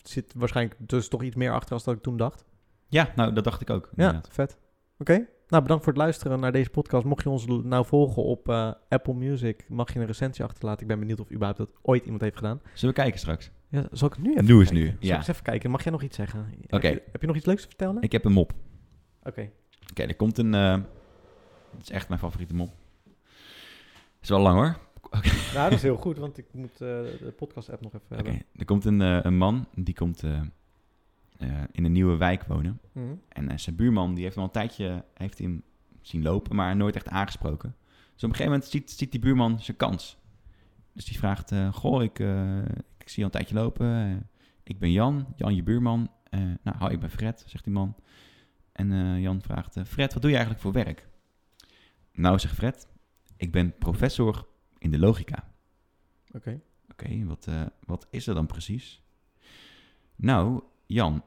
Speaker 1: zit waarschijnlijk dus toch iets meer achter als dat ik toen dacht.
Speaker 2: Ja, nou, dat dacht ik ook.
Speaker 1: Ja,
Speaker 2: inderdaad.
Speaker 1: vet. Oké. Nou, bedankt voor het luisteren naar deze podcast. Mocht je ons l- nou volgen op eh, Apple Music, mag je een recensie achterlaten. Ik ben benieuwd of überhaupt dat ooit iemand heeft gedaan.
Speaker 2: Zullen we kijken straks?
Speaker 1: Ja, zal ik het nu even
Speaker 2: Nu is
Speaker 1: kijken?
Speaker 2: nu,
Speaker 1: Zal
Speaker 2: ja.
Speaker 1: ik eens even kijken? Mag jij nog iets zeggen? Heb,
Speaker 2: Oké.
Speaker 1: je, heb je nog iets leuks te vertellen?
Speaker 2: Ik heb een mop.
Speaker 1: Oké.
Speaker 2: Oké, er komt een... eh dat is echt mijn favoriete mop. Is wel lang hoor.
Speaker 1: Nou, dat is heel goed, want ik moet eh, de podcast-app nog even
Speaker 2: Oké, er komt een, eh, een man, die komt eh, eh, in een nieuwe wijk wonen.
Speaker 1: Mhm.
Speaker 2: En eh, zijn buurman, die heeft hem al een tijdje heeft hem zien lopen, maar nooit echt aangesproken. Dus op een gegeven moment ziet, ziet die buurman zijn kans. Dus die vraagt, eh, goh, ik, eh, ik zie je al een tijdje lopen. eh, ik ben Jan, Jan je buurman. Eh, nou, hoi, ik ben Fred, zegt die man. En eh, Jan vraagt, eh, Fred, wat doe je eigenlijk voor werk? Nou, zegt Fred, ik ben professor in de logica.
Speaker 1: Oké.
Speaker 2: Oké, wat, eh, wat is er dan precies? Nou, Jan,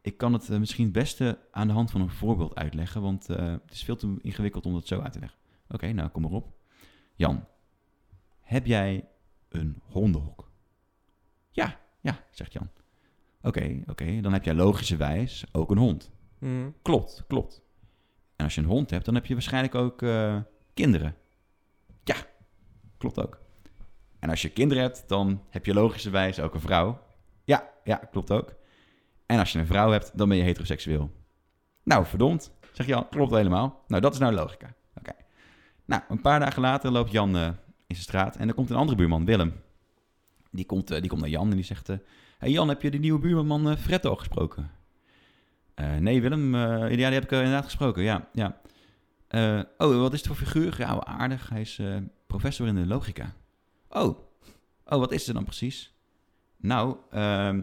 Speaker 2: ik kan het eh, misschien het beste aan de hand van een voorbeeld uitleggen, want eh, het is veel te ingewikkeld om dat zo uit te leggen. Oké, nou kom maar op. Jan, heb jij een hondenhok? Ja, ja, zegt Jan. Oké, oké, dan heb jij logischerwijs ook een hond.
Speaker 1: Mhm.
Speaker 2: Klopt, klopt. En als je een hond hebt, dan heb je waarschijnlijk ook eh, kinderen. Ja, klopt ook. En als je kinderen hebt, dan heb je logischerwijs ook een vrouw. Ja, ja, klopt ook. En als je een vrouw hebt, dan ben je heteroseksueel. Nou, verdomd, zeg Jan, klopt helemaal. Nou, dat is nou logica. Oké. Nou, een paar dagen later loopt Jan eh, in zijn straat en er komt een andere buurman, Willem. Die komt, eh, die komt naar Jan en die zegt... eh, hey Jan, heb je de nieuwe buurman eh, Fred al gesproken? Eh, nee, Willem, eh, ja, die heb ik eh, inderdaad gesproken, ja. ja. Eh, oh, wat is het voor figuur? Ja, wel aardig. Hij is eh, professor in de logica. Oh, oh wat is het dan precies? Nou, ehm,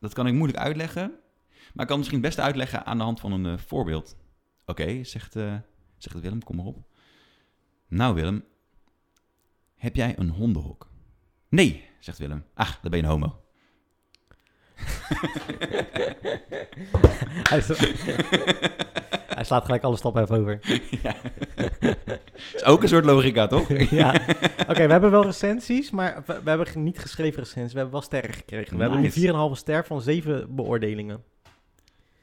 Speaker 2: dat kan ik moeilijk uitleggen. Maar ik kan het misschien het beste uitleggen aan de hand van een eh, voorbeeld. Oké, zegt, eh, zegt Willem, kom maar op. Nou Willem, heb jij een hondenhok? Nee, zegt Willem. Ach, dan ben je een homo.
Speaker 1: Hij, sla- Hij slaat gelijk alle stappen even over.
Speaker 2: is ook een soort logica, toch?
Speaker 1: ja. Oké, we hebben wel recensies, maar we, we hebben ge- niet geschreven recensies. We hebben wel sterren gekregen. We
Speaker 2: Nice.
Speaker 1: hebben nu 4,5 ster van 7 beoordelingen.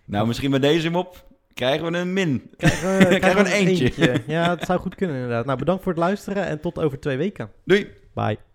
Speaker 2: Nou, misschien bij deze mop krijgen we een min.
Speaker 1: Krijgen we,
Speaker 2: Krijgen we een eentje.
Speaker 1: Ja, dat zou goed kunnen inderdaad. Nou, bedankt voor het luisteren en tot over twee weken.
Speaker 2: Doei!
Speaker 1: Bye.